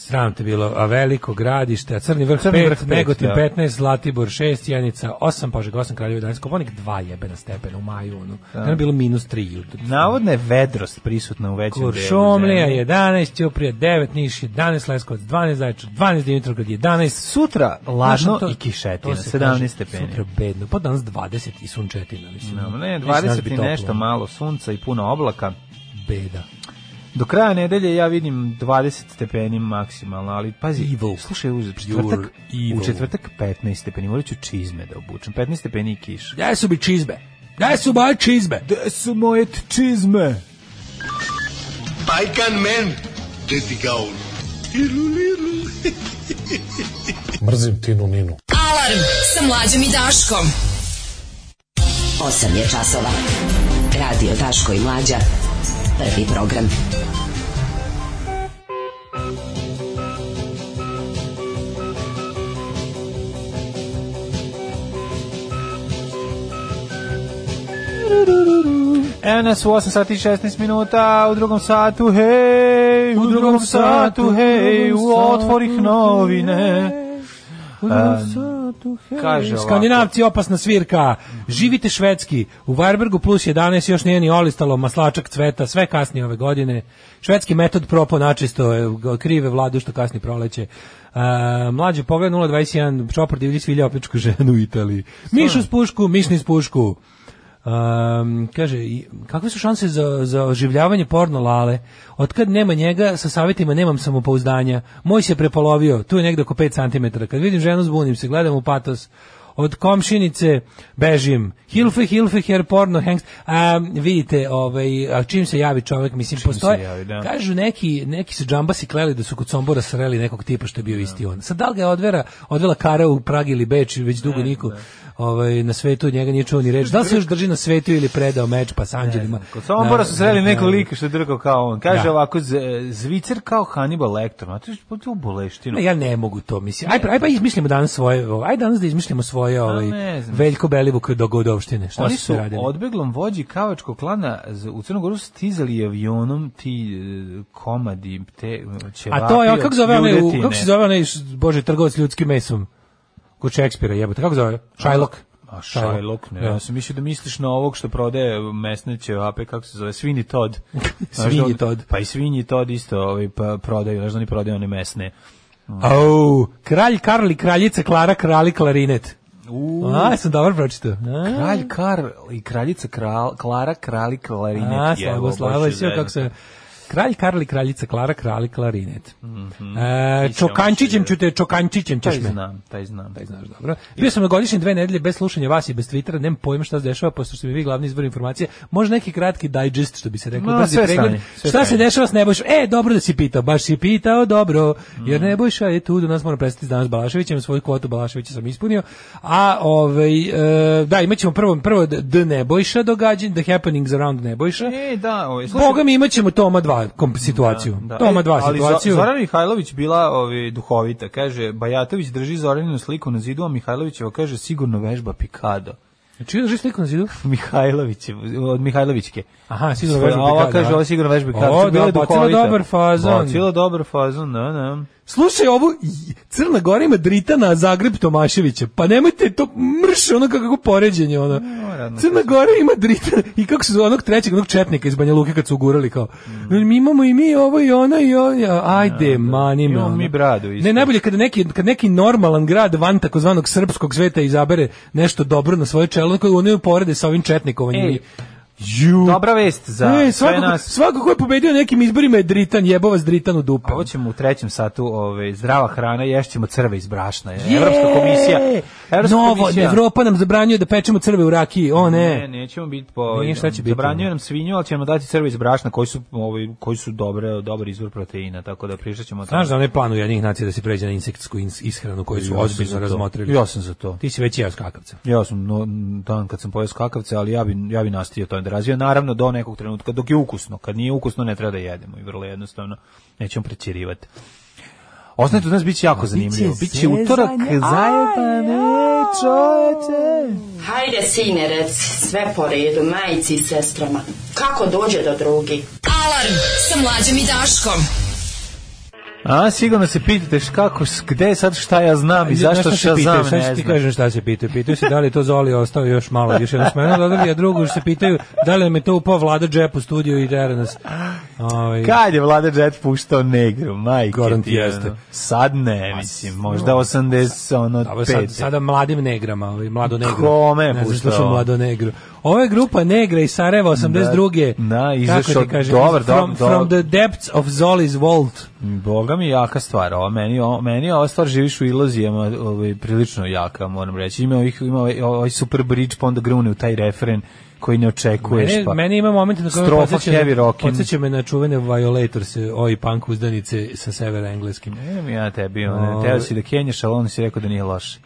Speaker 7: Sram te bilo, a veliko gradište, a Crni vrh
Speaker 6: Crni
Speaker 7: 5,
Speaker 6: vrh pet,
Speaker 7: Negotin
Speaker 6: da.
Speaker 7: 15, Zlatibor 6, Janica 8, Požeg 8, Kraljevo 11, Koponik 2 jebena stepena u maju, ono. Da. je bilo minus 3.
Speaker 6: Navodna je vedrost prisutna u većem delu.
Speaker 7: Kuršumlija
Speaker 6: zemlje.
Speaker 7: 11, Ćuprija 9, Niš 11, Leskovac 12, Zaječar 12, Dimitrovgrad 11,
Speaker 6: Sutra lažno
Speaker 7: Znaš, ono to-
Speaker 6: i kišetina,
Speaker 7: to se
Speaker 6: 17
Speaker 7: kaže,
Speaker 6: stepeni.
Speaker 7: Sutra bedno, pa danas 20 i sunčetina, mislim.
Speaker 6: No, ne,
Speaker 7: Neće nas
Speaker 6: 20
Speaker 7: biti
Speaker 6: i
Speaker 7: toplo.
Speaker 6: nešto malo sunca i puno oblaka.
Speaker 7: Beda.
Speaker 6: Do kraja nedelje ja vidim 20 stepeni maksimalno, ali pazi,
Speaker 7: Evil.
Speaker 6: slušaj, u četvrtak,
Speaker 7: evil.
Speaker 6: u četvrtak 15 stepeni, morat ću čizme da obučem, 15 stepeni i kiš.
Speaker 7: Gde su mi čizbe? Gde su moje čizbe?
Speaker 6: Gde su moje čizme?
Speaker 1: Bajkan men, gde ti ga on?
Speaker 9: Mrzim Tinu Ninu.
Speaker 8: Alarm sa mlađom i Daškom.
Speaker 5: 8 je časova. Radio Daško i Mlađa. Prvi program.
Speaker 6: Evo nas u 8 sati i 16 minuta, u drugom satu, hej, u drugom satu, hej, u otvorih novine. kaže ovako.
Speaker 7: Skandinavci opasna svirka. Živite švedski. U Varbergu plus 11 još nije ni olistalo maslačak cveta, sve kasnije ove godine. Švedski metod propo načisto e, krive vladu što kasni proleće. Uh, mlađe pogled 021 čopor divlji svilja opničku ženu u Italiji. Miš uz pušku, miš niz pušku. Um, kaže, i- kakve su šanse za, za oživljavanje porno lale? Otkad nema njega, sa savjetima nemam samopouzdanja. Moj se prepolovio, tu je negde oko 5 cm. Kad vidim ženu zbunim se, gledam u patos. Od komšinice bežim. Hilfe, hilfe, her porno, hengst. A, vidite, ovaj, a čim se javi čovek, mislim, postoje.
Speaker 6: javi, da.
Speaker 7: Kažu neki, neki se džambasi kleli da su kod Sombora sreli nekog tipa što je bio isti on. Sad da li ga je odvera, odvela kara u Pragi ili Beč, već dugo niko ovaj, na svetu njega nije čuo ni reč. Da li se još drži na svetu ili predao meč pa s anđelima?
Speaker 6: Kod Sombora
Speaker 7: Na-
Speaker 6: su sreli
Speaker 7: na-
Speaker 6: neko lika što je drkao kao on. Kaže
Speaker 7: Da.
Speaker 6: ovako, z- Zvicer kao Hannibal Lecter, znači potpuno boleštinu.
Speaker 7: Ne, ja ne mogu to, mislim. Aj, aj pa izmislimo danas svoje, ovaj, aj danas da izmislimo svoje ovaj,
Speaker 6: ne znam.
Speaker 7: Veljko Belivuk do Godovštine. Šta
Speaker 6: Oni
Speaker 7: su
Speaker 6: su
Speaker 7: sve radili?
Speaker 6: odbeglom vođi kavačkog klana z- u Crnogoru stizali avionom ti e, komadi te ćevapi.
Speaker 7: A to je, kako, zove onaj, u-
Speaker 6: ljudetine.
Speaker 7: kako se zove onaj, š- bože, trgovac ljudskim mesom? Kod Šekspira jebote, kako zove? Shylock.
Speaker 6: A Šajlok, ne,
Speaker 7: Da.
Speaker 6: ja sam mislio da misliš na ovog što prodaje mesne ćevape, kako se zove, Svini Todd. Znaš da on-
Speaker 7: Svinji Todd.
Speaker 6: Pa i Svinji Todd isto ovaj, pa, prodaju, znaš da oni prodaju one mesne.
Speaker 7: Au, kralj Karl i kraljica Klara, krali klarinet.
Speaker 6: U,
Speaker 7: A, sam dobro pročitao. A?
Speaker 6: Kralj Karl i kraljica Kral, Klara Krali Klarinet.
Speaker 7: A,
Speaker 6: Jevo,
Speaker 7: Slavoslava,
Speaker 6: Bože,
Speaker 7: sve kako se... Kralj Karl i kraljica Klara, krali klarinet. e,
Speaker 6: Nisam
Speaker 7: čokančićem
Speaker 6: uopšte-
Speaker 7: ću te, čokančićem ćeš
Speaker 6: Taj
Speaker 7: me.
Speaker 6: znam, taj znam. Taj znaš,
Speaker 7: E, Dobro. Bio sam na godišnje dve nedelje bez slušanja vas i bez Twittera, nemam pojma šta se dešava, pošto ste mi vi glavni izvor informacije. Možda neki kratki digest, što bi se reklo,
Speaker 6: Ma,
Speaker 7: brzi
Speaker 6: sve
Speaker 7: pregled.
Speaker 6: stani, sve
Speaker 7: šta se
Speaker 6: stani.
Speaker 7: dešava s Nebojšom? E, dobro da si pitao, baš si pitao, dobro.
Speaker 6: Mm.
Speaker 7: Jer Nebojša je tu, do nas mora prestati danas s Balaševićem, svoju kvotu Balaševića sam ispunio. A, ovaj, e, da, imat ćemo prvo, prvo The Nebojša događanje, The Happenings Around Nebojša.
Speaker 6: E, da, ovaj, slušaj,
Speaker 7: Boga mi imat ćemo Toma 2. dva kom- situaciju.
Speaker 6: Da. E,
Speaker 7: Toma dva
Speaker 6: Ali
Speaker 7: situaciju.
Speaker 6: Zo- Zorana Mihajlović bila ovi, duhovita. Kaže, Bajatović drži Zoraninu sliku na zidu, a Mihajlovićeva kaže, sigurno vežba pikado.
Speaker 7: Čiju drži Znači, sliku na zidu?
Speaker 6: Mihajlović, od Mihajlovićke.
Speaker 7: Aha, sigurno vežba
Speaker 6: A Ova
Speaker 7: pikada,
Speaker 6: kaže,
Speaker 7: da.
Speaker 6: ovo sigurno vežba pikada.
Speaker 7: Ovo,
Speaker 6: Su bile
Speaker 7: da, bacila
Speaker 6: duhovite.
Speaker 7: dobar fazon.
Speaker 6: Bacila dobar fazon, da, da.
Speaker 7: Slušaj ovu, i- Crna Gora ima Dritana, a Zagreb Tomaševića. Pa nemojte to mrš, ono kako poređenje, ono.
Speaker 6: radno
Speaker 7: Crna Gora ima Dritana i kako su onog trećeg, onog četnika iz Banja Luke kad su ugurali kao. Mi imamo i mi ovo i ono i ovo, i ono. ajde, mani me.
Speaker 6: Imamo
Speaker 7: ono.
Speaker 6: mi bradu isto.
Speaker 7: Ne, najbolje kada neki, kad neki normalan grad van takozvanog srpskog sveta izabere nešto dobro na svoje čelo, onda oni ju porede sa ovim četnikovanjem.
Speaker 6: Ej,
Speaker 7: i- Ju.
Speaker 6: Dobra vest za
Speaker 7: E,
Speaker 6: sve
Speaker 7: svako,
Speaker 6: nas.
Speaker 7: svako ko je pobedio na nekim izborima je Dritan, jebova s Dritan u dupe.
Speaker 6: Ovo ćemo u trećem satu, ove, zdrava hrana, ješćemo crve iz brašna. Je.
Speaker 7: Je!
Speaker 6: Evropska komisija. Evropska
Speaker 7: Novo,
Speaker 6: komisija.
Speaker 7: Evropa nam zabranjuje da pečemo crve u rakiji. O
Speaker 6: Ne,
Speaker 7: ne.
Speaker 6: nećemo biti po...
Speaker 7: Nije, šta će biti,
Speaker 6: Zabranjuju
Speaker 7: ne.
Speaker 6: nam svinju, ali ćemo dati crve iz brašna koji su, ovaj, koji su dobre, dobar izvor proteina, tako da pričat ćemo o tome.
Speaker 7: Znaš da onaj plan Ujedinjenih nacija da se pređe na insektsku ins- ishranu koju su
Speaker 6: Ja sam za
Speaker 7: ozbiljno
Speaker 6: to.
Speaker 7: razmotrili?
Speaker 6: Ja sam za to.
Speaker 7: Ti si već jeo skakavca.
Speaker 6: Ja sam no, dan kad sam pojeo skakavce, ali ja bi, ja bi nastavio to da razvija. Naravno, do nekog trenutka, dok je ukusno. Kad nije ukusno, ne treba da jedemo i vrlo jednostavno nećemo prećirivati. Ostanite u nas, bit će jako zanimljivo. Biće utorak, zajebane, čoveče.
Speaker 5: Hajde, sine, rec, sve po redu, majici i sestrama. Kako dođe do drugi?
Speaker 8: Alarm sa mlađom i Daškom.
Speaker 6: A, sigurno se pitate kako, s- gde sad šta ja znam i zašto
Speaker 7: Znaš se
Speaker 6: šta znam,
Speaker 7: pitaju? Sad ću
Speaker 6: ne
Speaker 7: ti
Speaker 6: znam.
Speaker 7: kažem šta se pitaju. Pitaju se da li je to Zoli ostao još malo, još jedno smenu dodali, a drugo još se pitaju da li nam je to upao vlada džep u studiju i dera nas. Ovaj,
Speaker 6: Kad je Vlada Jet puštao negru, majke
Speaker 7: Garant
Speaker 6: ti, ono.
Speaker 7: jeste.
Speaker 6: Sad ne, mislim, možda 80, ono,
Speaker 7: Dobro, sad,
Speaker 6: pete.
Speaker 7: sada mladim negrama, ovaj, mlado negro.
Speaker 6: Kome je
Speaker 7: ne znam što
Speaker 6: puštao?
Speaker 7: su mlado negro. Ovo je grupa Negra iz Sarajeva 82.
Speaker 6: Da, da,
Speaker 7: Kako
Speaker 6: izašao-
Speaker 7: ti kažem?
Speaker 6: dobar,
Speaker 7: from,
Speaker 6: dobar,
Speaker 7: from
Speaker 6: dobar.
Speaker 7: the depths of Zoli's vault.
Speaker 6: Boga mi jaka stvar, ovo meni, ovo, meni ova stvar živiš u ilozijama, ovaj, prilično jaka, moram reći. Ima, ovih, ima ovaj, ovaj super bridge, pa onda grune u taj referen koji ne očekuješ.
Speaker 7: Mene,
Speaker 6: pa.
Speaker 7: meni ima moment na kojem
Speaker 6: Strofa
Speaker 7: podsjeća
Speaker 6: heavy
Speaker 7: na-
Speaker 6: rockin'.
Speaker 7: podsjeća me na čuvene Violators, oj punk uzdanice sa severa engleskim.
Speaker 6: Nemam E, ja tebi, ono, teo si da kenjaš, ali on si rekao da nije loše.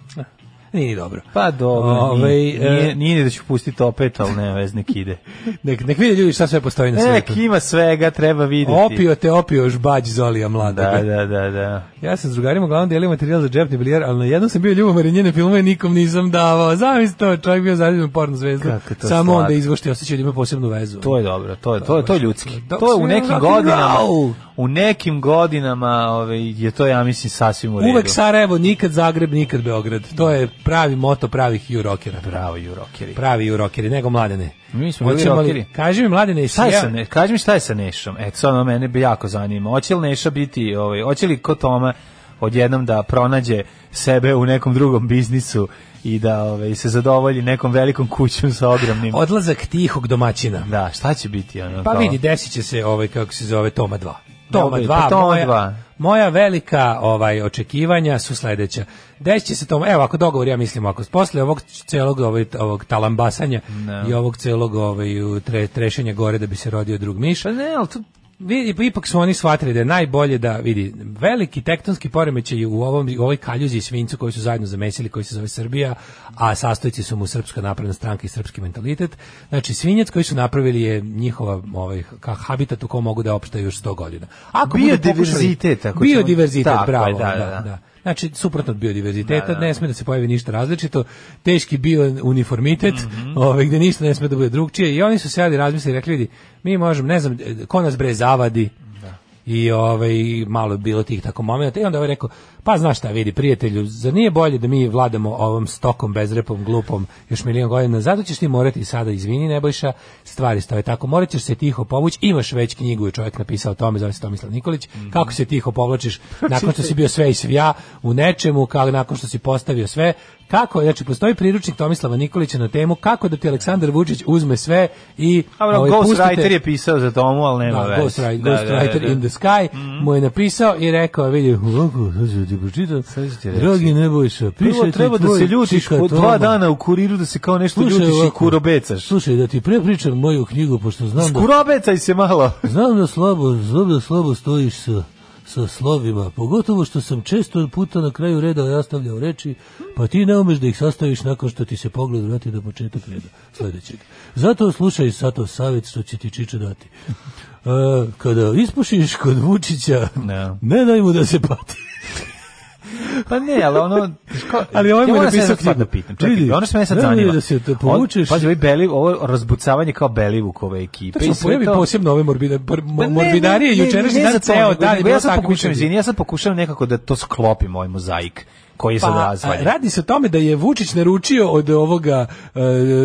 Speaker 7: Nije ni dobro.
Speaker 6: Pa dobro,
Speaker 7: Ovaj,
Speaker 6: nije,
Speaker 7: e,
Speaker 6: nije, nije ni da ću pustiti opet, ali ne, vez nek ide.
Speaker 7: Nek, nek vide ljudi šta sve postoji na
Speaker 6: Nek
Speaker 7: svetu.
Speaker 6: ima E, svega, treba vidjeti.
Speaker 7: Opio te opio žbađ Zolija mlada.
Speaker 6: Da, da, da, da.
Speaker 7: Ja sam s drugarima uglavnom delio materijal za džepni bilijar, ali na jednom sam bio ljubav i njene filmove nikom nisam davao. Zamisli to, čovjek bio zaljubljen u porno zvezdu.
Speaker 6: Kako je to
Speaker 7: Samo
Speaker 6: slatko.
Speaker 7: onda izvošti osjećaj da ima posebnu vezu.
Speaker 6: To je dobro, to je to je to je ljudski.
Speaker 7: Dok
Speaker 6: To je
Speaker 7: si
Speaker 6: u nekim
Speaker 7: rock and
Speaker 6: godinama,
Speaker 7: roll.
Speaker 6: u nekim godinama, ovaj je to ja mislim sasvim u redu.
Speaker 7: Uvek Sarajevo, nikad Zagreb, nikad Beograd. To je pravi moto pravih jurokera.
Speaker 6: bravo jurokeri.
Speaker 7: Pravi jurokeri, nego mladene.
Speaker 6: Mi smo bili
Speaker 7: Hoćemo li-
Speaker 6: rockeri.
Speaker 7: Kaži mi mladene, jesi
Speaker 6: Šta je
Speaker 7: ja-
Speaker 6: sa ne, kaži mi šta je sa Nešom? E, to ono mene bi jako zanima. Hoće li Neša biti, ovaj, hoće li ko Toma odjednom da pronađe sebe u nekom drugom biznisu i da ovaj, se zadovolji nekom velikom kućom sa ogromnim...
Speaker 7: Odlazak tihog domaćina.
Speaker 6: Da, šta će biti ono?
Speaker 7: Pa
Speaker 6: kao?
Speaker 7: vidi, desit će se ovaj, kako se zove, Toma 2. Toma
Speaker 6: Dobro,
Speaker 7: 2,
Speaker 6: pa Toma
Speaker 7: moja,
Speaker 6: dva.
Speaker 7: moja velika ovaj očekivanja su sledeća. Desit će se Toma, evo ako dogovor, ja mislim, ako posle ovog celog ovaj, ovog talambasanja i ovog celog ovaj, u tre, trešenja gore da bi se rodio drug Miš,
Speaker 6: Pa ne, ali tu...
Speaker 7: vidi, ipak su oni shvatili da je najbolje da vidi veliki tektonski poremećaj u ovom u ovoj kaljuzi i svincu koji su zajedno zamesili koji se zove Srbija, a sastojci su mu Srpska napredna stranka i srpski mentalitet. Znači svinjac koji su napravili je njihova ovaj ka habitat u kom mogu da opstaju još 100 godina. Ako budu pokušali-
Speaker 6: Biodiverzitet, ako ćemo-
Speaker 7: biodiverzitet,
Speaker 6: Tako je,
Speaker 7: bravo,
Speaker 6: da,
Speaker 7: da,
Speaker 6: da, da.
Speaker 7: da. Znači, suprotno od biodiverziteta,
Speaker 6: Da, da.
Speaker 7: ne sme da se pojavi ništa različito, teški bio uniformitet,
Speaker 6: Mhm.
Speaker 7: ovaj, gde ništa ne sme da bude drugčije, i oni su sjeli razmislili i rekli, vidi, mi možemo, ne znam, e, ko nas bre zavadi, I ovaj, malo je bilo tih tako momenta i onda ovaj rekao, pa znaš šta vidi prijatelju, zar nije bolje da mi vladamo ovom stokom, bezrepom, glupom još milion godina, zato ćeš ti morati sada izvini Nebojša, stvari stoje tako morat ćeš se tiho povući, imaš već knjigu je čovjek napisao o tome, zove se Tomislav Nikolić
Speaker 6: Mhm.
Speaker 7: kako se tiho povlačiš nakon što si bio sve i svija u nečemu, kako nakon što si postavio sve, kako, znači postoji priručnik Tomislava Nikolića na temu kako da ti Aleksandar Vučić uzme sve i
Speaker 6: Dobro,
Speaker 7: ovaj,
Speaker 6: Ghostwriter
Speaker 7: pustite-
Speaker 6: ono, je pisao za Tomu, ali nema
Speaker 7: da,
Speaker 6: veze.
Speaker 7: Ghost Rider,
Speaker 6: Da,
Speaker 7: Ghost
Speaker 6: da, da,
Speaker 7: Rider
Speaker 6: da. Mhm.
Speaker 7: in the Sky mu je napisao i rekao, vidi, ovako, sad ću ti pročitam,
Speaker 6: ću ti reći.
Speaker 7: dragi Nebojša, piše
Speaker 6: Prvo
Speaker 7: ti
Speaker 6: treba da
Speaker 7: tvoj
Speaker 6: se ljutiš
Speaker 7: čika
Speaker 6: po dva
Speaker 7: Toma.
Speaker 6: dana u kuriru da se kao nešto
Speaker 7: Slušaj
Speaker 6: ljutiš i
Speaker 7: ovako,
Speaker 6: kurobecaš.
Speaker 7: Slušaj, da ti prepričam moju knjigu, pošto znam da,
Speaker 6: Skurobecaj se malo.
Speaker 7: znam da slabo, znam da slabo stojiš sa sa slovima, pogotovo što sam često puta na kraju reda ostavljao reči, pa ti ne umeš da ih sastaviš nakon što ti se pogled vrati do početak reda sledećeg. Zato slušaj sato savjet što će ti Čiče dati. E, kada ispušiš kod Vučića,
Speaker 6: Ne.
Speaker 7: ne daj mu da se pati.
Speaker 6: Pa ne, ali ono... Ško,
Speaker 7: Ali ovaj mu je
Speaker 6: moram sad
Speaker 7: napisao
Speaker 6: jedno stvarno
Speaker 7: knjigu.
Speaker 6: Pitam. Čekaj,
Speaker 7: Vidi,
Speaker 6: ono što me sad
Speaker 7: ne, ne,
Speaker 6: zanima.
Speaker 7: da se to
Speaker 6: On-
Speaker 7: povučeš.
Speaker 6: Pazi, ovaj Beli, ovo razbucavanje kao Belivukove ekipe. Pa i
Speaker 7: Tačno,
Speaker 6: sve
Speaker 7: pojavi
Speaker 6: to-
Speaker 7: posebno ove morbida, mor-
Speaker 6: Pa ne, ne,
Speaker 7: morbidarije,
Speaker 6: ne, ne,
Speaker 7: jučerašnji
Speaker 6: ne
Speaker 7: dan,
Speaker 6: za to,
Speaker 7: ceo
Speaker 6: nego
Speaker 7: dan je bilo
Speaker 6: Ja sad
Speaker 7: tako
Speaker 6: pokušavam,
Speaker 7: kućevi.
Speaker 6: izvini, ja sad pokušavam nekako da to sklopim ovaj mozaik koji je sad
Speaker 7: Pa, a,
Speaker 6: razvaljen.
Speaker 7: radi se o tome da je Vučić naručio od ovoga e,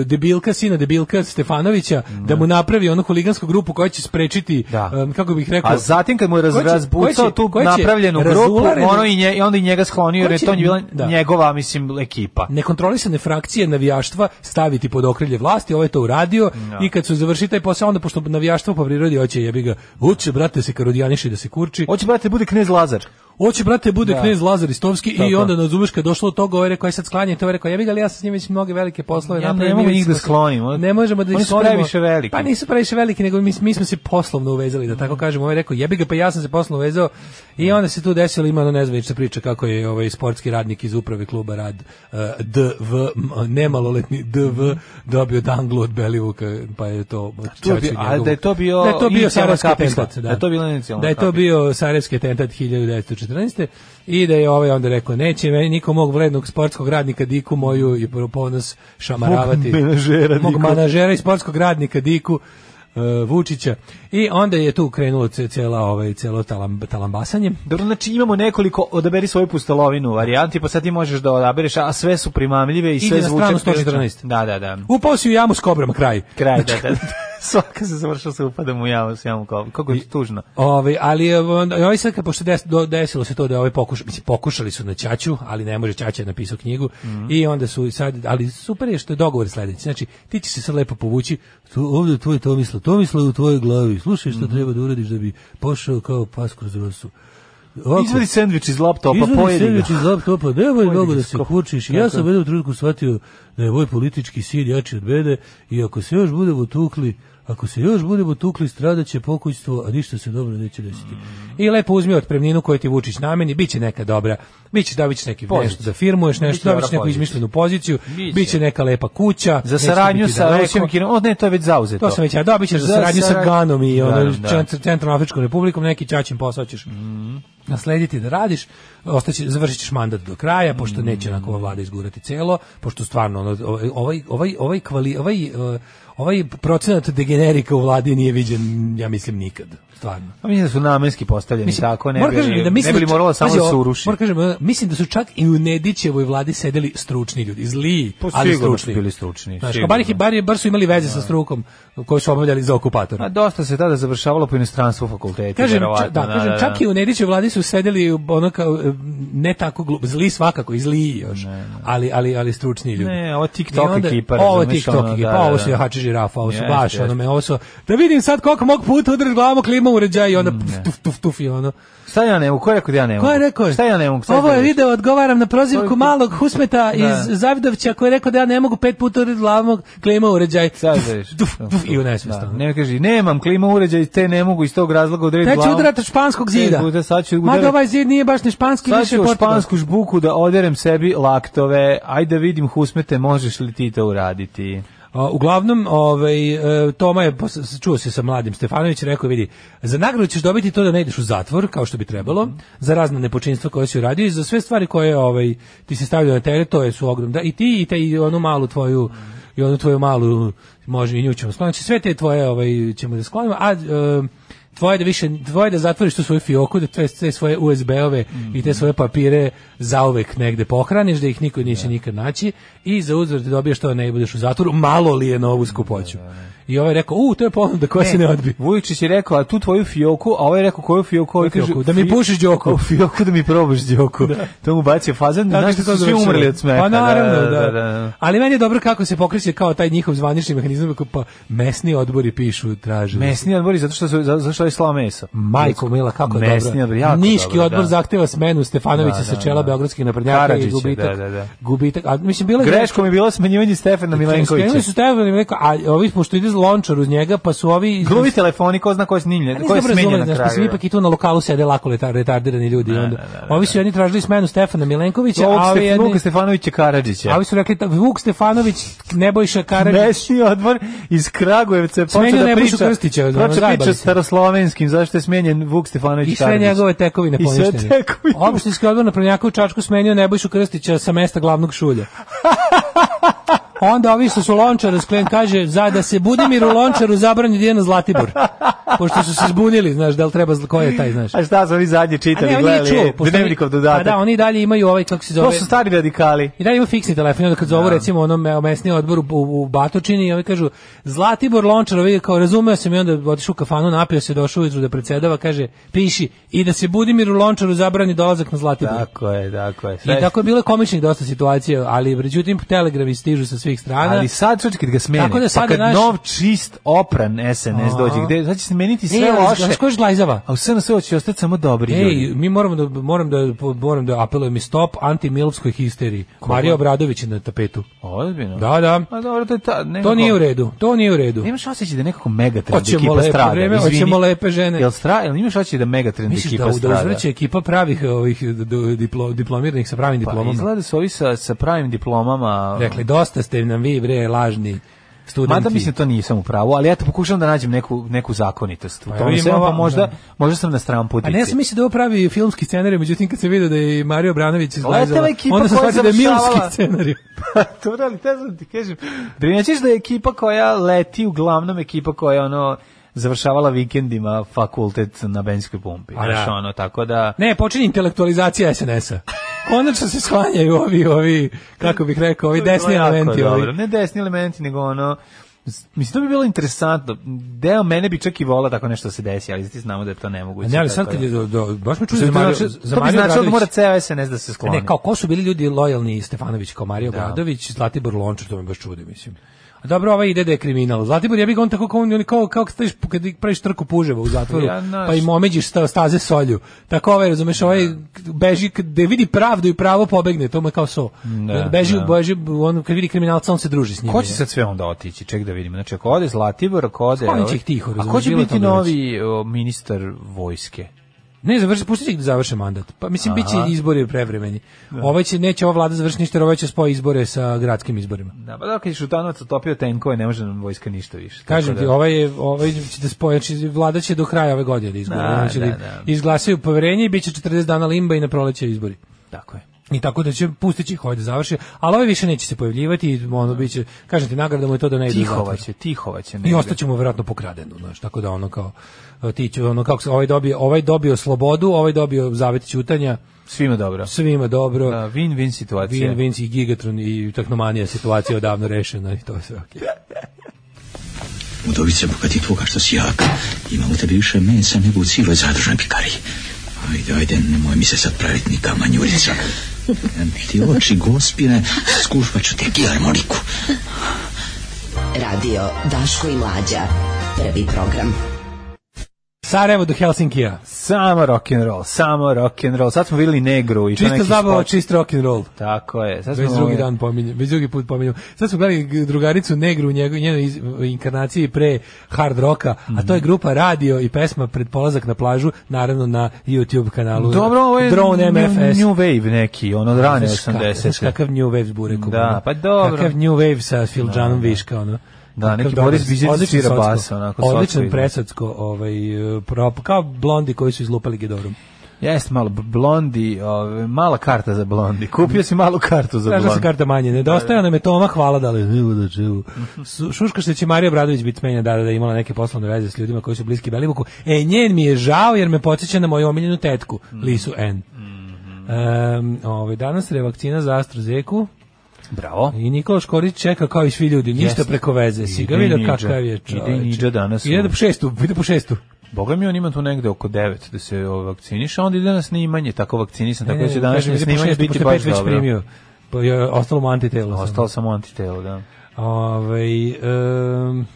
Speaker 7: debilka, sina debilka Stefanovića, da mu napravi onu huligansku grupu koja će sprečiti,
Speaker 6: Da.
Speaker 7: em, kako bih rekao...
Speaker 6: A zatim kad mu je raz,
Speaker 7: koja će- koja
Speaker 6: razbucao
Speaker 7: će-
Speaker 6: tu
Speaker 7: koja će
Speaker 6: napravljenu grupu,
Speaker 7: razularenu-
Speaker 6: ono i, nje, i onda i njega sklonio, jer
Speaker 7: Koja
Speaker 6: je
Speaker 7: će-
Speaker 6: to bila
Speaker 7: da.
Speaker 6: njegova, mislim, ekipa.
Speaker 7: nekontrolisane frakcije navijaštva staviti pod okrilje vlasti, ovo je to uradio i kad su završili taj posao, onda pošto navijaštvo po prirodi hoće jebi ga, vuče brate se karodijaniši da se kurči,
Speaker 6: Hoće, brate, bude knez Lazar.
Speaker 7: Hoće brate bude
Speaker 6: Da.
Speaker 7: knez Lazar Istovski i
Speaker 6: Tako.
Speaker 7: onda nazumeš kad je došlo do toga, ovaj rekao aj sad sklanjajte, ovaj rekao jebi ga, ali ja sam s njim već mnoge velike poslove
Speaker 6: Ja ne
Speaker 7: napravio, mi
Speaker 6: mogu
Speaker 7: već
Speaker 6: njih
Speaker 7: smo
Speaker 6: da
Speaker 7: se-
Speaker 6: sklonim, oni-
Speaker 7: Ne možemo da ih
Speaker 6: oni su
Speaker 7: sklonimo.
Speaker 6: previše veliki.
Speaker 7: Pa nisu previše veliki, nego mi, mi smo se poslovno uvezali, da tako kažemo. Ovaj rekao jebi ga, pa ja sam se poslovno uvezao i onda se tu desilo ima ono nezvanična priča kako je ovaj sportski radnik iz uprave kluba Rad eh, DV m- nemaloletni DV dobio danglu od Belivuka, pa je to
Speaker 6: to bi- a da je to bio
Speaker 7: da je to bio
Speaker 6: inicijalna
Speaker 7: sarajevski
Speaker 6: kapica.
Speaker 7: atentat, da.
Speaker 6: Da je to bila inicijalna
Speaker 7: Da je to
Speaker 6: kapica.
Speaker 7: bio Sarajevski atentat 1914. I da je ovaj onda rekao, neće meni niko mog vrednog sportskog radnika Diku moju i ponos šamaravati.
Speaker 6: Mog menažera
Speaker 7: Mog
Speaker 6: Diku.
Speaker 7: manažera i sportskog radnika Diku. e, Vučića i onda je tu krenulo ce- cela ovaj celo talam, talambasanje
Speaker 6: Dobro, znači imamo nekoliko, odaberi svoju pustolovinu varijanti, pa sad ti možeš da odabereš, a sve su primamljive i
Speaker 7: Idi
Speaker 6: sve
Speaker 7: na
Speaker 6: zvuče...
Speaker 7: stranu 114.
Speaker 6: Da, da, da.
Speaker 7: upao si u jamu s kobrama kraj
Speaker 6: Kraj, da,
Speaker 7: Znači-
Speaker 6: da. da. Svaka se završila sa upadom u jamu, s jamu kao, kako je to tužno.
Speaker 7: Ovaj, ali e, onda- i ovaj sad, kad- pošto des, do- desilo se to da ovaj pokuša, mislim, pokušali su na Ćaću, ali ne može, Ćaća je napisao knjigu, i onda su i sad, ali super je što je dogovor sledeći, znači, ti će se sad lepo povući, tu, ovde je tvoje Tomislav, Tomislav je u tvojoj glavi, slušaj što treba da uradiš da bi pošao kao pas kroz rosu. Ovako,
Speaker 6: Izvadi sendvič iz laptopa,
Speaker 7: Izvadi
Speaker 6: pojedi ga.
Speaker 7: sendvič iz laptopa, nemoj
Speaker 6: ga
Speaker 7: mnogo da
Speaker 6: iz
Speaker 7: se
Speaker 6: kopa.
Speaker 7: kurčiš.
Speaker 6: Tako
Speaker 7: Ja
Speaker 6: je.
Speaker 7: sam u jednom trenutku shvatio da je moj politički sin jači od mene i ako se još budemo tukli, ako se još budemo tukli, stradaće pokućstvo, a ništa se dobro neće desiti. I lepo uzmi otpremninu koju ti Vučić nameni, bit će neka dobra, bit će da neki
Speaker 6: Pozicija.
Speaker 7: nešto da firmuješ, nešto,
Speaker 6: Biće
Speaker 7: dobit
Speaker 6: dobra
Speaker 7: će neku
Speaker 6: pozicija.
Speaker 7: izmišljenu poziciju,
Speaker 6: Biće.
Speaker 7: bit će neka lepa kuća.
Speaker 6: Za
Speaker 7: neće ti
Speaker 6: saradnju
Speaker 7: biti
Speaker 6: sa
Speaker 7: daleko.
Speaker 6: Rusijom i Kinom, o ne, to je već zauzeto.
Speaker 7: To sam već, ja dobit ćeš za
Speaker 6: Za
Speaker 7: saradnju sa
Speaker 6: sarad-
Speaker 7: Ganom i ono,
Speaker 6: Ganom, da. Mhm.
Speaker 7: Centr- Centralno Afričkom republikom, neki ćaćin posao ćeš naslediti da radiš, ostaće, završit ćeš mandat do kraja, pošto
Speaker 6: Mhm.
Speaker 7: neće onako ova vlada izgurati celo, pošto stvarno ono, ovaj, ovaj, ovaj, ovaj, kvali, ovaj, eh, ovaj procenat degenerika u vladi nije viđen, ja mislim, nikad, stvarno.
Speaker 6: Pa mislim da su namenski postavljeni tako, ne
Speaker 7: moram
Speaker 6: bi,
Speaker 7: kažem
Speaker 6: li-
Speaker 7: mislim
Speaker 6: ne bi li
Speaker 7: čak-
Speaker 6: moralo samo
Speaker 7: pazi,
Speaker 6: da se
Speaker 7: ovo,
Speaker 6: uruši.
Speaker 7: moram kažem, eh, mislim da su čak i u Nedićevoj vladi sedeli stručni ljudi, zli,
Speaker 6: Pa
Speaker 7: ali
Speaker 6: sigurno su
Speaker 7: stručni.
Speaker 6: bili stručni,
Speaker 7: Znaš,
Speaker 6: sigurno.
Speaker 7: bar, ih- bar, je- bar su imali veze sa strukom koju su obavljali za okupatora.
Speaker 6: A dosta se tada završavalo po inostranstvu fakulteta,
Speaker 7: Kažem, čak,
Speaker 6: Pa, verovatno,
Speaker 7: da, kažem, čak i u Nedićevoj vladi su sedeli ono kao, e, ne tako glup, zli svakako, i zli još, ali, ali, ali stručni ljudi.
Speaker 6: Ne, ovo TikTok
Speaker 7: I onda-
Speaker 6: ekipa,
Speaker 7: Ovo je
Speaker 6: razumeš,
Speaker 7: TikTok
Speaker 6: ono,
Speaker 7: ekipa,
Speaker 6: da,
Speaker 7: ovo
Speaker 6: da,
Speaker 7: su
Speaker 6: da.
Speaker 7: jahači žirafa, ovo su
Speaker 6: Jeste,
Speaker 7: baš,
Speaker 6: jeste.
Speaker 7: ono me, ovo su, da vidim sad koliko mog puta udri glavom o klima uređaja i onda pf, tuf, tuf, tuf, i ono.
Speaker 6: Šta ja ne mogu? Ko je rekao da ja ne mogu?
Speaker 7: Ko je rekao?
Speaker 6: Šta ja ne mogu? Šta
Speaker 7: Ovo
Speaker 6: ja
Speaker 7: je
Speaker 6: ne mogu?
Speaker 7: video, odgovaram na prozivku
Speaker 6: To je-
Speaker 7: malog Husmeta iz Zavidovića koji je rekao da ja ne mogu pet puta udri glavom o klima uređaj.
Speaker 6: Sad
Speaker 7: Tuf,
Speaker 6: vidiš.
Speaker 7: tuf, tuf, I u nesvest,
Speaker 6: Da,
Speaker 7: ono.
Speaker 6: ne kaže, nemam klima uređaj, te ne mogu iz tog razloga odrediti
Speaker 7: Te ću
Speaker 6: glavu.
Speaker 7: udarati od španskog
Speaker 6: Te
Speaker 7: zida.
Speaker 6: puta, sad ću
Speaker 7: Mada
Speaker 6: udarati-
Speaker 7: ovaj zid nije baš ni španski,
Speaker 6: Sad
Speaker 7: više
Speaker 6: ću u
Speaker 7: portugalski.
Speaker 6: špansku žbuku da oderem sebi laktove. Ajde da vidim, Husmete, možeš li ti to uraditi?
Speaker 7: A, uglavnom, ovaj, e, Toma je, pos- s- čuo se sa mladim Stefanović, rekao, vidi, za nagradu ćeš dobiti to da ne ideš u zatvor, kao što bi trebalo, za razne nepočinstva koje si uradio i za sve stvari koje ovaj, ti se stavljaju na teret, to je su ogrom. Da, I ti i, te, i onu malu tvoju, i onu tvoju malu, može i nju ćemo skloniti. Znači, sve te tvoje ovaj, ćemo da sklonimo, a... e, tvoje da više tvoje da zatvoriš tu svoju fioku da te, te svoje USB-ove i
Speaker 6: Mhm.
Speaker 7: te svoje papire zauvek negde pohraniš da ih niko neće nikad naći i za uzvrat dobiješ to da ne budeš u zatvoru malo li je na ovu skupoću i ovaj je rekao u to je ponuda koja se ne odbi
Speaker 6: Vujičić je rekao, a tu tvoju fioku, a ovaj je rekao koju fioku, ovaj
Speaker 7: Koju
Speaker 6: kaže,
Speaker 7: fioku? Da mi
Speaker 6: "Fi-
Speaker 7: pušiš đoku."
Speaker 6: O, fioku da mi probaš đoku. To mu bacio fazan,
Speaker 7: Tako
Speaker 6: znaš
Speaker 7: što
Speaker 6: da
Speaker 7: to
Speaker 6: su svi
Speaker 7: završilo.
Speaker 6: umrli od smeha.
Speaker 7: Pa naravno, da,
Speaker 6: da.
Speaker 7: Ali meni je dobro kako se pokreće kao taj njihov zvanični mehanizam, kako pa mesni odbori pišu, traže. da se-
Speaker 6: Mesni odbori, zato što su, za- zato što je slao meso.
Speaker 7: Majko Mila, kako je
Speaker 6: Mesni
Speaker 7: dobro.
Speaker 6: odbor, jako
Speaker 7: Niški
Speaker 6: dobro,
Speaker 7: odbor
Speaker 6: da.
Speaker 7: zahteva smenu Stefanovića
Speaker 6: Da,
Speaker 7: sa
Speaker 6: da,
Speaker 7: čela
Speaker 6: da.
Speaker 7: beogradskih naprednjaka i
Speaker 6: Karadžića,
Speaker 7: gubitak.
Speaker 6: da, da, da.
Speaker 7: Gubitak. A mislim bilo je
Speaker 6: Greškom je bilo smenjivanje Stefana Milenkovića.
Speaker 7: Skrenuli su Stefana Milenkovića, a ovi pošto ide lončar uz njega, pa su ovi... iz-
Speaker 6: Gluvi telefoni, ko zna ko je snimljen,
Speaker 7: Ja
Speaker 6: ko je
Speaker 7: nisam dobro
Speaker 6: smenjen na
Speaker 7: razumeo, znaš, pa su
Speaker 6: kraju.
Speaker 7: ipak i tu na lokalu sede lako letar- retardirani ljudi. i onda. Ovi su jedni tražili smenu Stefana Milenkovića,
Speaker 6: Ovog
Speaker 7: a ovi,
Speaker 6: Ste-
Speaker 7: jedni,
Speaker 6: Vuka Stefanovića Karadžića.
Speaker 7: a ovi su rekli, tako, Vuk Stefanović, Nebojša Karadžić,
Speaker 6: Mesni odbor iz Kragujevca je
Speaker 7: Smenio
Speaker 6: počeo da
Speaker 7: Nebojšu
Speaker 6: priča,
Speaker 7: Krstića, ono,
Speaker 6: počeo da
Speaker 7: zajebali
Speaker 6: priča
Speaker 7: se.
Speaker 6: staroslovenskim, zašto je smenjen Vuk Stefanović
Speaker 7: I sve
Speaker 6: Karadžić.
Speaker 7: njegove tekovine
Speaker 6: I sve
Speaker 7: poništene.
Speaker 6: tekovine.
Speaker 7: Opštinski odbor na Prnjaku u Čačku smenio Nebojšu Krstića sa mesta glavnog šulja. Onda ovi što su lončar sklen kaže za da se Budimiru lončaru zabrani Dijana Zlatibor. Pošto su se zbunili, znaš, da li treba zla- ko je taj, znaš.
Speaker 6: A šta su oni zadnje
Speaker 7: A ne,
Speaker 6: čitali,
Speaker 7: on nije
Speaker 6: gledali,
Speaker 7: čuo,
Speaker 6: je,
Speaker 7: pošto oni-
Speaker 6: dnevnikov
Speaker 7: A
Speaker 6: dodatak.
Speaker 7: da, oni i dalje imaju ovaj, kako se zove...
Speaker 6: To su stari radikali.
Speaker 7: I dalje ima fiksni telefon, onda kad zovu recimo onom e, mesni odboru u, u Batočini i ovi kažu Zlatibor Lončar, ovi kao razumeo sam i onda otišao u kafanu, napio se, došao ujutru da predsedava, kaže piši i da se Budimiru Lončaru zabrani dolazak na Zlatibor.
Speaker 6: Tako je, tako je.
Speaker 7: I tako je bilo komičnih dosta situacija, ali međutim telegrami stižu sa svih strana.
Speaker 6: Ali sad čuči kad ga smeni,
Speaker 7: Tako da
Speaker 6: pa
Speaker 7: sada,
Speaker 6: kad
Speaker 7: znaš-
Speaker 6: nov čist opran SNS dođe, gde, sad će se meniti sve
Speaker 7: Ej, ali
Speaker 6: loše,
Speaker 7: znaš ko je Žlajzava?
Speaker 6: a u SNS će ostati samo dobri ljudi.
Speaker 7: Ej, mi moramo da moram da moram da apelujem i stop anti-milpskoj histeriji. Mario Obradović je na tapetu.
Speaker 6: Ozbiljno.
Speaker 7: Da, da.
Speaker 6: A dobro, to je ta, nekako,
Speaker 7: To nije u redu. To nije u redu.
Speaker 6: Imaš osjećaj da nekako megatrend
Speaker 7: Hoćemo
Speaker 6: ekipa
Speaker 7: lepo
Speaker 6: strada.
Speaker 7: vreme,
Speaker 6: izvini.
Speaker 7: hoćemo lepe žene.
Speaker 6: Jel, stra, jel imaš osjećaj da megatrend
Speaker 7: Misliš
Speaker 6: ekipa
Speaker 7: da, da
Speaker 6: strada?
Speaker 7: uzvraća ekipa pravih ovih d- d- diplo, diplomiranih sa pravim
Speaker 6: Pa
Speaker 7: diplomama?
Speaker 6: izgleda su ovi sa, sa pravim diplomama.
Speaker 7: Rekli, dosta ste nam vi, bre, lažni studenti.
Speaker 6: Mada mislim da to nisam u pravu, ali eto pokušavam da nađem neku, neku zakonitost. U
Speaker 7: Pa
Speaker 6: tome
Speaker 7: ima
Speaker 6: svemu, pa
Speaker 7: vam,
Speaker 6: možda,
Speaker 7: da.
Speaker 6: možda sam na stran putici.
Speaker 7: A Pa ne, ja sam mislio da je ovo pravi filmski scenarij, međutim kad se vidio da je i Mario Branović izglazala,
Speaker 6: Letela ekipa
Speaker 7: onda sam
Speaker 6: koja je
Speaker 7: shvatio da je milski
Speaker 6: završavala.
Speaker 7: scenarij.
Speaker 6: to ali te sam ti kažem. Primećeš da je ekipa koja leti, uglavnom ekipa koja je ono završavala vikendima fakultet na benzinskoj pumpi.
Speaker 7: A da.
Speaker 6: Znaš, ono, tako da...
Speaker 7: Ne, počinje intelektualizacija SNS-a. Konačno se sklanjaju ovi, ovi, kako bih rekao, ovi
Speaker 6: To bi bilo
Speaker 7: desni
Speaker 6: jako
Speaker 7: elementi.
Speaker 6: dobro.
Speaker 7: Ovi.
Speaker 6: Ne desni elementi, nego ono... s- Mislim, to bi bilo interesantno. Deo mene bi čak i volao tako nešto da se desi, ali ti znamo da je to nemoguće.
Speaker 7: Ne, ali sad
Speaker 6: tako
Speaker 7: kad
Speaker 6: da.
Speaker 7: je, do, do, baš me čuje
Speaker 6: To
Speaker 7: za
Speaker 6: bi
Speaker 7: Mario,
Speaker 6: značilo-
Speaker 7: za
Speaker 6: to bi
Speaker 7: Mario
Speaker 6: značilo da
Speaker 7: Obradović.
Speaker 6: mora ceo SNS da se skloni.
Speaker 7: Ne, kao ko su bili ljudi lojalni Stefanović kao Mario Obradović, Zlatibor Lončar, to me baš čudi, mislim. A dobro, ovaj ide da je kriminal. Zlatibor, ja bih on tako kao on, on je kao, kao kad staviš, kad praviš trku puževa u zatvoru,
Speaker 6: Ja, znaš.
Speaker 7: pa im omeđiš sta, staze solju. Tako ovaj, razumeš, ovaj beži, da vidi pravdu i pravo pobegne, to mu je kao so.
Speaker 6: Da,
Speaker 7: beži,
Speaker 6: da.
Speaker 7: beži, on kad vidi kriminalca, on se druži s njim.
Speaker 6: Ko će sad sve onda otići? Ček da vidimo. Znači, ako ode Zlatibor, ako ode...
Speaker 7: Sklonit će ih tiho,
Speaker 6: A ko
Speaker 7: razumeš,
Speaker 6: će
Speaker 7: bilo
Speaker 6: biti
Speaker 7: tamo
Speaker 6: novi o, ministar vojske?
Speaker 7: Ne, završi, pustit će ih da završe mandat. Pa mislim, bit će izbori prevremeni. Ovaj će, neće ova vlada završiti ništa, jer ovaj će spoji izbore sa gradskim izborima.
Speaker 6: Da, pa da, kad je Šutanovac utopio tenkove, ne može nam vojska ništa više. Tako
Speaker 7: Kažem ti,
Speaker 6: da-
Speaker 7: ovaj je, ovaj će da spoje, znači vlada će do kraja ove godine da izgore.
Speaker 6: Da,
Speaker 7: znači,
Speaker 6: da,
Speaker 7: da,
Speaker 6: da.
Speaker 7: Izglasaju poverenje i bit će 40 dana limba i na proleće izbori.
Speaker 6: Tako je.
Speaker 7: I tako da će pustiti ih ovaj da završi, ali ovaj više neće se pojavljivati, i ono bit će, kažem ti, nagrada mu je to da ne ide u zatvor.
Speaker 6: Tihova će, tihova će.
Speaker 7: I
Speaker 6: negde.
Speaker 7: ostaćemo verovatno pokradeno, znači tako da ono kao e, ti će ono kako se ovaj dobio, ovaj dobio slobodu, ovaj dobio zavet ćutanja,
Speaker 6: Svima dobro.
Speaker 7: svima dobro.
Speaker 6: Da, Win-win situacija.
Speaker 7: Vin, Vinci i Gigatron i tehnomanija situacija je odavno rešena i to je sve okej.
Speaker 2: Udovice, bogati tvoga što si jak. Ima u tebi više mesa nego u cijeloj zadružnoj pikari. Ajde, ajde, nemoj mi se sad praviti ni kamanjurica. Ti oči, gospine, skušpat ću te harmoniku.
Speaker 5: Radio Daško i Mlađa. Prvi program.
Speaker 7: Sarajevo do Helsinkija.
Speaker 6: Samo rock and roll, samo rock and roll. Sad smo videli negru i to
Speaker 7: Čista
Speaker 6: neki
Speaker 7: zabava,
Speaker 6: spot.
Speaker 7: čist rock and roll.
Speaker 6: Tako je. Sad
Speaker 7: Već
Speaker 6: smo
Speaker 7: drugi dan pominjem, već drugi put pominjem. Sad smo gledali g- drugaricu Negru u njego- njenoj iz- inkarnaciji pre hard roka, a to je
Speaker 6: Mhm.
Speaker 7: grupa radio i pesma pred polazak na plažu, naravno na YouTube kanalu
Speaker 6: Dobro, ovo je
Speaker 7: Drone
Speaker 6: new-
Speaker 7: MFS.
Speaker 6: New Wave neki, ono od rane
Speaker 7: Znaš kak- znaš
Speaker 6: 80.
Speaker 7: kakav New Wave zbure
Speaker 6: Da, pa dobro.
Speaker 7: Kakav New Wave sa Filđanom Viška, ono.
Speaker 6: Da,
Speaker 7: Kakav
Speaker 6: neki
Speaker 7: dobar-
Speaker 6: Boris Bizet
Speaker 7: odličan
Speaker 6: svira
Speaker 7: socko.
Speaker 6: bas, onako, socko
Speaker 7: Odličan
Speaker 6: izgleda.
Speaker 7: presacko, ovaj, prop, kao blondi koji su izlupali Gedorom.
Speaker 6: Jeste malo b- blondi, ove, mala karta za blondi. Kupio si malu kartu za
Speaker 7: Tražila se
Speaker 6: blondi.
Speaker 7: karta manje, nedostaje nam je Toma, hvala da li živu da živu. Su- Šuška što će Marija Bradović biti smenja da, da je imala neke poslovne veze s ljudima koji su bliski Belivuku. E, njen mi je žao jer me podsjeća na moju omiljenu tetku, Lisu N. Um, ovaj, danas revakcina za AstraZeku
Speaker 6: Bravo.
Speaker 7: i Nikola Škorić čeka kao i svi ljudi, ništa
Speaker 6: Jeste.
Speaker 7: preko veze. Si
Speaker 6: Ide
Speaker 7: ga vidio
Speaker 6: Niđa.
Speaker 7: kakav je čoveče.
Speaker 6: Ide Niđa danas u-
Speaker 7: Ide da po šestu, ide po šestu.
Speaker 6: Boga mi on ima tu negde oko 9 da se ovo, vakciniše, a onda ide na snimanje, tako vakcinisan, tako
Speaker 7: Ne,
Speaker 6: da
Speaker 7: ne,
Speaker 6: će
Speaker 7: ne,
Speaker 6: današnje
Speaker 7: kažem, ide po
Speaker 6: snimanje
Speaker 7: šestu,
Speaker 6: biti
Speaker 7: pošto je
Speaker 6: baš
Speaker 7: pet već
Speaker 6: dobro.
Speaker 7: primio. Pa je ostalo mu antitelo. samo.
Speaker 6: Ostalo samo antitelo, da.
Speaker 7: Ovaj em,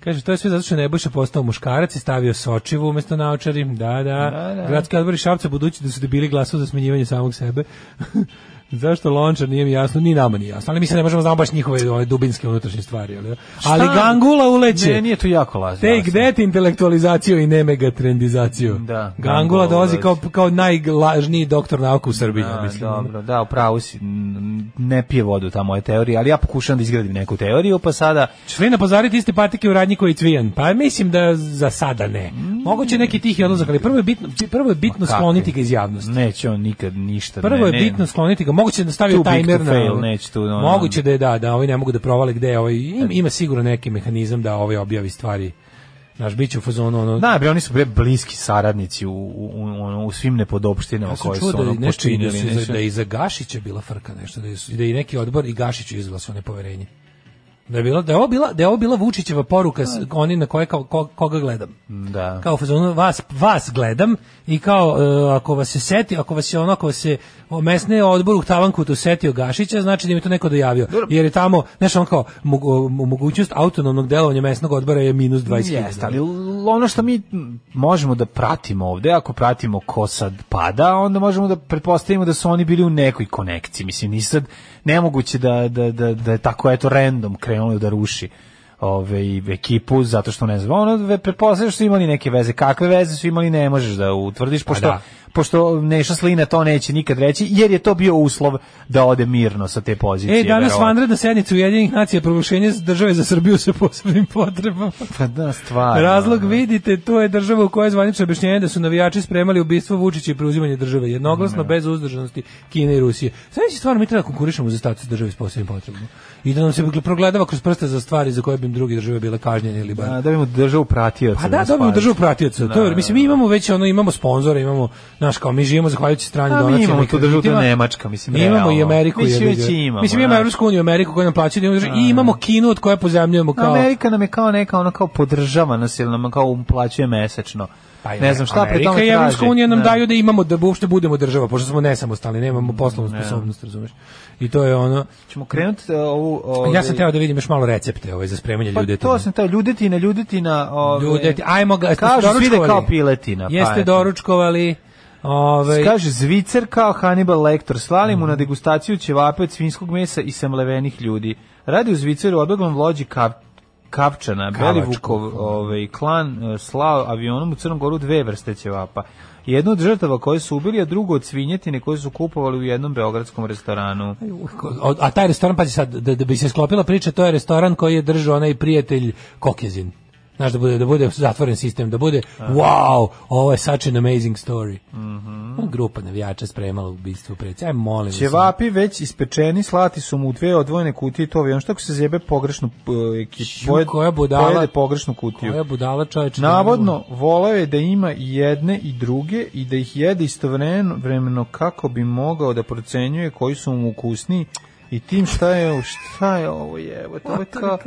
Speaker 7: kaže, to je sve zato što je Nebojša postao muškarac i stavio sočivu umesto naočari. Da, da.
Speaker 6: Da, da.
Speaker 7: Gradski odbori Šapca budući da su dobili glasu za smenjivanje samog sebe. Zašto Lončar nije mi jasno, ni nama nije jasno, ali mi se ne možemo znamo baš njihove ove dubinske unutrašnje stvari, ali, ali Gangula uleće.
Speaker 6: Ne, nije to jako lažno.
Speaker 7: Take that intelektualizaciju i ne megatrendizaciju.
Speaker 6: Da, Gangula
Speaker 7: Gangula dolazi
Speaker 6: uleće.
Speaker 7: kao, kao najlažniji doktor nauka u Srbiji, ja
Speaker 6: A,
Speaker 7: mislim.
Speaker 6: Dobro, da, upravo si, mm, ne pije vodu ta moja teorija, ali ja pokušam da izgradim neku teoriju, pa sada,
Speaker 7: Sve na pozariti iste patike u radnji koji cvijan. Pa mislim da za sada ne. Moguće neki tih odlazak, ali prvo je bitno, prvo je bitno
Speaker 6: kako?
Speaker 7: skloniti ga iz javnosti.
Speaker 6: neće on nikad ništa.
Speaker 7: Prvo je
Speaker 6: ne, ne,
Speaker 7: bitno skloniti ga. Moguće da stavi
Speaker 6: Too big
Speaker 7: timer
Speaker 6: to
Speaker 7: na.
Speaker 6: fail, neće tu, ono.
Speaker 7: Moguće da je da, da ovi ne mogu da provale gde je ovaj ima, ima sigurno neki mehanizam da ovaj objavi stvari. Naš biće u fazonu ono.
Speaker 6: Da, bre, oni su bre bliski saradnici u, u, u, ono, u svim nepodopštinama
Speaker 7: Ja sam
Speaker 6: koje
Speaker 7: čuo
Speaker 6: su ono
Speaker 7: da, je nešto i da,
Speaker 6: počinili.
Speaker 7: su,
Speaker 6: nešto.
Speaker 7: da je i za Gašića bila frka nešto, da, je, da je i neki odbor i Gašiću izglasao nepoverenje. Da je, bila, da, je ovo bila, da je ovo bila Vučićeva poruka s- oni na koje kao, ko- koga gledam.
Speaker 6: Mm. Da.
Speaker 7: Kao u fazonu, vas, vas gledam i kao e, ako vas se seti, ako vas je ono, ako vas se o, mesne odbor u Tavankutu setio Gašića, znači da mi to neko dojavio. Jer je tamo, znaš, on kao, mogu- mogućnost autonomnog delovanja mesnog odbora je minus 20.
Speaker 6: Jeste, ali ono što mi možemo da pratimo ovde, ako pratimo ko sad pada, onda možemo da pretpostavimo da su oni bili u nekoj konekciji. Mislim, ni sad nemoguće da, da, da, da je tako eto random krenulo da ruši ove i ekipu zato što ne znam ono ve- pretpostavljaš da su imali neke veze kakve veze su imali ne možeš Pa da utvrdiš pošto
Speaker 7: da.
Speaker 6: pošto Neša Slina to neće nikad reći jer je to bio uslov da ode mirno sa te pozicije
Speaker 7: E, danas
Speaker 6: verovatno.
Speaker 7: vanredna sednica Ujedinjenih nacija proglašenje države za Srbiju sa posebnim potrebama.
Speaker 6: pa da stvarno
Speaker 7: Razlog vidite, to je država u kojoj je zvanično objašnjenje da su navijači spremali ubistvo Vučića i preuzimanje države,
Speaker 6: Mm.
Speaker 7: jednoglasno bez uzdržanosti Kine i Rusije. Sve će stvarno mi treba da konkurišemo za status države s posebnim potrebama. I da nam se progledava kroz prste za stvari za koje bi im druge države bile kažnjene ili bar.
Speaker 6: A, da bi mu državu pratio
Speaker 7: Pa da, dobijemo državu pratioca. To je, mislim mi imamo već ono imamo sponzora, imamo naš kao mi živimo zahvaljujući strani
Speaker 6: A, mi
Speaker 7: donacijama.
Speaker 6: imamo
Speaker 7: i
Speaker 6: tu državu, to je
Speaker 7: kreditima.
Speaker 6: Nemačka, mislim,
Speaker 7: Mi imamo i
Speaker 6: realno.
Speaker 7: Ameriku.
Speaker 6: Mislim,
Speaker 7: jebi ga.
Speaker 6: već imamo,
Speaker 7: Mislim, imamo
Speaker 6: znaš.
Speaker 7: Evropsku uniju, Ameriku koja nam plaća, da imamo državu, i imamo Kinu od koje pozemljujemo kao...
Speaker 6: Amerika nam je kao neka ono kao podržava nas ili nam kao uplaćuje mesečno.
Speaker 7: Pa je,
Speaker 6: ne znam šta pri
Speaker 7: Amerika
Speaker 6: tome traži.
Speaker 7: i Evropska unija nam
Speaker 6: Da.
Speaker 7: daju da imamo, da uopšte budemo država, pošto smo nesamostalni, nemamo poslovnu sposobnost, razumeš. I to je ono...
Speaker 6: Ćemo krenuti ovu... ovaj-
Speaker 7: Ja sam teo da vidim još malo recepte ovaj, za spremanje
Speaker 6: Pa
Speaker 7: ljudetina.
Speaker 6: to sam teo, ljuditi na ljudetina... Ove,
Speaker 7: Ljudeti, ajmo ga, jeste
Speaker 6: Kažu svi da je
Speaker 7: doručkovali?
Speaker 6: kao piletina. pa
Speaker 7: Jeste
Speaker 6: eto.
Speaker 7: doručkovali... Ovaj, Mhm.
Speaker 6: Kaže, Zvicer kao Hannibal Lecter, slali mu na degustaciju ćevape od svinskog mesa i samlevenih ljudi. Radi u Zviceru odbeglom lođi kav, Kavčana,
Speaker 7: Kavačkog.
Speaker 6: Belivukov ovaj, klan e, slao avionom u Crnom Goru dve vrste ćevapa. Jednu od žrtava koje su ubili, a drugu od svinjetine koje su kupovali u jednom beogradskom restoranu.
Speaker 7: A- A taj restoran, pazi sad, da, da bi se sklopila priča, to je restoran koji je držao onaj prijatelj Kokezin. Znaš, da bude, da bude zatvoren sistem, da bude, wow, ovo je such an amazing story.
Speaker 6: Mhm.
Speaker 7: Grupa navijača spremala ubistvo predsjednika. Aj, molim vas.
Speaker 6: Ćevapi već ispečeni, slati su mu u dve odvojene kutije i to avion. Što ako se zjebe pogrešnu e, ekip-
Speaker 7: Ju, koja budala.
Speaker 6: pojede pogrešnu kutiju.
Speaker 7: Koja budala čoveče.
Speaker 6: Navodno, voleo je da ima i jedne i druge i da ih jede istovremeno vremeno kako bi mogao da procenjuje koji su mu ukusniji i tim šta je, šta je ovo jebote, ovo je kao,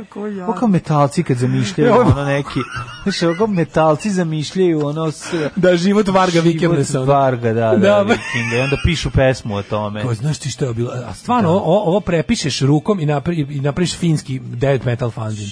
Speaker 6: ovo kao metalci kad zamišljaju ono neki, znaš, ovo kao metalci zamišljaju ono s...
Speaker 7: Da, život Varga vikende
Speaker 6: Život
Speaker 7: se ono.
Speaker 6: Varga, da,
Speaker 7: Da,
Speaker 6: da, da
Speaker 7: ba-
Speaker 6: Vikinga, i onda pišu pesmu o tome.
Speaker 7: Ko, znaš ti što je bilo? A stvarno, ovo, ovo prepišeš rukom i, napri, i napriš finski dead metal fanzin.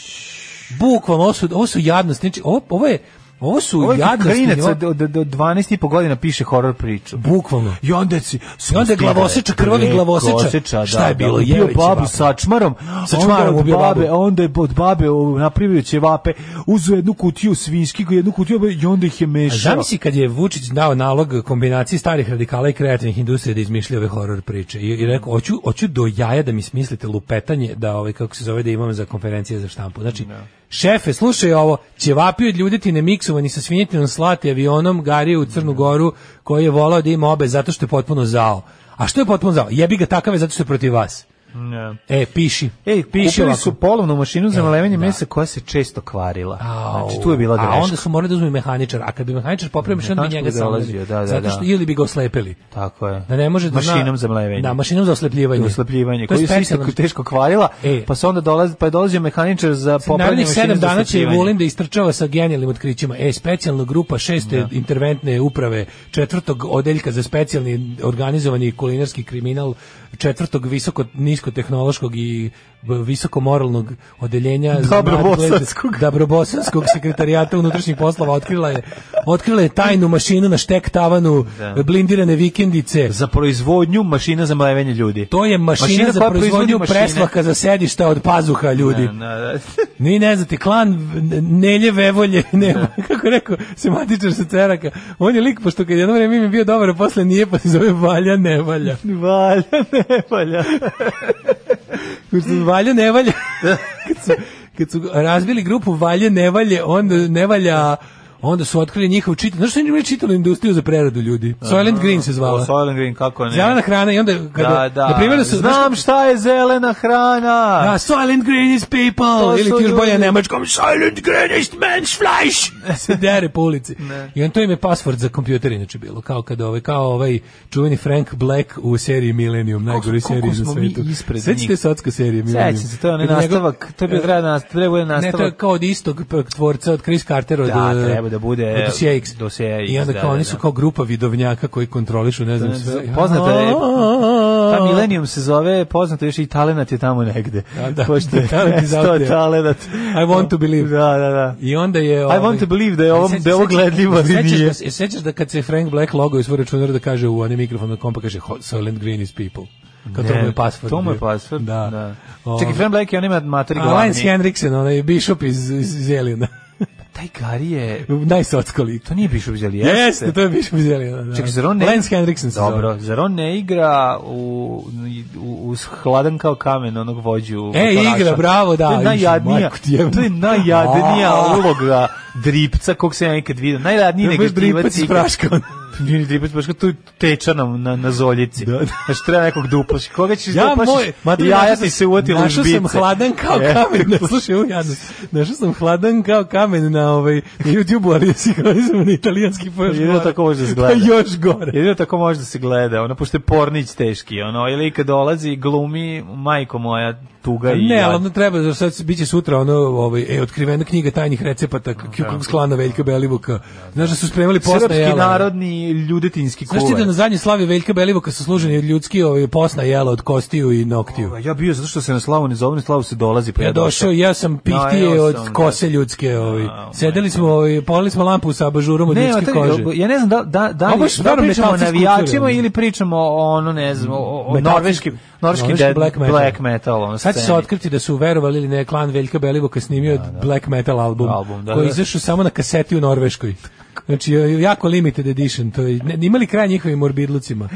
Speaker 7: Bukvalno, ovo su, ovo su jadnosti. Znači, ovo, ovo je, ovo su
Speaker 6: Ovo je
Speaker 7: jadnosti.
Speaker 6: krinac
Speaker 7: nivoa-
Speaker 6: od, od, od 12 i po godina piše horor priču.
Speaker 7: Bukvalno.
Speaker 6: I onda si
Speaker 7: I onda je glavoseča, krvavi
Speaker 6: E,
Speaker 7: glavoseča. Šta je bilo,
Speaker 6: Ubio
Speaker 7: jeveći
Speaker 6: babu
Speaker 7: babu.
Speaker 6: sa čmarom,
Speaker 7: Sa čmarom
Speaker 6: onda od
Speaker 7: ubio babu.
Speaker 6: babe, a onda je od babe o, napravio ćevape, uzeo jednu kutiju svinjskih, jednu kutiju i onda ih je
Speaker 7: A
Speaker 6: mešao.
Speaker 7: Zamisli kad je Vučić dao nalog kombinaciji starih radikala i kreativnih industrija da izmišlja ove horor priče i, i rekao, hoću, hoću do jaja da mi smislite lupetanje, da ovaj, kako se zove, da imam za konferencije za štampu. Znači, šefe, slušaj ovo, ćevapi od ljudetine miksovani sa svinjetinom slati avionom Gariju u Crnu Goru koji je volao da ima obe zato što je potpuno zao. A što je potpuno zao? Jebi ga takave zato što je protiv vas.
Speaker 6: Ne.
Speaker 7: E, piši. Kupi
Speaker 6: Ej, kupili
Speaker 7: ovako. E,
Speaker 6: su polovnu mašinu za malevanje
Speaker 7: da.
Speaker 6: mesa koja se često kvarila.
Speaker 7: Au.
Speaker 6: Znači, tu je bila greška.
Speaker 7: A onda su morali da uzmu i mehaničar, a kad bi mehaničar popravio mašinu, onda bi
Speaker 6: Mehaničar
Speaker 7: njega
Speaker 6: bi dolazio,
Speaker 7: sam.
Speaker 6: da, da,
Speaker 7: Zato što
Speaker 6: da.
Speaker 7: ili bi ga oslepili.
Speaker 6: Tako je.
Speaker 7: Da ne može da zna-
Speaker 6: mašinom za mlevenje.
Speaker 7: Da, mašinom za oslepljivanje.
Speaker 6: za oslepljivanje,
Speaker 7: To je
Speaker 6: koji se isto
Speaker 7: specijalna-
Speaker 6: teško kvarila,
Speaker 7: E.
Speaker 6: pa se onda dolazi, pa je dolazio mehaničar za popravljanje
Speaker 7: Narednih
Speaker 6: mašine
Speaker 7: sedam
Speaker 6: za
Speaker 7: dana će
Speaker 6: oslepljivanje.
Speaker 7: Vulin da istrčava sa genijalnim otkrićima. E, specijalna grupa šeste interventne uprave, četvrtog odeljka za specijalni organizovani kulinarski kriminal, četvrtog visoko nisko visokotehnološkog i b- visokomoralnog odeljenja za
Speaker 6: Dobrobosanskog.
Speaker 7: nadgled- Dobrobosanskog sekretarijata unutrašnjih poslova otkrila je otkrila je tajnu mašinu na štek tavanu blindirane vikendice
Speaker 6: Za proizvodnju mašina za mlevenje ljudi.
Speaker 7: To je mašina,
Speaker 6: Mašina
Speaker 7: za
Speaker 6: koja proizvodi
Speaker 7: proizvodnju
Speaker 6: mašine.
Speaker 7: preslaka za sedišta od pazuha ljudi.
Speaker 6: Na, da.
Speaker 7: Ni ne znate, klan Nelje Vevolje, ne, kako je rekao, sematičar sa ceraka. On je lik, pošto kad jedno vreme mi je bio dobar, a posle nije, pa se zove Valja Nevalja.
Speaker 6: Valja, ne valja.
Speaker 7: Kad su Valja Nevalja, kad su, kad su razbili grupu Valje Nevalje, onda Nevalja, onda su otkrili njihov čitav, znaš što je njima čitali industriju za preradu ljudi? Soylent Green se
Speaker 6: O,
Speaker 7: zvala.
Speaker 6: Soylent Green, kako ne.
Speaker 7: Zelena hrana i onda, kada,
Speaker 6: da, da.
Speaker 7: na primjer, da su, znaš-
Speaker 6: Znam šta je zelena hrana.
Speaker 7: Da, Silent Greenest People,
Speaker 6: To
Speaker 7: ili
Speaker 6: su
Speaker 7: ti još bolje
Speaker 6: ljudi.
Speaker 7: nemačkom, Silent Greenest Men's Fleisch, se dere po ulici. I on to im je pasvord za kompjuter, inače bilo, kao kad ovaj, kao ovaj čuveni Frank Black u seriji Millennium, najgori
Speaker 6: koliko
Speaker 7: seriji na
Speaker 6: smo mi
Speaker 7: svetu.
Speaker 6: ispred
Speaker 7: Sećate
Speaker 6: njih?
Speaker 7: se socka serije Millennium?
Speaker 6: Sećam se, to je onaj
Speaker 7: Kad njegov-
Speaker 6: nastavak, to je bio treba nastavak, treba je
Speaker 7: Ne, to je
Speaker 6: nastavak.
Speaker 7: kao od istog p- tvorca, od Chris Carter, od,
Speaker 6: Da,
Speaker 7: eh,
Speaker 6: treba da bude,
Speaker 7: od Dosije X.
Speaker 6: Dosije X,
Speaker 7: I onda
Speaker 6: da,
Speaker 7: kao
Speaker 6: da,
Speaker 7: oni
Speaker 6: da.
Speaker 7: su kao grupa vidovnjaka koji kontrolišu, ne znam sve.
Speaker 6: Poznata je, ta Millennium se zove, poznato je još i talenat je tamo negde.
Speaker 7: Da, da.
Speaker 6: Pošto je
Speaker 7: Talenat is out
Speaker 6: mesto
Speaker 7: there.
Speaker 6: talenat.
Speaker 7: I want to believe.
Speaker 6: Da, da, da.
Speaker 7: I onda je...
Speaker 6: I want to believe da je ovo- da je ovo gledljivo, ali nije.
Speaker 7: Da, se- sećaš da kad se Frank Black logo iz svoj računar da kaže u onaj mikrofon na kompa, kaže "Ho- Silent Green is people. Kao to mu je pasvord.
Speaker 6: To mu je
Speaker 7: bio.
Speaker 6: pasvord,
Speaker 7: Da. Ovaj-
Speaker 6: da.
Speaker 7: O,
Speaker 6: Čekaj, Fran Black je on ima matori
Speaker 7: A Lance
Speaker 6: glavni.
Speaker 7: Henriksen, onaj bishop iz, iz, iz Aliena.
Speaker 6: Taj Gary je,
Speaker 7: Najsocko lik.
Speaker 6: to nije Bishop Zeli, jeste?
Speaker 7: Jeste, to je bishop iz Aliena. Da.
Speaker 6: Čekaj, zar on ne...
Speaker 7: Lance Henriksen se
Speaker 6: Dobro,
Speaker 7: zove.
Speaker 6: zar on ne igra u, u, u hladan kao kamen onog vođu?
Speaker 7: E,
Speaker 6: motoraša?
Speaker 7: igra, bravo, da,
Speaker 6: To je
Speaker 7: viš,
Speaker 6: najjadnija,
Speaker 7: majku ti jebnu.
Speaker 6: to je najjadnija
Speaker 7: A.
Speaker 6: uloga dripca kog sam ja ikad vidio. Najjadniji
Speaker 7: Baš dripac
Speaker 6: negativac
Speaker 7: iz
Speaker 6: igra.
Speaker 7: praška.
Speaker 6: Nije dripac, baš kao tu teča na, na, na zoljici.
Speaker 7: Da, da.
Speaker 6: Znači, treba nekog duplaš. Koga ćeš
Speaker 7: Ja
Speaker 6: duplašiš?
Speaker 7: moj, E, ma to
Speaker 6: I jaja
Speaker 7: našao sam-
Speaker 6: ti se uvati lužbice.
Speaker 7: Našao sam hladan kao
Speaker 6: E.
Speaker 7: kamen, ne, slušaj, u jadno. Našao sam hladan kao kamen na ovaj na YouTubeu, ali ja si kao sam na italijanski pa još
Speaker 6: Jedino
Speaker 7: gore.
Speaker 6: tako može da se gleda.
Speaker 7: Pa još gore.
Speaker 6: Jedino tako može da se gleda, ono, pošto je pornić teški, ono, ili kad dolazi i glumi, majko moja, tuga i
Speaker 7: Ne,
Speaker 6: jad.
Speaker 7: ali ono treba, za sad biće sutra ono, ovaj, e, otkrivena knjiga tajnih recepata Ku Klux Klana Veljka Belivuka. Znaš da su spremali posna
Speaker 6: Srpski
Speaker 7: jela.
Speaker 6: narodni ljudetinski kuvar.
Speaker 7: ono. Znaš ti da na zadnje slavi Veljka Belivuka su služeni ljudski ovaj, posna jela od kostiju i noktiju.
Speaker 6: Pa Ja bio zato što se na slavu ne zove, na slavu se dolazi, pa
Speaker 7: Ja došao, ja sam pihtije
Speaker 6: jeo
Speaker 7: od
Speaker 6: sam, da.
Speaker 7: kose ljudske. Ovaj.
Speaker 6: A,
Speaker 7: Sedeli smo, ovaj, polili smo lampu sa abažurom od
Speaker 6: Ne,
Speaker 7: ljudske
Speaker 6: a taj-
Speaker 7: kože.
Speaker 6: ja ne znam da da da
Speaker 7: Ovo
Speaker 6: li,
Speaker 7: baš
Speaker 6: da
Speaker 7: stvarno
Speaker 6: li pričamo o
Speaker 7: metalci
Speaker 6: navijačima
Speaker 7: skulpture.
Speaker 6: ili pričamo o ono ne znam o, o
Speaker 7: Metalci-
Speaker 6: norveškim norveški
Speaker 7: norveški
Speaker 6: dead,
Speaker 7: black
Speaker 6: black
Speaker 7: metal.
Speaker 6: metal, ono,
Speaker 7: Sad će se
Speaker 6: sceni.
Speaker 7: otkriti da su verovali ili ne klan Veljka Belivuka snimio black metal album,
Speaker 6: Album, da,
Speaker 7: koji je
Speaker 6: da.
Speaker 7: izašao samo na kaseti u Norveškoj. Znači, jako limited edition. To je, ne, imali kraj njihovim morbidlucima.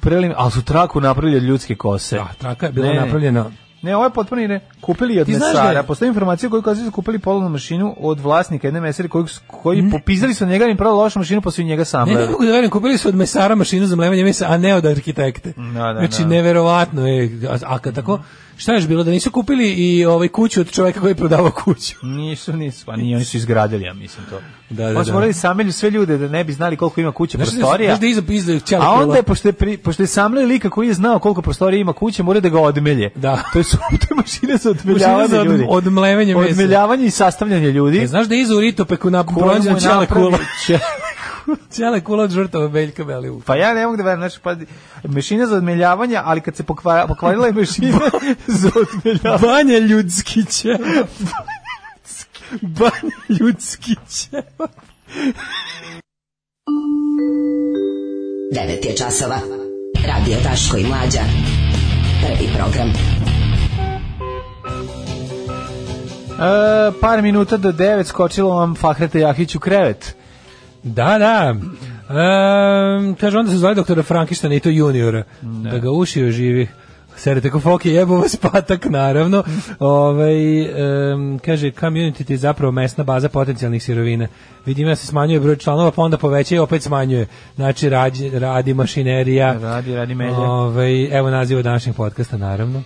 Speaker 6: Prelim, ali su traku napravili od ljudske kose.
Speaker 7: Da, traka je bila
Speaker 6: Ne, ne.
Speaker 7: napravljena
Speaker 6: Ne, ovo je potpuno i ne. Kupili je od
Speaker 7: Ti znaš
Speaker 6: mesara.
Speaker 7: da je-
Speaker 6: Postoji informacija koju kaže da su kupili polovnu mašinu od vlasnika jedne mesari koji, koji popizdali su na njega i pravo lošu mašinu, pa su i njega
Speaker 7: Mm.
Speaker 6: sam.
Speaker 7: Ne, ne
Speaker 6: leli.
Speaker 7: mogu da verujem, kupili su od mesara mašinu za mlevanje mesa, a ne od arhitekte.
Speaker 6: Da, da,
Speaker 7: znači,
Speaker 6: da.
Speaker 7: neverovatno je. A, a kad tako, šta je još bilo, da nisu kupili i ovaj kuću od čoveka koji je prodavao kuću.
Speaker 6: Nisu, nisu, pa nije, oni su izgradili, ja mislim to.
Speaker 7: Da, da,
Speaker 6: Oni su
Speaker 7: da.
Speaker 6: morali samlju sve ljude da ne bi znali koliko ima kuća
Speaker 7: Znaš da-
Speaker 6: prostorija.
Speaker 7: znaš da iza, iza ćela
Speaker 6: A
Speaker 7: krila?
Speaker 6: onda je, pošto je, pri, pošto je samlio lika koji je znao koliko prostorija ima kuće, mora da ga odmelje.
Speaker 7: Da.
Speaker 6: To je, su, to je mašina za
Speaker 7: Mašina
Speaker 6: odmeljavanje
Speaker 7: za od-
Speaker 6: ljudi.
Speaker 7: odmlevanje mesa.
Speaker 6: Odmeljavanje i sastavljanje ljudi.
Speaker 7: E, znaš da je iza u Ritopeku na
Speaker 6: Koju mu je
Speaker 7: bronzan ćela
Speaker 6: napravio-
Speaker 7: kula. Ćela kula od žrtava Veljka Belivuka.
Speaker 6: Pa ja ne mogu da verujem, znači, pa, mašina za odmeljavanje, ali kad se pokvarila, pokvarila je mašina za odmeljavanje.
Speaker 7: Banja ljudski ćelap. Banja ljudski ćelap.
Speaker 8: 9 je časova. Radio Daško i Mlađa. Prvi program.
Speaker 6: E, par minuta do devet skočilo vam Fahrete Jahić u krevet.
Speaker 7: Da, da. Um, kaže, onda se zove doktora Frankištana i to juniora. Da ga uši oživi. Serete ko foke, jebo vas patak, naravno. Ovaj em, kaže, community ti je zapravo mesna baza potencijalnih sirovina. Vidim da se smanjuje broj članova, pa onda poveća i opet smanjuje. Znači, radi, radi mašinerija.
Speaker 6: Radi, radi melje.
Speaker 7: Ovaj, evo naziva današnjeg podcasta, naravno.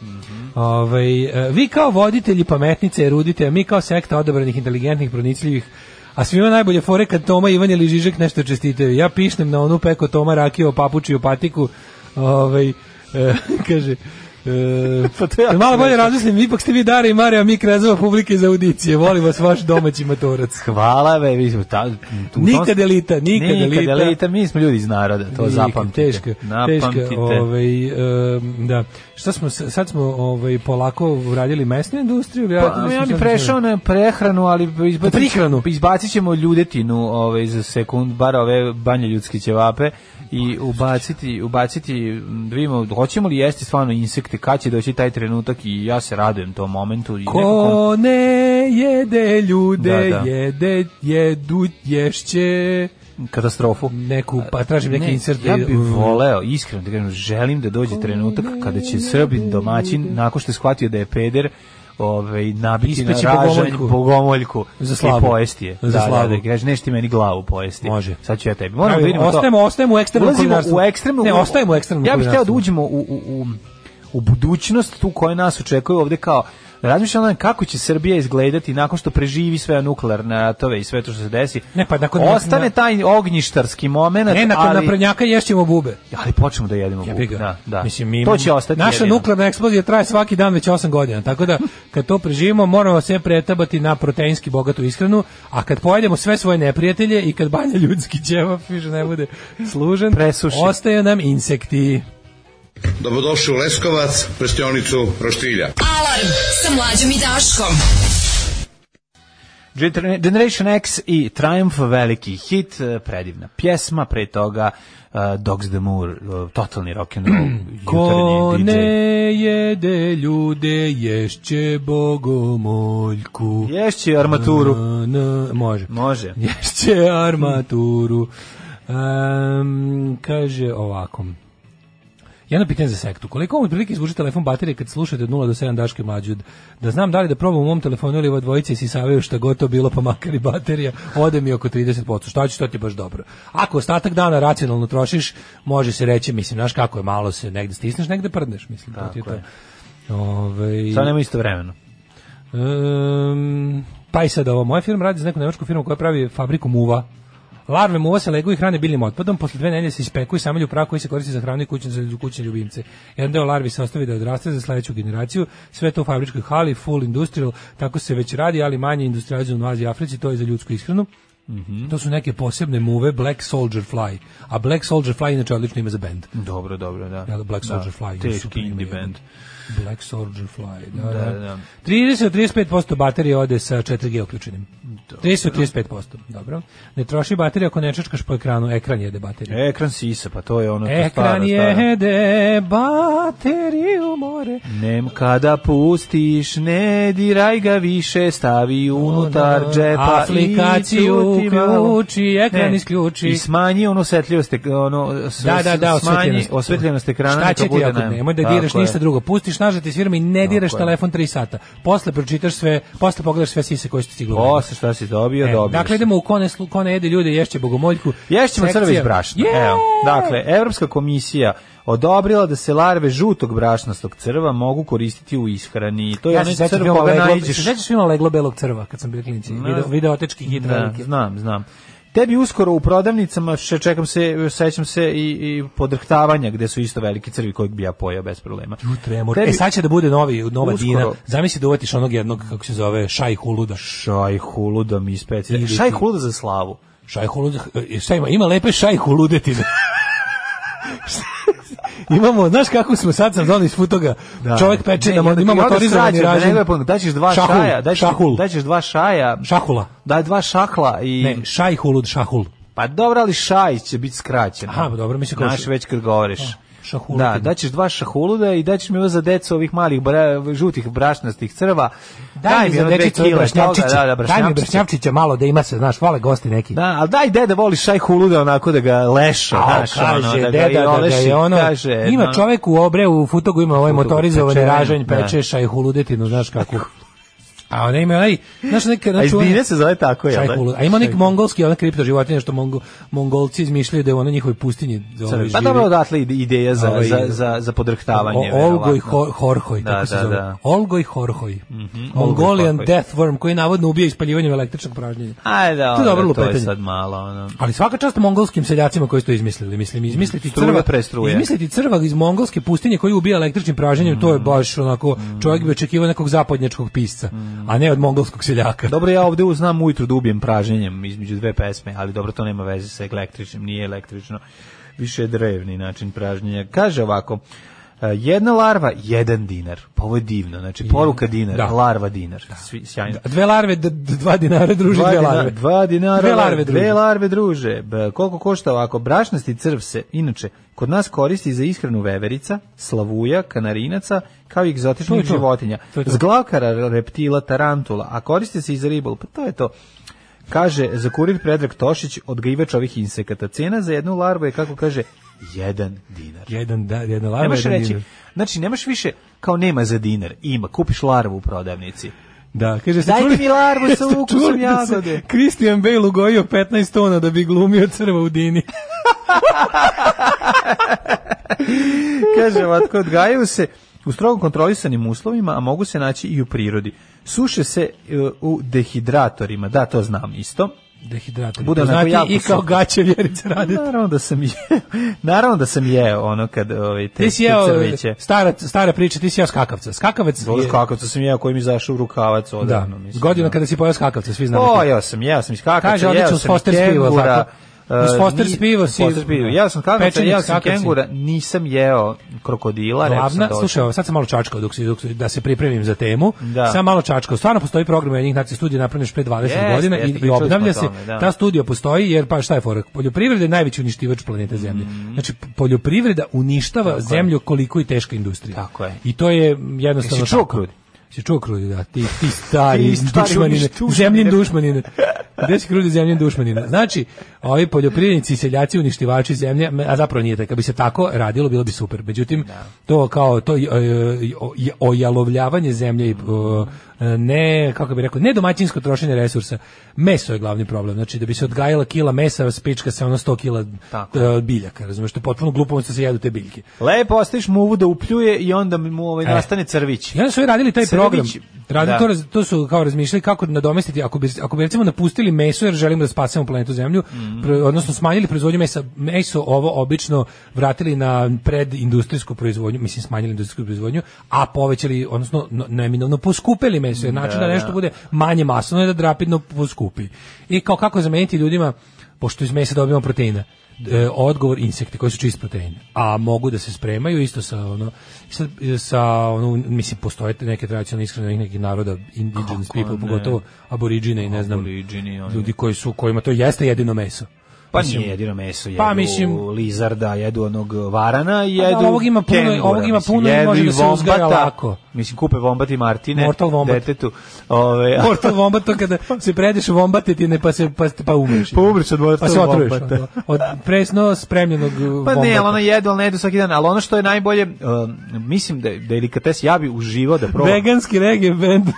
Speaker 7: Ovaj, e, vi kao voditelji pametnice erudite, a mi kao sekta odabranih, inteligentnih, pronicljivih, a svima najbolje fore kad Toma, Ivan ili Žižek nešto čestitaju. Ja pišnem na onu peko Toma Rakio, papučiju patiku, ovaj, e, kaže... E,
Speaker 6: Pa to je jako
Speaker 7: malo bolje
Speaker 6: smešno.
Speaker 7: razmislim, ipak ste vi Dara i Marija, a mi krezava publike za audicije. Volim vas vaš domaći matorac.
Speaker 6: Hvala, be, mi smo ta, tu,
Speaker 7: Nikad elita, nikad
Speaker 6: nikad
Speaker 7: elita.
Speaker 6: elita, mi smo ljudi iz naroda, to
Speaker 7: Nikad,
Speaker 6: zapamtite.
Speaker 7: Teška,
Speaker 6: Napamtite.
Speaker 7: teška, ovaj, em, da. Šta smo, s- sad smo ovaj, polako uradili mesnu industriju? Ja,
Speaker 6: Pa, ja bi prešao na prehranu, ali izbacit,
Speaker 7: Pa, Prihranu.
Speaker 6: izbacit ćemo ljudetinu ovaj, za sekund, bar ove banje ljudske ćevape i ubaciti, ubaciti m, da vidimo, hoćemo li jesti stvarno insekte, kad će doći taj trenutak i ja se radujem tom momentu. I nekako-
Speaker 7: Ko ne jede ljude,
Speaker 6: Da, da.
Speaker 7: jede, jedu, ješće
Speaker 6: katastrofu.
Speaker 7: neku, pa tražim neki insert.
Speaker 6: Ja bih voleo, iskreno da kažem, želim da dođe trenutak kada će Srbin domaćin, nakon što je shvatio da je peder, ovaj nabiti na
Speaker 7: Ispeći
Speaker 6: ražanj
Speaker 7: bogomoljku.
Speaker 6: bogomoljku
Speaker 7: Za slavu.
Speaker 6: i pojesti je.
Speaker 7: Za
Speaker 6: da,
Speaker 7: slavu.
Speaker 6: Da, da, kaže, nešto ti meni glavu pojesti.
Speaker 7: Može.
Speaker 6: Sad ću ja tebi. Moramo da vidimo to.
Speaker 7: ostajemo, ostajemo u ekstremnom
Speaker 6: Ulazimo
Speaker 7: kulinarstvu.
Speaker 6: u ekstremno.
Speaker 7: Ne, ostajemo u ekstremnom
Speaker 6: Ja bih hteo da
Speaker 7: kulinarstvu.
Speaker 6: uđemo u, u, u, u budućnost tu koja nas očekuje ovde kao Razmišljam o tome kako će Srbija izgledati nakon što preživi sve nuklearne ratove i sve to što se desi.
Speaker 7: Ne, pa nakon-
Speaker 6: Ostane taj ognjištarski moment,
Speaker 7: Ne, nakon
Speaker 6: ali,
Speaker 7: naprednjaka ješćemo bube.
Speaker 6: ali počnemo da jedemo
Speaker 7: Ja
Speaker 6: buk.
Speaker 7: bih ga.
Speaker 6: Da, da.
Speaker 7: Mislim, mi
Speaker 6: to
Speaker 7: imamo-
Speaker 6: će ostati
Speaker 7: Naša
Speaker 6: jedino.
Speaker 7: nuklearna eksplozija traje svaki dan već 8 godina, tako da kad to preživimo moramo sve pretabati na proteinski bogatu ishranu, a kad pojedemo sve svoje neprijatelje i kad banja ljudski ćevap više ne bude služen,
Speaker 6: Presuši.
Speaker 7: ostaju nam insekti.
Speaker 1: Dobrodošli u Leskovac, prštionicu Roštilja.
Speaker 5: Alarm sa mlađom i Daškom.
Speaker 6: Gener- Generation X i Triumph, veliki hit, eh, predivna pjesma, pre toga eh, Dogs the Moor, eh, totalni rock and roll,
Speaker 7: Ko
Speaker 6: jutarnji DJ.
Speaker 7: ne jede ljude, ješće bogomoljku.
Speaker 6: Ješće armaturu.
Speaker 7: Na, na, može.
Speaker 6: Može.
Speaker 7: Ješće armaturu. Em, kaže ovako. Jedno pitanje za sektu. Koliko vam otprilike izvuče telefon baterije kad slušate od 0 do 7 daške mlađe? Da znam da li da probam u mom telefonu ili ova dvojica i sisavaju šta god to bilo, pa makar i baterija, ode mi oko 30%. Šta će, to ti je baš dobro. Ako ostatak dana racionalno trošiš, može se reći, mislim, znaš kako je, malo se negde stisneš, negde prdneš, mislim. to ti je to.
Speaker 6: Tako je.
Speaker 7: Ovaj-
Speaker 6: Sad nema isto vremeno.
Speaker 7: Um, pa i sad ovo, moja firma radi za neku nemačku firmu koja pravi fabriku muva. Larve muva se legu i hrane biljnim otpadom, posle dve nedelje se ispeku i samelju prah koji se koristi za hranu i kućne, za kućne ljubimce. Jedan deo larvi se ostavi da odraste za sledeću generaciju, sve to u fabričkoj hali, full industrial, tako se već radi, ali manje industrializovano u Aziji i Africi, to je za ljudsku ishranu. To su neke posebne muve, Black Soldier Fly. A Black Soldier Fly inače odlično ime za band.
Speaker 6: Dobro, dobro, da.
Speaker 7: Jel, Black Soldier
Speaker 6: da.
Speaker 7: Fly.
Speaker 6: Teški
Speaker 7: super ime,
Speaker 6: indie
Speaker 7: jel?
Speaker 6: band.
Speaker 7: Black Soldier Fly, da, da.
Speaker 6: da.
Speaker 7: 30-35% baterije ode sa 4G uključenim. 30-35%, dobro. Ne troši baterija ako ne čačkaš po ekranu, ekran jede bateriju.
Speaker 6: Ekran sisa, pa to je ono to
Speaker 7: Ekran
Speaker 6: staro, staro.
Speaker 7: jede bateriju more.
Speaker 6: Nem kada pustiš, ne diraj ga više, stavi unutar
Speaker 7: Ono,
Speaker 6: džepa
Speaker 7: aplikaciju
Speaker 6: i ćuti malo.
Speaker 7: uključi, ekran
Speaker 6: Ne,
Speaker 7: isključi.
Speaker 6: I smanji onu osvetljivost, ek- ono, s-
Speaker 7: Da, da, da,
Speaker 6: smanji
Speaker 7: osvetljenost.
Speaker 6: osvetljenost ekrana.
Speaker 7: Šta
Speaker 6: neka
Speaker 7: će ti
Speaker 6: bude
Speaker 7: ako
Speaker 6: naj-
Speaker 7: nemoj da
Speaker 6: Tako
Speaker 7: diraš
Speaker 6: je.
Speaker 7: ništa drugo. Pustiš nažati s firme i ne diraš
Speaker 6: je.
Speaker 7: telefon 3 sata. Posle pročitaš sve, posle pogledaš sve sise koje su ti stigle. u mail.
Speaker 6: Posle šta si dobio,
Speaker 7: E,
Speaker 6: dobio.
Speaker 7: Dakle, idemo u kone, slu- kone jede ljude, ješće bogomoljku.
Speaker 6: Ješćemo
Speaker 7: Sekcija-
Speaker 6: crve iz brašna.
Speaker 7: Je!
Speaker 6: Evo. Dakle, Evropska komisija odobrila da se larve žutog brašnastog crva mogu koristiti u ishrani. To je
Speaker 7: Ja
Speaker 6: onaj
Speaker 7: se sećam
Speaker 6: crv
Speaker 7: filma
Speaker 6: koga
Speaker 7: Leglo-
Speaker 6: najđeš.
Speaker 7: se sećaš filma Leglo belog crva kad sam bio klinici. Video, video otečki hit
Speaker 6: Da,
Speaker 7: veliki.
Speaker 6: znam, znam. Tebi uskoro u prodavnicama, še čekam se, sećam se i, i podrhtavanja gde su isto veliki crvi kojeg bi ja pojao bez problema.
Speaker 7: U tremor.
Speaker 6: Tebi-
Speaker 7: E sad će da bude novi, nova
Speaker 6: Uskoro.
Speaker 7: Dina. Zamisli da uvatiš onog jednog, kako se zove, Šaj Huluda.
Speaker 6: Šaj huluda mi ispeci.
Speaker 7: Ili
Speaker 6: Šaj
Speaker 7: ti-
Speaker 6: huluda za slavu.
Speaker 7: Šaj Huluda, e, šta ima? Ima lepe Šaj Huludetine. imamo, znaš kako smo sad sam donio iz futoga, čovjek peče
Speaker 6: Ne,
Speaker 7: nam,
Speaker 6: i onda- i
Speaker 7: imamo
Speaker 6: onda
Speaker 7: torizovani
Speaker 6: srađe, Da
Speaker 7: ražen.
Speaker 6: nego je pun- daćeš dva
Speaker 7: Šahul,
Speaker 6: šaja, daćeš,
Speaker 7: šahul.
Speaker 6: daćeš dva šaja,
Speaker 7: Šahula.
Speaker 6: daj dva šahla i...
Speaker 7: Ne, Šaj Hulud, Šahul.
Speaker 6: Pa dobro, ali šaj će biti skraćen.
Speaker 7: Aha, pa dobro, mislim kao
Speaker 6: Znaš
Speaker 7: š-
Speaker 6: već kad govoriš.
Speaker 7: šahulutin.
Speaker 6: Da, daćeš dva šahuluda i daćeš mi ovo za decu ovih malih bra, žutih brašnastih crva.
Speaker 7: Daj mi
Speaker 6: ono dve
Speaker 7: dečicu
Speaker 6: kile
Speaker 7: brašnjavčića.
Speaker 6: toga, Da, da,
Speaker 7: Daj mi
Speaker 6: brašnjavčića.
Speaker 7: brašnjavčića malo da ima se, znaš, vole gosti neki.
Speaker 6: Da, ali daj deda voli šaj huluda onako da ga leša,
Speaker 7: A,
Speaker 6: znaš,
Speaker 7: kaže,
Speaker 6: ono, da ga
Speaker 7: deda,
Speaker 6: i oleši,
Speaker 7: je ono,
Speaker 6: kaže,
Speaker 7: ima
Speaker 6: no.
Speaker 7: čovek u obre, u futogu ima ovaj
Speaker 6: Futogu
Speaker 7: motorizovani
Speaker 6: pečenje,
Speaker 7: ražanj,
Speaker 6: da.
Speaker 7: pečeša i huludetinu, znaš kako. A ona ima onaj, znaš, neka...
Speaker 6: A
Speaker 7: ona
Speaker 6: iz
Speaker 7: čuvena-
Speaker 6: Dine se zove tako, jel?
Speaker 7: Šajkulu. A ima neki mongolski, ona kripto životinja što mongo, mongolci izmišljaju da je ona njihovoj pustinji ovaj,
Speaker 6: Pa
Speaker 7: živi.
Speaker 6: dobro, odatle ide- ideja za,
Speaker 7: Ovaj-
Speaker 6: za, za, za podrhtavanje.
Speaker 7: O- Olgoj
Speaker 6: verovatno.
Speaker 7: Ho- Horhoj,
Speaker 6: Da,
Speaker 7: tako se
Speaker 6: da,
Speaker 7: zove.
Speaker 6: da. Mhm.
Speaker 7: Olgoj Horhoj.
Speaker 6: Olgoj
Speaker 7: Mongolian
Speaker 6: Horhoj.
Speaker 7: Death Worm, koji navodno ubija ispaljivanjem električnog pražnjenja.
Speaker 6: Ajde,
Speaker 7: To je dobro
Speaker 6: dobro, to je
Speaker 7: lupetanje.
Speaker 6: sad malo, ono.
Speaker 7: Ali svaka čast mongolskim seljacima koji su to izmislili. Mislim, izmisliti
Speaker 6: Struja
Speaker 7: crvak,
Speaker 6: pre struje.
Speaker 7: izmisliti crvak iz mongolske pustinje koji ubija električnim pražnjenjem, to je
Speaker 6: Mm.
Speaker 7: baš onako, čovjek bi očekivao nekog zapadnjačkog pisca,
Speaker 6: Mm.
Speaker 7: a ne od mongolskog seljaka.
Speaker 6: Dobro, ja ovde uznam ujutru da ubijem pražnjenjem između dve pesme, ali dobro, to nema veze sa električnim, nije električno. Više je drevni način pražnjenja. Kaže ovako, e, jedna larva, jedan dinar. Pa ovo je divno, znači poruka dinar,
Speaker 7: Da.
Speaker 6: larva dinar. Svi, sjajno.
Speaker 7: Dve larve, d- d- dva dinara druži
Speaker 6: Dva
Speaker 7: dve
Speaker 6: dina-
Speaker 7: larve.
Speaker 6: Dva dinara,
Speaker 7: Dve larve druži.
Speaker 6: dve larve druže. B, koliko košta ovako? Brašnasti crv se, inače, kod nas koristi za ishranu veverica, slavuja, kanarinaca, kao i
Speaker 7: To je
Speaker 6: egzotičnih
Speaker 7: to.
Speaker 6: životinja.
Speaker 7: To je to.
Speaker 6: Zglavkara, reptila, tarantula, a koriste se i za ribol. Pa to je to. Kaže, za kurir Predrag Tošić, odgajivač ovih insekata. Cena za jednu larvu je, kako kaže, jedan dinar.
Speaker 7: Jedan, da, jedna larva,
Speaker 6: Nemaš
Speaker 7: jedan
Speaker 6: reći,
Speaker 7: dinar.
Speaker 6: znači nemaš više kao nema za dinar, ima, kupiš larvu u prodavnici.
Speaker 7: Da, kaže se
Speaker 6: Dajte mi larvu sa ukusom jagode.
Speaker 7: Kristijan Bale ugojio 15 tona da bi glumio crva u dini.
Speaker 6: Kaže, vatko, odgajaju se u strogo kontrolisanim uslovima, a mogu se naći i u prirodi. Suše se e, u dehidratorima, da, to znam isto.
Speaker 7: Dehidrator.
Speaker 6: Bude
Speaker 7: Bude
Speaker 6: onako
Speaker 7: znate
Speaker 6: jako
Speaker 7: i kao
Speaker 6: suho.
Speaker 7: gaće vjerice radite.
Speaker 6: Naravno da sam jeo, naravno da sam jeo ono kad ovaj, te
Speaker 7: Ti si jeo, e,
Speaker 6: crveće.
Speaker 7: stara, stara priča, ti si jeo skakavca. Skakavac je...
Speaker 6: Voliš kakavca sam jeo koji mi zašao u rukavac
Speaker 7: Da,
Speaker 6: odavno. ono, mislim,
Speaker 7: godina
Speaker 6: da.
Speaker 7: kada si pojeo skakavca, svi znamo.
Speaker 6: O,
Speaker 7: kako.
Speaker 6: jeo sam, jeo sam iz kakavca,
Speaker 7: Kaže,
Speaker 6: jeo
Speaker 7: odlično,
Speaker 6: sam
Speaker 7: uz Foster's pivo,
Speaker 6: kengura.
Speaker 7: tako? Uz
Speaker 6: e,
Speaker 7: Foster's
Speaker 6: ni-
Speaker 7: pivo si-
Speaker 6: Foster's pivo. Jeo sam kakavca,
Speaker 7: Pečenik
Speaker 6: jeo
Speaker 7: s
Speaker 6: sam
Speaker 7: kakavcem.
Speaker 6: kengura, nisam jeo krokodila, rekao sam
Speaker 7: Glavna,
Speaker 6: da hoću.
Speaker 7: slušaj, ovo, sad sam malo čačkao dok, si- dok si- da se pripremim za temu.
Speaker 6: Da.
Speaker 7: Sam malo čačkao. Stvarno postoji program jednih nacija studija napravljen još pre 20
Speaker 6: Jeste,
Speaker 7: godina
Speaker 6: jeste,
Speaker 7: i, i
Speaker 6: pričali smo
Speaker 7: obnavlja
Speaker 6: o
Speaker 7: se.
Speaker 6: tome, da.
Speaker 7: Ta studija postoji jer pa šta je forak? Poljoprivreda je najveći uništivač planete Zemlje.
Speaker 6: Mhm.
Speaker 7: Znači poljoprivreda uništava zemlju koliko i teška industrija.
Speaker 6: Tako je.
Speaker 7: I to je jednostavno
Speaker 6: Jesi čuo
Speaker 7: tako.
Speaker 6: krudi?
Speaker 7: Si čuo krudi, da. Ti, ti stari,
Speaker 6: Ti stari
Speaker 7: dušmanine,
Speaker 6: uništušmanine.
Speaker 7: zemljin dušmanine. Gde si krudi zemljin dušmanine? Znači, ovi poljoprivrednici i seljaci uništivači zemlje, a zapravo nije tako. Kad bi se tako radilo, bilo bi super. Međutim, to kao to e, e, ojalovljavanje zemlje i e, ne, kako bih rekao, ne domaćinsko trošenje resursa. Meso je glavni problem. Znači, da bi se odgajala kila mesa, spička se ono 100 kila
Speaker 6: Tako.
Speaker 7: e, biljaka. Razumeš, to je potpuno glupo, onda se jedu te biljke.
Speaker 6: Lepo ostaviš muvu da upljuje i onda mu ovaj
Speaker 7: E.
Speaker 6: nastane crvić.
Speaker 7: I onda su ovi radili taj
Speaker 6: Crvić,
Speaker 7: program. Radili
Speaker 6: da.
Speaker 7: to, raz- to su kao razmišljali kako nadomestiti ako bi ako bi recimo napustili meso jer želimo da spasemo planetu Zemlju, pre- odnosno smanjili proizvodnju mesa, meso ovo obično vratili na predindustrijsku proizvodnju, mislim smanjili industrijsku proizvodnju, a povećali odnosno no- neminovno poskupeli meso, jer način da, nešto bude manje masno je da rapidno poskupi. I kao kako zameniti ljudima pošto iz mesa dobijamo proteina. E, odgovor insekti koji su čist protein, a mogu da se spremaju isto sa ono sa, sa ono mislim postoje te neke tradicionalne ishrane nekih naroda indigenous people pogotovo aboriđine i ne znam
Speaker 6: Aboriđini, oni.
Speaker 7: ljudi koji su kojima to jeste jedino meso.
Speaker 6: Pa nije jedino meso, jedu
Speaker 7: Pa, mislim-
Speaker 6: lizarda, jedu onog varana, i
Speaker 7: A da,
Speaker 6: jedu
Speaker 7: ovog ima puno-
Speaker 6: kengura,
Speaker 7: ovog ima
Speaker 6: mislim,
Speaker 7: puno i
Speaker 6: jedu
Speaker 7: može da se
Speaker 6: vombata.
Speaker 7: uzgaja lako.
Speaker 6: Mislim, kupe vombati Martine,
Speaker 7: Mortal wombat.
Speaker 6: detetu. Ove,
Speaker 7: Mortal wombat to kada se predeš vombatetine pa se pa, pa umreš.
Speaker 6: Pa umreš od mortal
Speaker 7: Pa se otruješ.
Speaker 6: wombata.
Speaker 7: ono, Od presno spremljenog
Speaker 6: pa ne,
Speaker 7: wombata.
Speaker 6: ali ono jedu, ali ne jedu svaki dan. Ali ono što je najbolje, um, mislim da je delikates, ja bi uživao da probam.
Speaker 7: Veganski reggae band,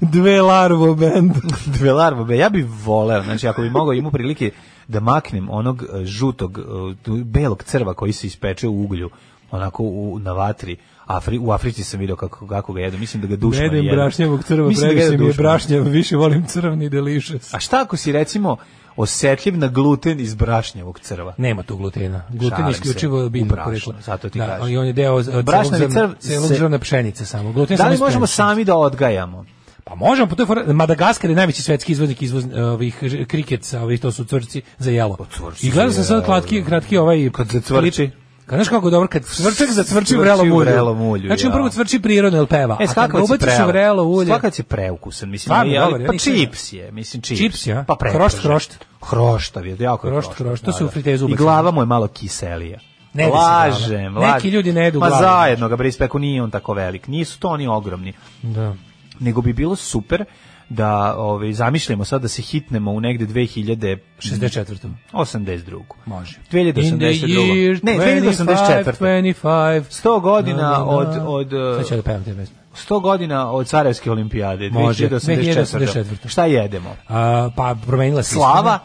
Speaker 7: dve larvo band.
Speaker 6: Dve larve, be, ja bi voleo, znači ako bi mogao imao prilike da maknem onog e, žutog, e, tu belog crva koji se ispeče u uglju, onako u, na vatri, Afri, u Africi sam video kako, kako ga jedu, mislim da ga dušman
Speaker 7: Jedem
Speaker 6: jedu.
Speaker 7: brašnjavog crva,
Speaker 6: Mislim da ga
Speaker 7: previše
Speaker 6: jedu
Speaker 7: mi je
Speaker 6: dušman.
Speaker 7: brašnjav, više volim crvni delišes.
Speaker 6: A šta ako si recimo osetljiv na gluten iz brašnjavog crva?
Speaker 7: Nema tu glutena. Gluten je
Speaker 6: Šalim se.
Speaker 7: isključivo biljno
Speaker 6: Uprašno,
Speaker 7: poreklo.
Speaker 6: zato ti
Speaker 7: da,
Speaker 6: kažem.
Speaker 7: I on je deo od celog
Speaker 6: Brašnavi
Speaker 7: zrna,
Speaker 6: crv
Speaker 7: celog
Speaker 6: se-
Speaker 7: zrna pšenice samo. Gluten
Speaker 6: Da
Speaker 7: samo
Speaker 6: li
Speaker 7: iz
Speaker 6: možemo
Speaker 7: pšenice.
Speaker 6: sami da odgajamo?
Speaker 7: Pa možemo, po toj fora- Madagaskar je najveći svetski izvoznik izvoz ovih ž- krikeca, ovih to su cvrci za jelo.
Speaker 6: Pa cvrci
Speaker 7: I gledao
Speaker 6: za
Speaker 7: sam sad
Speaker 6: jelo,
Speaker 7: kratki, kratki ovaj...
Speaker 6: Kad zacvrči.
Speaker 7: klip. Kad znaš kako je dobro, kad cvrčak zacvrči
Speaker 6: Cvrči
Speaker 7: u vrelom
Speaker 6: u
Speaker 7: ulju.
Speaker 6: vrelom ulju,
Speaker 7: Znači on
Speaker 6: ja.
Speaker 7: prvo cvrči prirodno, jel peva.
Speaker 6: E,
Speaker 7: A kad ga
Speaker 6: skakavac je
Speaker 7: ubaciš u
Speaker 6: preukusan.
Speaker 7: vrelo ulje...
Speaker 6: Skakavac je preukusan, mislim.
Speaker 7: Stvarno,
Speaker 6: ali- ali-
Speaker 7: dobar je, ja
Speaker 6: pa
Speaker 7: nisam
Speaker 6: čips je, mislim čips.
Speaker 7: Čips je, a?
Speaker 6: Pa pretražen.
Speaker 7: Hrošt, hrošt.
Speaker 6: Hroštav je, jako je
Speaker 7: Hrošt, hrošt, to su u fritezu
Speaker 6: I
Speaker 7: ubacili.
Speaker 6: glava mu je malo kiselija.
Speaker 7: Ne jede se
Speaker 6: lažem,
Speaker 7: glava.
Speaker 6: lažem.
Speaker 7: Neki ljudi ne jedu
Speaker 6: Ma
Speaker 7: glavu.
Speaker 6: zajedno ga bre ispeku, nije on tako velik. Nisu to oni ogromni.
Speaker 7: Da.
Speaker 6: Nego bi bilo super da ovaj, zamišljamo sad da se hitnemo u negde 2000
Speaker 7: 64.
Speaker 6: 82.
Speaker 7: Može.
Speaker 6: 2082. Ne, 2084.
Speaker 7: 25.
Speaker 6: 100 godina od, od,
Speaker 7: Sad ću ja
Speaker 6: eh,
Speaker 7: da pevam te pesme.
Speaker 6: 100 godina od Sarajevske olimpijade.
Speaker 7: Može,
Speaker 6: 2084.
Speaker 7: 2084.
Speaker 6: Šta jedemo?
Speaker 7: A, pa promenila se
Speaker 6: Slava?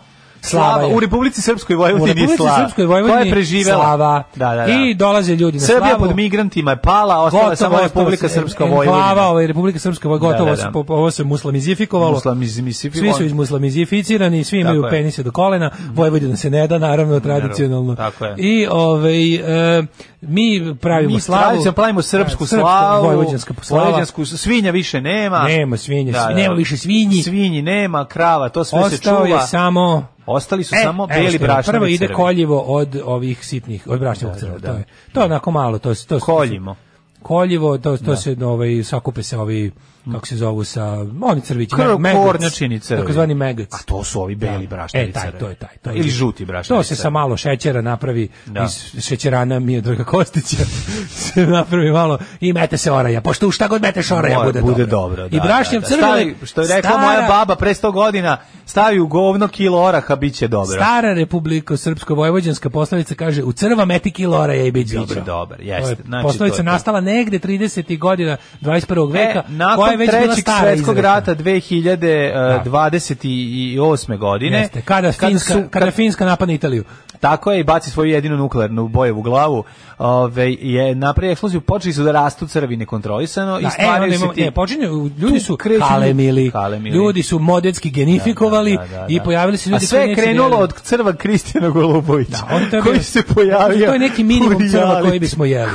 Speaker 7: Slava
Speaker 6: Slava
Speaker 7: je.
Speaker 6: u Republici Srpskoj
Speaker 7: istina. U
Speaker 6: Vojvodini je
Speaker 7: Republici
Speaker 6: slava.
Speaker 7: Srpskoj Vojvodini
Speaker 6: To je preživela.
Speaker 7: Slava.
Speaker 6: Da, da, da.
Speaker 7: I dolaze ljudi na
Speaker 6: Srbija
Speaker 7: slavu.
Speaker 6: pod migrantima je pala, ostala je samo
Speaker 7: ostalo
Speaker 6: Republika
Speaker 7: se-
Speaker 6: Srpska
Speaker 7: enklava,
Speaker 6: Vojvodina.
Speaker 7: ovaj, Republika Srpska Vojvodina,
Speaker 6: Da,
Speaker 7: gotovo
Speaker 6: da, da.
Speaker 7: se po- po- ovo se muslimizifikovalo.
Speaker 6: Muslimizifikovalo.
Speaker 7: Svi su izmuslimizificirani, svi imaju
Speaker 6: Tako je.
Speaker 7: penise do kolena, Vojvodina se ne da, naravno, tradicionalno.
Speaker 6: Tako je.
Speaker 7: I ovaj, e, mi pravimo
Speaker 6: Mi
Speaker 7: slavu.
Speaker 6: tradicionalno pravimo srpsku
Speaker 7: Da, srpska,
Speaker 6: slavu.
Speaker 7: Vojvođanska slava.
Speaker 6: Vojvođansku, svinja više nema.
Speaker 7: Nema svinja, svi- nema više svinji.
Speaker 6: Svinji nema, krava, to sve se čuva.
Speaker 7: Ostao je samo
Speaker 6: Ostali su
Speaker 7: E,
Speaker 6: samo
Speaker 7: evo
Speaker 6: beli
Speaker 7: što je,
Speaker 6: brašnovi
Speaker 7: Prvo ide
Speaker 6: crvi.
Speaker 7: koljivo od ovih sitnih, od brašnog crva.
Speaker 6: da.
Speaker 7: To je, to je onako malo, to se to se-
Speaker 6: Koljimo.
Speaker 7: Koljivo, to to se ovaj sakupe se ovi kako se zovu sa oni crvići,
Speaker 6: Krv-
Speaker 7: me- megac,
Speaker 6: kornjačini crvi.
Speaker 7: Takozvani megac.
Speaker 6: A to su ovi beli brašnovi
Speaker 7: E, taj,
Speaker 6: crvi.
Speaker 7: to je taj. To je
Speaker 6: Ili
Speaker 7: žuti.
Speaker 6: žuti brašnovi
Speaker 7: To se
Speaker 6: crvi.
Speaker 7: sa malo šećera napravi
Speaker 6: Da.
Speaker 7: iz šećerana Mijedraga Kostića. se napravi malo i mete se oraja. Pošto u šta god meteš oraja
Speaker 6: Mora-
Speaker 7: bude,
Speaker 6: bude
Speaker 7: dobro.
Speaker 6: dobro.
Speaker 7: I brašnjev crvi,
Speaker 6: Stavi, što je rekla moja baba pre 100 godina, stavi u govno kilo oraha, bit će dobro.
Speaker 7: Stara republika srpsko-vojvođanska poslovica kaže u crva meti kilo oraja i biće dobro.
Speaker 6: Biće dobar,
Speaker 7: To
Speaker 6: jeste.
Speaker 7: je
Speaker 6: Znači,
Speaker 7: poslovica
Speaker 6: to je to.
Speaker 7: nastala negde 30. godina 21. veka, koja
Speaker 6: E,
Speaker 7: je
Speaker 6: nakon
Speaker 7: već bila
Speaker 6: trećeg
Speaker 7: stara
Speaker 6: svetskog
Speaker 7: izreka.
Speaker 6: rata e, 2028. godine
Speaker 7: Jeste, kada, Finska,
Speaker 6: su-
Speaker 7: kada Finska napada Italiju.
Speaker 6: Tako je i baci svoju jedinu nuklearnu bojevu glavu. Ove, je napravio eksploziju, počeli su da rastu crvi nekontrolisano i
Speaker 7: Da, e,
Speaker 6: stvaraju
Speaker 7: onda
Speaker 6: se
Speaker 7: imamo,
Speaker 6: ti...
Speaker 7: ne, počinje, ljudi
Speaker 6: Tu
Speaker 7: su
Speaker 6: kreću ljudi-
Speaker 7: kalemili,
Speaker 6: kalemili.
Speaker 7: ljudi su modetski genifikovali
Speaker 6: Da, da, da, da.
Speaker 7: i pojavili se
Speaker 6: A
Speaker 7: ljudi
Speaker 6: sve
Speaker 7: koji
Speaker 6: je
Speaker 7: neće
Speaker 6: krenulo
Speaker 7: da-
Speaker 6: od crva Kristijana Golubovića,
Speaker 7: Da, on to je
Speaker 6: koji
Speaker 7: bio-
Speaker 6: se pojavio.
Speaker 7: To je neki minimum
Speaker 6: u
Speaker 7: crva koji
Speaker 6: realitiju.
Speaker 7: bismo jeli.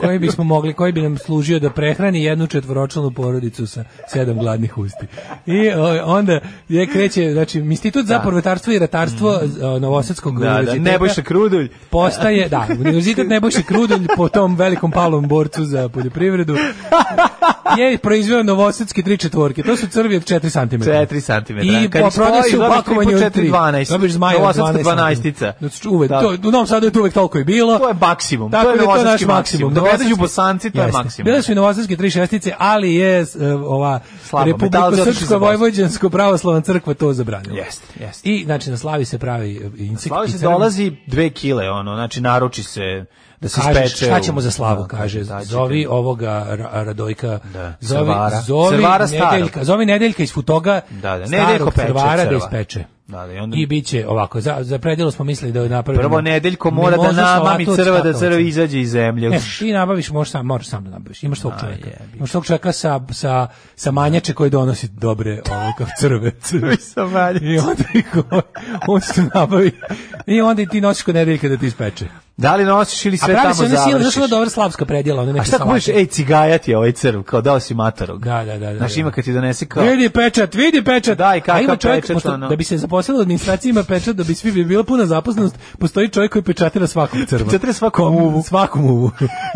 Speaker 7: koji bismo mogli, koji bi nam služio da prehrani jednu četvoročlanu porodicu sa sedam gladnih usti. I o, onda je kreće, znači, Institut za proletarstvo i ratarstvo o, Novosadskog
Speaker 6: Mm. Da, da,
Speaker 7: univerziteta
Speaker 6: Nebojša Krudulj.
Speaker 7: postaje, da, Univerzitet Nebojše Krudulj po tom velikom palom borcu za poljoprivredu je proizveo novosadske tri četvorke. To su crvi od 4 cm.
Speaker 6: 4 cm.
Speaker 7: I po prodaju se u pakovanju od 3.
Speaker 6: 12.
Speaker 7: Dobiš zmaja od 12.
Speaker 6: 12.
Speaker 7: Znači, uvek, to, u Novom Sadu je to uvek toliko i bilo.
Speaker 6: To je maksimum, to
Speaker 7: Tako
Speaker 6: je
Speaker 7: da
Speaker 6: novosadski
Speaker 7: naš
Speaker 6: maksimum. Dok ne dođu Bosanci, to je
Speaker 7: Jeste.
Speaker 6: maksimum.
Speaker 7: Bile su i novosadske tri šestice, ali je e, ova
Speaker 6: Slabo, metalci otišli za
Speaker 7: Republiko-Srpska
Speaker 6: Bosnu.
Speaker 7: vojvođansko pravoslavna crkva to zabranila.
Speaker 6: Jeste, jeste.
Speaker 7: I, znači, na slavi se pravi e, insekt.
Speaker 6: Slavi
Speaker 7: i
Speaker 6: se
Speaker 7: crven-
Speaker 6: dolazi dve kile, ono, znači naruči se da se
Speaker 7: Kažeš,
Speaker 6: ispeče.
Speaker 7: šta
Speaker 6: u-
Speaker 7: ćemo za slavu,
Speaker 6: Da,
Speaker 7: kaže,
Speaker 6: da, da,
Speaker 7: zovi ovoga Ra- Radojka,
Speaker 6: Da,
Speaker 7: zovi,
Speaker 6: Crvara.
Speaker 7: zovi,
Speaker 6: Crvara starog.
Speaker 7: nedeljka, zovi nedeljka iz Futoga,
Speaker 6: Da, da, Nedeljko
Speaker 7: starog
Speaker 6: peče
Speaker 7: crvara da
Speaker 6: crva.
Speaker 7: ispeče.
Speaker 6: Da, da, i onda-
Speaker 7: I bit će ovako, za, za predjelo smo mislili da je napravimo.
Speaker 6: Prvo nedeljko mora da namami crva, da crva izađe iz zemlje.
Speaker 7: Ne, ti nabaviš, možeš sam, moraš sam da nabaviš. Imaš tog čovjeka. Imaš tog čovjeka sa, sa, sa manjače koji donosi dobre ovo, kao crve. crve.
Speaker 6: sa manjače.
Speaker 7: I onda ih on- on se to nabavi. I onda i ti nosiš kod nedeljka da ti ispeče.
Speaker 6: Da li nosiš ili
Speaker 7: A
Speaker 6: sve tamo
Speaker 7: pravi se onda silna,
Speaker 6: završiš?
Speaker 7: znaš ona dobra slavska predjela, ona neka
Speaker 6: A šta budeš, ej, cigajat je ovaj crv, kao dao si matarog.
Speaker 7: Da, da, da. da
Speaker 6: Znaš,
Speaker 7: da.
Speaker 6: ima kad ti donese kao...
Speaker 7: Vidi pečat, vidi pečat.
Speaker 6: Da, i kakav
Speaker 7: A ima čovjek,
Speaker 6: pečat,
Speaker 7: pošto-
Speaker 6: ono.
Speaker 7: Da bi se zaposlilo u administraciji ima pečat, da bi svi bi bila puna zaposlenost, postoji čovjek koji pečatira svakog crva.
Speaker 6: Pečatira svakom
Speaker 7: Kom-
Speaker 6: uvu.
Speaker 7: Svakom uvu.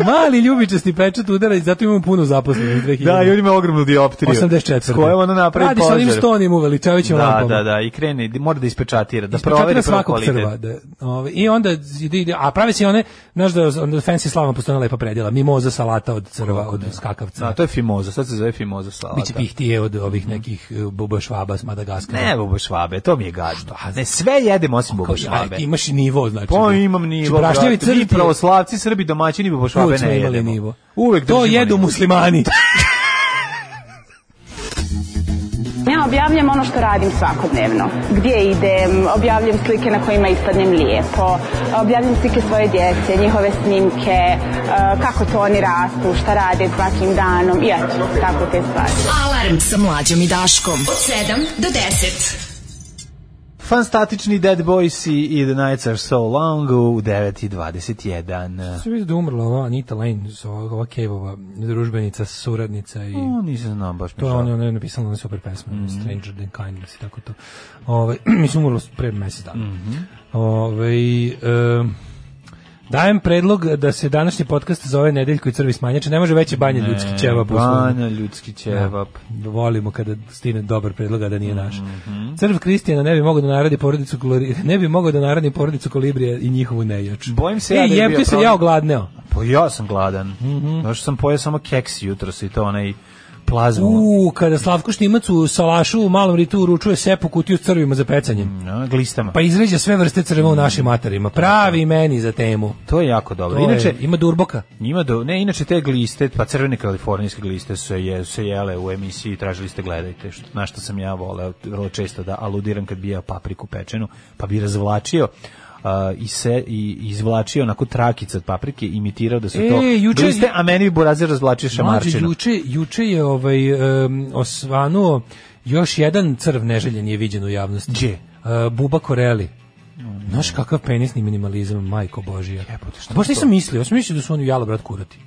Speaker 7: Mali ljubičasti pečat udara i zato imamo puno zaposlenih. 2000.
Speaker 6: Da, i on ima ogromnu dioptriju.
Speaker 7: 84.
Speaker 6: S kojom ona napravi
Speaker 7: Radi sa onim
Speaker 6: požar.
Speaker 7: stonim uveličavajućim
Speaker 6: Da,
Speaker 7: lampama.
Speaker 6: da, da, i krene, mora da ispečatira, da
Speaker 7: Ispečatira
Speaker 6: proveri prvo
Speaker 7: svakog
Speaker 6: kvalitet.
Speaker 7: crva. Da, ovaj, I onda, ide- ide- a prave se i one, znaš da onda fancy slavno postoje ona lepa predjela, mimoza salata od crva, od skakavca.
Speaker 6: Da, to je Fimoza, sad se zove Fimoza slava.
Speaker 7: Biće pihtije od ovih nekih e, buba švaba s Madagaskara.
Speaker 6: Ne, bubu švabe, to mi je gadno. Ne, sve jedemo osim bubu
Speaker 7: Kao, aj,
Speaker 6: švabe.
Speaker 7: ti imaš i nivo, znači.
Speaker 6: Pa imam nivo, brate.
Speaker 7: crti,
Speaker 6: Mi pravoslavci, Srbi, domaćini, bubu švabe
Speaker 7: uvek smo
Speaker 6: ne
Speaker 7: imali
Speaker 6: jedemo.
Speaker 7: nivo.
Speaker 6: Uvek
Speaker 7: to
Speaker 6: držimo
Speaker 7: jedu
Speaker 6: nivo.
Speaker 7: muslimani.
Speaker 5: Ja objavljam ono što radim svakodnevno. Gdje idem, objavljam slike na kojima ispadnem lijepo, objavljam slike svoje djece, njihove snimke, eh, kako to oni rastu, šta rade svakim danom i eto, tako te stvari.
Speaker 8: Alarm sa mlađom i Daškom. Od 7 do 10.
Speaker 6: Fanstatični Dead Boys i The Nights Are So Long u 9.21.
Speaker 7: Sve vidi da umrla ova Anita Lane, s- ova ova Kevova družbenica, suradnica i...
Speaker 6: O, nisam znao baš mi
Speaker 7: To je ono
Speaker 6: žao.
Speaker 7: ona, ona je napisala na super pesme,
Speaker 6: Mm.
Speaker 7: Stranger Than Kindness i tako to. Ove, mislim, umrlo pre mesec dana.
Speaker 6: Mhm.
Speaker 7: Ovaj, em, dajem predlog da se današnji podcast zove Nedeljko i crvi smanjače. Ne može veće banje ljudski ćevap. uslovno.
Speaker 6: Banja, ljudski ćevap.
Speaker 7: volimo kada stine dobar predlog a da nije naš.
Speaker 6: Mhm.
Speaker 7: Crv Kristijana ne bi mogao da naradi porodicu kolori, ne bi mogao da naradi porodicu kolibrije i njihovu nejač.
Speaker 6: Bojim se
Speaker 7: e,
Speaker 6: ja da je
Speaker 7: jebte
Speaker 6: bio
Speaker 7: se
Speaker 6: problem.
Speaker 7: ja ogladneo. Mhm.
Speaker 6: Pa ja sam gladan. Znaš, sam pojeo samo keks jutros i to onaj plazma.
Speaker 7: U, kada Slavko Štimac u Salašu u malom ritu uručuje sepu kutiju s crvima za pecanje.
Speaker 6: No, glistama.
Speaker 7: Pa izređa sve vrste crva u našim materima. Pravi meni za temu.
Speaker 6: to je jako dobro.
Speaker 7: To je-
Speaker 6: Inače,
Speaker 7: ima durboka.
Speaker 6: Njima do, ne, inače te gliste, pa crvene kalifornijske gliste su se, je, se jele u emisiji, tražili ste gledajte, što, na što sam ja voleo vrlo često da aludiram kad bi jeo papriku pečenu, pa bi razvlačio a, i se i izvlačio onako trakice od paprike, imitirao da su
Speaker 7: E,
Speaker 6: to
Speaker 7: juče-
Speaker 6: gliste, a meni bi burazir razvlačio
Speaker 7: Mlađe,
Speaker 6: šamarčinu.
Speaker 7: juče, juče je ovaj, em, osvanuo još jedan crv neželjen je viđen u javnosti.
Speaker 6: Gdje?
Speaker 7: E, Buba Koreli. Znaš kakav penisni minimalizam, majko Božija.
Speaker 6: Jebote, šta
Speaker 7: A Baš
Speaker 6: je to?
Speaker 7: nisam mislio, ja sam mislio da su oni jalo brat kurati.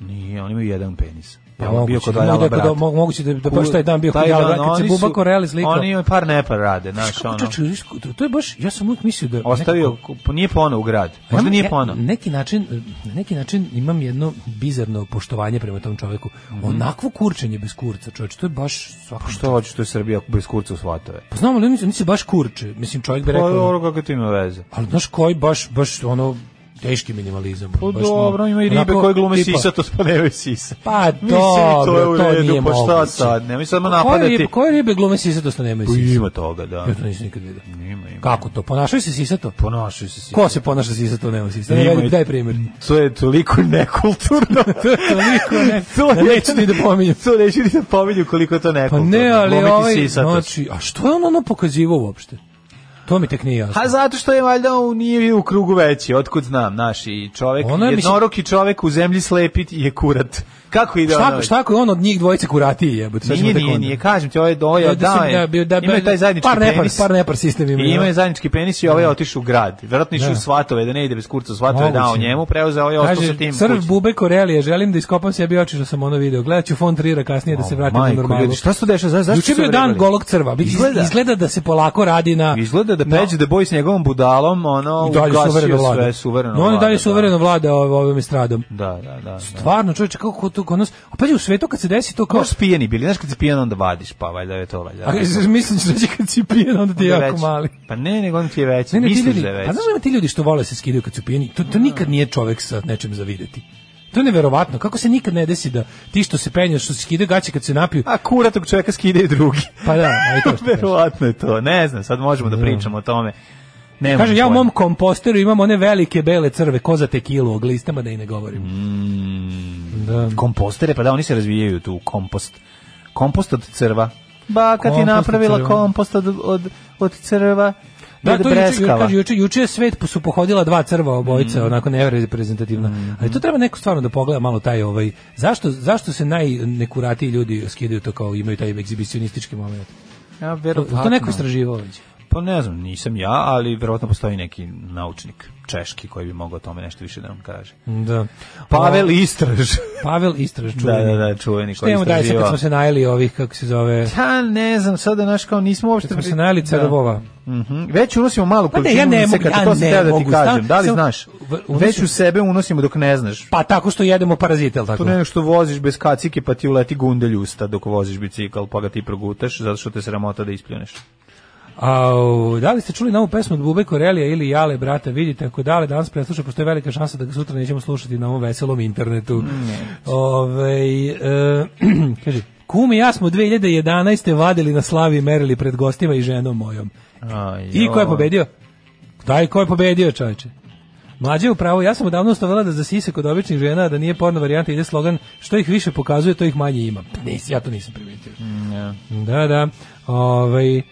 Speaker 6: Nije, oni imaju jedan penis.
Speaker 7: Pa
Speaker 6: Ja, on bio
Speaker 7: moguće,
Speaker 6: kod
Speaker 7: da,
Speaker 6: Ajala
Speaker 7: moguće da-
Speaker 6: brata.
Speaker 7: mo- moguće da- da baš taj dan bio kod
Speaker 6: Taj
Speaker 7: Ajala
Speaker 6: dan,
Speaker 7: brata, kad se
Speaker 6: oni su-
Speaker 7: Buba Koreli slikao.
Speaker 6: Oni imaju par nepar rade, znaš, ono.
Speaker 7: Kako čoče, viš, to- to je baš, ja sam uvijek mislio da...
Speaker 6: Ostavio,
Speaker 7: nekako-
Speaker 6: ku- nije pono u grad. Možda
Speaker 7: Ja-
Speaker 6: nije
Speaker 7: ja-
Speaker 6: pono.
Speaker 7: Neki način, na neki način imam jedno bizarno poštovanje prema tom čoveku. Onakvo kurčenje bez kurca, čoveče, to je baš svako
Speaker 6: Mhm. Pa Što hoćeš, to je Srbija bez kurca u svatove.
Speaker 7: Pa znamo, ali oni su- oni se baš kurče. Mislim, čovjek bi
Speaker 6: Pa
Speaker 7: rekao...
Speaker 6: dobro, kako to ima veze?
Speaker 7: Ali znaš koji baš, baš ono, teški minimalizam.
Speaker 6: Pa
Speaker 7: baš,
Speaker 6: dobro,
Speaker 7: ono,
Speaker 6: ima i ribe
Speaker 7: onako,
Speaker 6: koje glume
Speaker 7: tipa-
Speaker 6: sisa, to pa nemaju sisa.
Speaker 7: Pa
Speaker 6: Mislim, to je u
Speaker 7: dobro, to,
Speaker 6: redu,
Speaker 7: nije
Speaker 6: pa šta
Speaker 7: moguće.
Speaker 6: sad, nemoj sad
Speaker 7: Pa
Speaker 6: napadati.
Speaker 7: Koje ribe, koje ribe glume sisatost, a nemaju
Speaker 6: Pa
Speaker 7: sisa?
Speaker 6: Ima toga, da.
Speaker 7: Ja to nisam nikad vidio.
Speaker 6: Ima, ima.
Speaker 7: Kako to? Ponašaju se sisato?
Speaker 6: Ponašaju se sisa.
Speaker 7: Ko se ponaša sisato, nema sisa?
Speaker 6: Ima
Speaker 7: Daj,
Speaker 6: i-
Speaker 7: daj primjer.
Speaker 6: To je toliko nekulturno.
Speaker 7: To je toliko ne-
Speaker 6: To
Speaker 7: da
Speaker 6: je-
Speaker 7: neću ni da pominjem.
Speaker 6: To neću ni da pominjem koliko je to
Speaker 7: Pa
Speaker 6: nekulturno.
Speaker 7: ne, ali
Speaker 6: Glumiti
Speaker 7: ovaj,
Speaker 6: sisatost.
Speaker 7: znači, a što je on ono pokazivo uopšte? To mi tek nije jasno.
Speaker 6: Ha, Pa, zato što je valjda u nije u krugu veći, otkud znam, naš i čovek,
Speaker 7: Ono je, mislim-
Speaker 6: jednoroki čovek u zemlji slepit je kurat. Kako ide ono?
Speaker 7: Šta, šta ako je on od njih dvojice kuratiji jebote? sad ćemo
Speaker 6: Nije,
Speaker 7: tek
Speaker 6: nije,
Speaker 7: onda.
Speaker 6: nije, kažem ti, ovo je doja,
Speaker 7: Da, da,
Speaker 6: da,
Speaker 7: se- da, bi- da,
Speaker 6: imaju taj zajednički
Speaker 7: par nepar,
Speaker 6: penis.
Speaker 7: Par nepar sistem imaju.
Speaker 6: I imaju
Speaker 7: ono- da.
Speaker 6: zajednički penis i ovaj je otišao u grad. Verovatno išao
Speaker 7: Da.
Speaker 6: u svatove, da ne ide bez kurca u svatove,
Speaker 7: Moguće.
Speaker 6: dao njemu, preuzeo ovaj ostao sa tim.
Speaker 7: Kaže, crv
Speaker 6: kući.
Speaker 7: bube Korelije, želim da iskopam sebi oči što sam ono video. Gledat ću font Rira kasnije da se vratim na
Speaker 6: Majko,
Speaker 7: normalu.
Speaker 6: ljudi, šta se to dešava? Za- zašto
Speaker 7: Juče je
Speaker 6: su
Speaker 7: bio dan
Speaker 6: vrebali?
Speaker 7: golog crva. Bi- Izgleda,
Speaker 6: Izgleda.
Speaker 7: izgleda da se polako radi na...
Speaker 6: Izgleda da
Speaker 7: na-
Speaker 6: peđe da boji s njegovom budalom, ono,
Speaker 7: I dalje suvereno
Speaker 6: ugasio
Speaker 7: vlada.
Speaker 6: sve, suvereno
Speaker 7: no, on i
Speaker 6: vlada,
Speaker 7: dalje
Speaker 6: da.
Speaker 7: suvereno vlada ov- ovim estradom.
Speaker 6: Da, da, da. da.
Speaker 7: Stvarno, čovječe, kako ko to kod nas... A pa je u svetu kad se desi to kao...
Speaker 6: Možda spijeni bili, znaš kad si pijen onda vadiš, pa valjda je to valjda.
Speaker 7: A misliš da će kad si pijen, onda ti je
Speaker 6: Onda je
Speaker 7: jako
Speaker 6: veći.
Speaker 7: mali.
Speaker 6: Pa ne, nego on ti je veći.
Speaker 7: Ne, ne, ti
Speaker 6: Misliš
Speaker 7: ljudi,
Speaker 6: da je veći.
Speaker 7: pa znaš da ima ti ljudi što vole se skidaju kad su pijeni, to, to nikad nije čovek sa nečem zavideti. To je neverovatno, kako se nikad ne desi da ti što se penjaš, što se skidaju gaće kad se napiju,
Speaker 6: A kura tog čovjeka skide i drugi.
Speaker 7: pa da, a i to što kažeš.
Speaker 6: Verovatno je to. Ne znam, sad možemo da pričamo o tome. Ne
Speaker 7: Kaže, ja u mom komposteru imam one velike bele crve, ko za tekilu, o glistama da i ne govorim.
Speaker 6: Mm.
Speaker 7: Da.
Speaker 6: kompostere, pa da, oni se razvijaju tu, kompost. Kompost od crva. Baka ti
Speaker 7: Kompost od
Speaker 6: napravila
Speaker 7: crva.
Speaker 6: kompost od, od, od crva.
Speaker 7: Da,
Speaker 6: od
Speaker 7: to je juče,
Speaker 6: breskava. Mm.
Speaker 7: kaže, juče, juče je svet su pohodila dva crva obojica, onako nereprezentativna. Ali to treba neko stvarno da pogleda malo taj ovaj, zašto, zašto se najnekuratiji ljudi skidaju to kao imaju taj egzibicionistički moment?
Speaker 6: Ja,
Speaker 7: To,
Speaker 6: verovatno.
Speaker 7: to neko istraživao već.
Speaker 6: Pa ne znam, nisam ja, ali verovatno postoji neki naučnik češki koji bi mogao o tome nešto više da nam kaže.
Speaker 7: Da.
Speaker 6: Pa, Pavel Istraž.
Speaker 7: Pavel Istraž,
Speaker 6: da,
Speaker 7: čuveni.
Speaker 6: da, da, čuveni
Speaker 7: Pa- Šta
Speaker 6: koji
Speaker 7: imamo dalje sad kad
Speaker 6: istraživao.
Speaker 7: smo se najeli ovih, kako se zove,
Speaker 6: Ta ne znam, sada naš kao nismo uopšte...
Speaker 7: kad smo se najeli crvova.
Speaker 6: Mhm. Već unosimo malu
Speaker 7: Pa ne,
Speaker 6: količinu
Speaker 7: ja ne mogu,
Speaker 6: insekata,
Speaker 7: ja
Speaker 6: to sam
Speaker 7: ne
Speaker 6: teo da ti
Speaker 7: mogu,
Speaker 6: kažem.
Speaker 7: stan-
Speaker 6: Da li
Speaker 7: sam-
Speaker 6: znaš?
Speaker 7: v- unosim-
Speaker 6: Već u sebe unosimo dok ne znaš.
Speaker 7: Pa tako što jedemo parazite, ali tako?
Speaker 6: To Pa ne što voziš bez kacike pa ti uleti gundelj usta dok voziš bicikl pa ga ti progutaš zato što te sramota da ispljuneš.
Speaker 7: Au, da li ste čuli novu pesmu od Bube Korelija ili Jale, brata, vidite, ako dale danas presluša, postoji velika šansa da ga sutra nećemo slušati na ovom veselom internetu. Ovej, e, kaže, kum i ja smo 2011. vadili na slavi i merili pred gostima i ženom mojom.
Speaker 6: Aj,
Speaker 7: I ko je
Speaker 6: joj.
Speaker 7: pobedio? Daj, ko je pobedio, čovječe? Mlađe je upravo, ja sam odavno ustavila da za sise kod običnih žena, a da nije porno varijanta, ide slogan što ih više pokazuje, to ih manje ima. Nis, ja to nisam primetio.
Speaker 6: Mm,
Speaker 7: Da, da. Ovaj, e,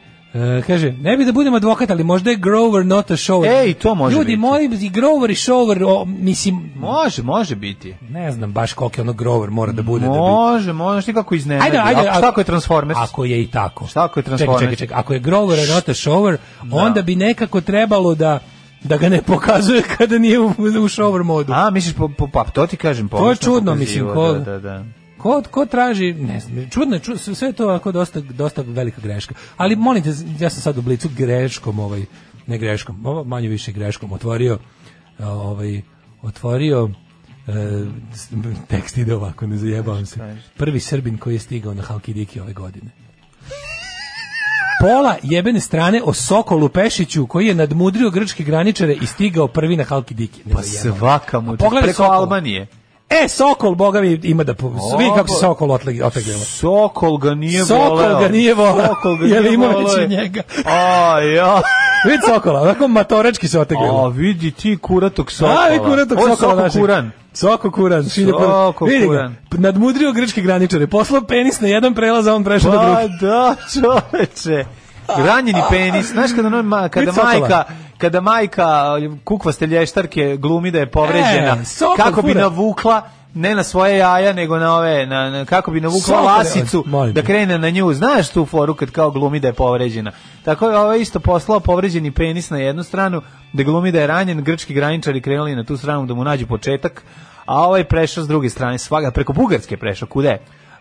Speaker 7: kaže, ne bi da budem advokat, ali možda je Grover not a shower.
Speaker 6: Ej, to može
Speaker 7: Ljudi,
Speaker 6: biti.
Speaker 7: molim, i Grover i shower, o, mislim,
Speaker 6: Može, može biti.
Speaker 7: ne znam baš koliko je ono Grover mora da bude. da bi-
Speaker 6: Može, može, znaš ti kako iznenadi. A šta ako je Transformers?
Speaker 7: Ako je i tako.
Speaker 6: Šta ako je Transformers?
Speaker 7: Čekaj, čekaj, čekaj. Ako je Grover a not a shower, onda bi nekako trebalo da da ga ne pokazuje kada nije u, u shower modu.
Speaker 6: A, misliš, po, po, pa, to ti kažem.
Speaker 7: je
Speaker 6: pogrešno
Speaker 7: čudno,
Speaker 6: pokazivo,
Speaker 7: mislim, ko-
Speaker 6: Da, da, da.
Speaker 7: Ko, ko traži, ne znam, čudno je, ču- sve to ako dosta, dosta velika greška. Ali molim te, ja sam sad u blicu greškom, ovaj, ne greškom, ovo manje više greškom, otvorio, e, ovaj, otvorio, e, s- m, tekst ide ovako, ne zajebavam se. Prvi Srbin koji je stigao na Halkidiki ove godine. Pola jebene strane o Sokolu Pešiću koji je nadmudrio grčke graničare i stigao prvi na Halkidiki. Ne
Speaker 6: Pa
Speaker 7: zajebam.
Speaker 6: svaka mu.
Speaker 7: pogledaj
Speaker 6: Preko
Speaker 7: Sokola.
Speaker 6: Albanije.
Speaker 7: E, Sokol, boga mi, ima da... Po... Vidi kako se
Speaker 6: Opa.
Speaker 7: Sokol otle- oteglilo.
Speaker 6: Sokol ga nije
Speaker 7: Sokol
Speaker 6: voleo.
Speaker 7: ga nije voleo.
Speaker 6: Sokol ga
Speaker 7: Jer
Speaker 6: nije
Speaker 7: ima
Speaker 6: voleo.
Speaker 7: već i njega.
Speaker 6: A, ja.
Speaker 7: Vidi Sokola, onako matorački se oteglilo.
Speaker 6: A, vidi ti kuratog sokola.
Speaker 7: A, i kuratok
Speaker 6: Ovo je
Speaker 7: Sokola
Speaker 6: Sokol
Speaker 7: našeg.
Speaker 6: kuran.
Speaker 7: Soko kuran.
Speaker 6: Soko
Speaker 7: Vidi ga,
Speaker 6: kuran.
Speaker 7: nadmudrio grčke graničare. Poslao penis na jedan prelaz, a on prešao na
Speaker 6: Pa
Speaker 7: drugi.
Speaker 6: da, čoveče. Ranjeni penis. Znaš kada, ono, ma, kada
Speaker 7: Vidi Sokola.
Speaker 6: majka kada majka kukvaste lještarke glumi da je povređena,
Speaker 7: E, Sokol
Speaker 6: kako bi
Speaker 7: fura.
Speaker 6: navukla ne na svoje jaja, nego na ove, na, na- kako bi navukla
Speaker 7: Sokole,
Speaker 6: lasicu
Speaker 7: molim
Speaker 6: da
Speaker 7: te.
Speaker 6: krene na nju. Znaš tu foru kad kao glumi da je povređena. Tako je ovaj isto poslao povređeni penis na jednu stranu, da glumi da je ranjen, grčki graničari krenuli na tu stranu da mu nađu početak, a ovaj prešao s druge strane, svaga, preko Bugarske je prešao, kude?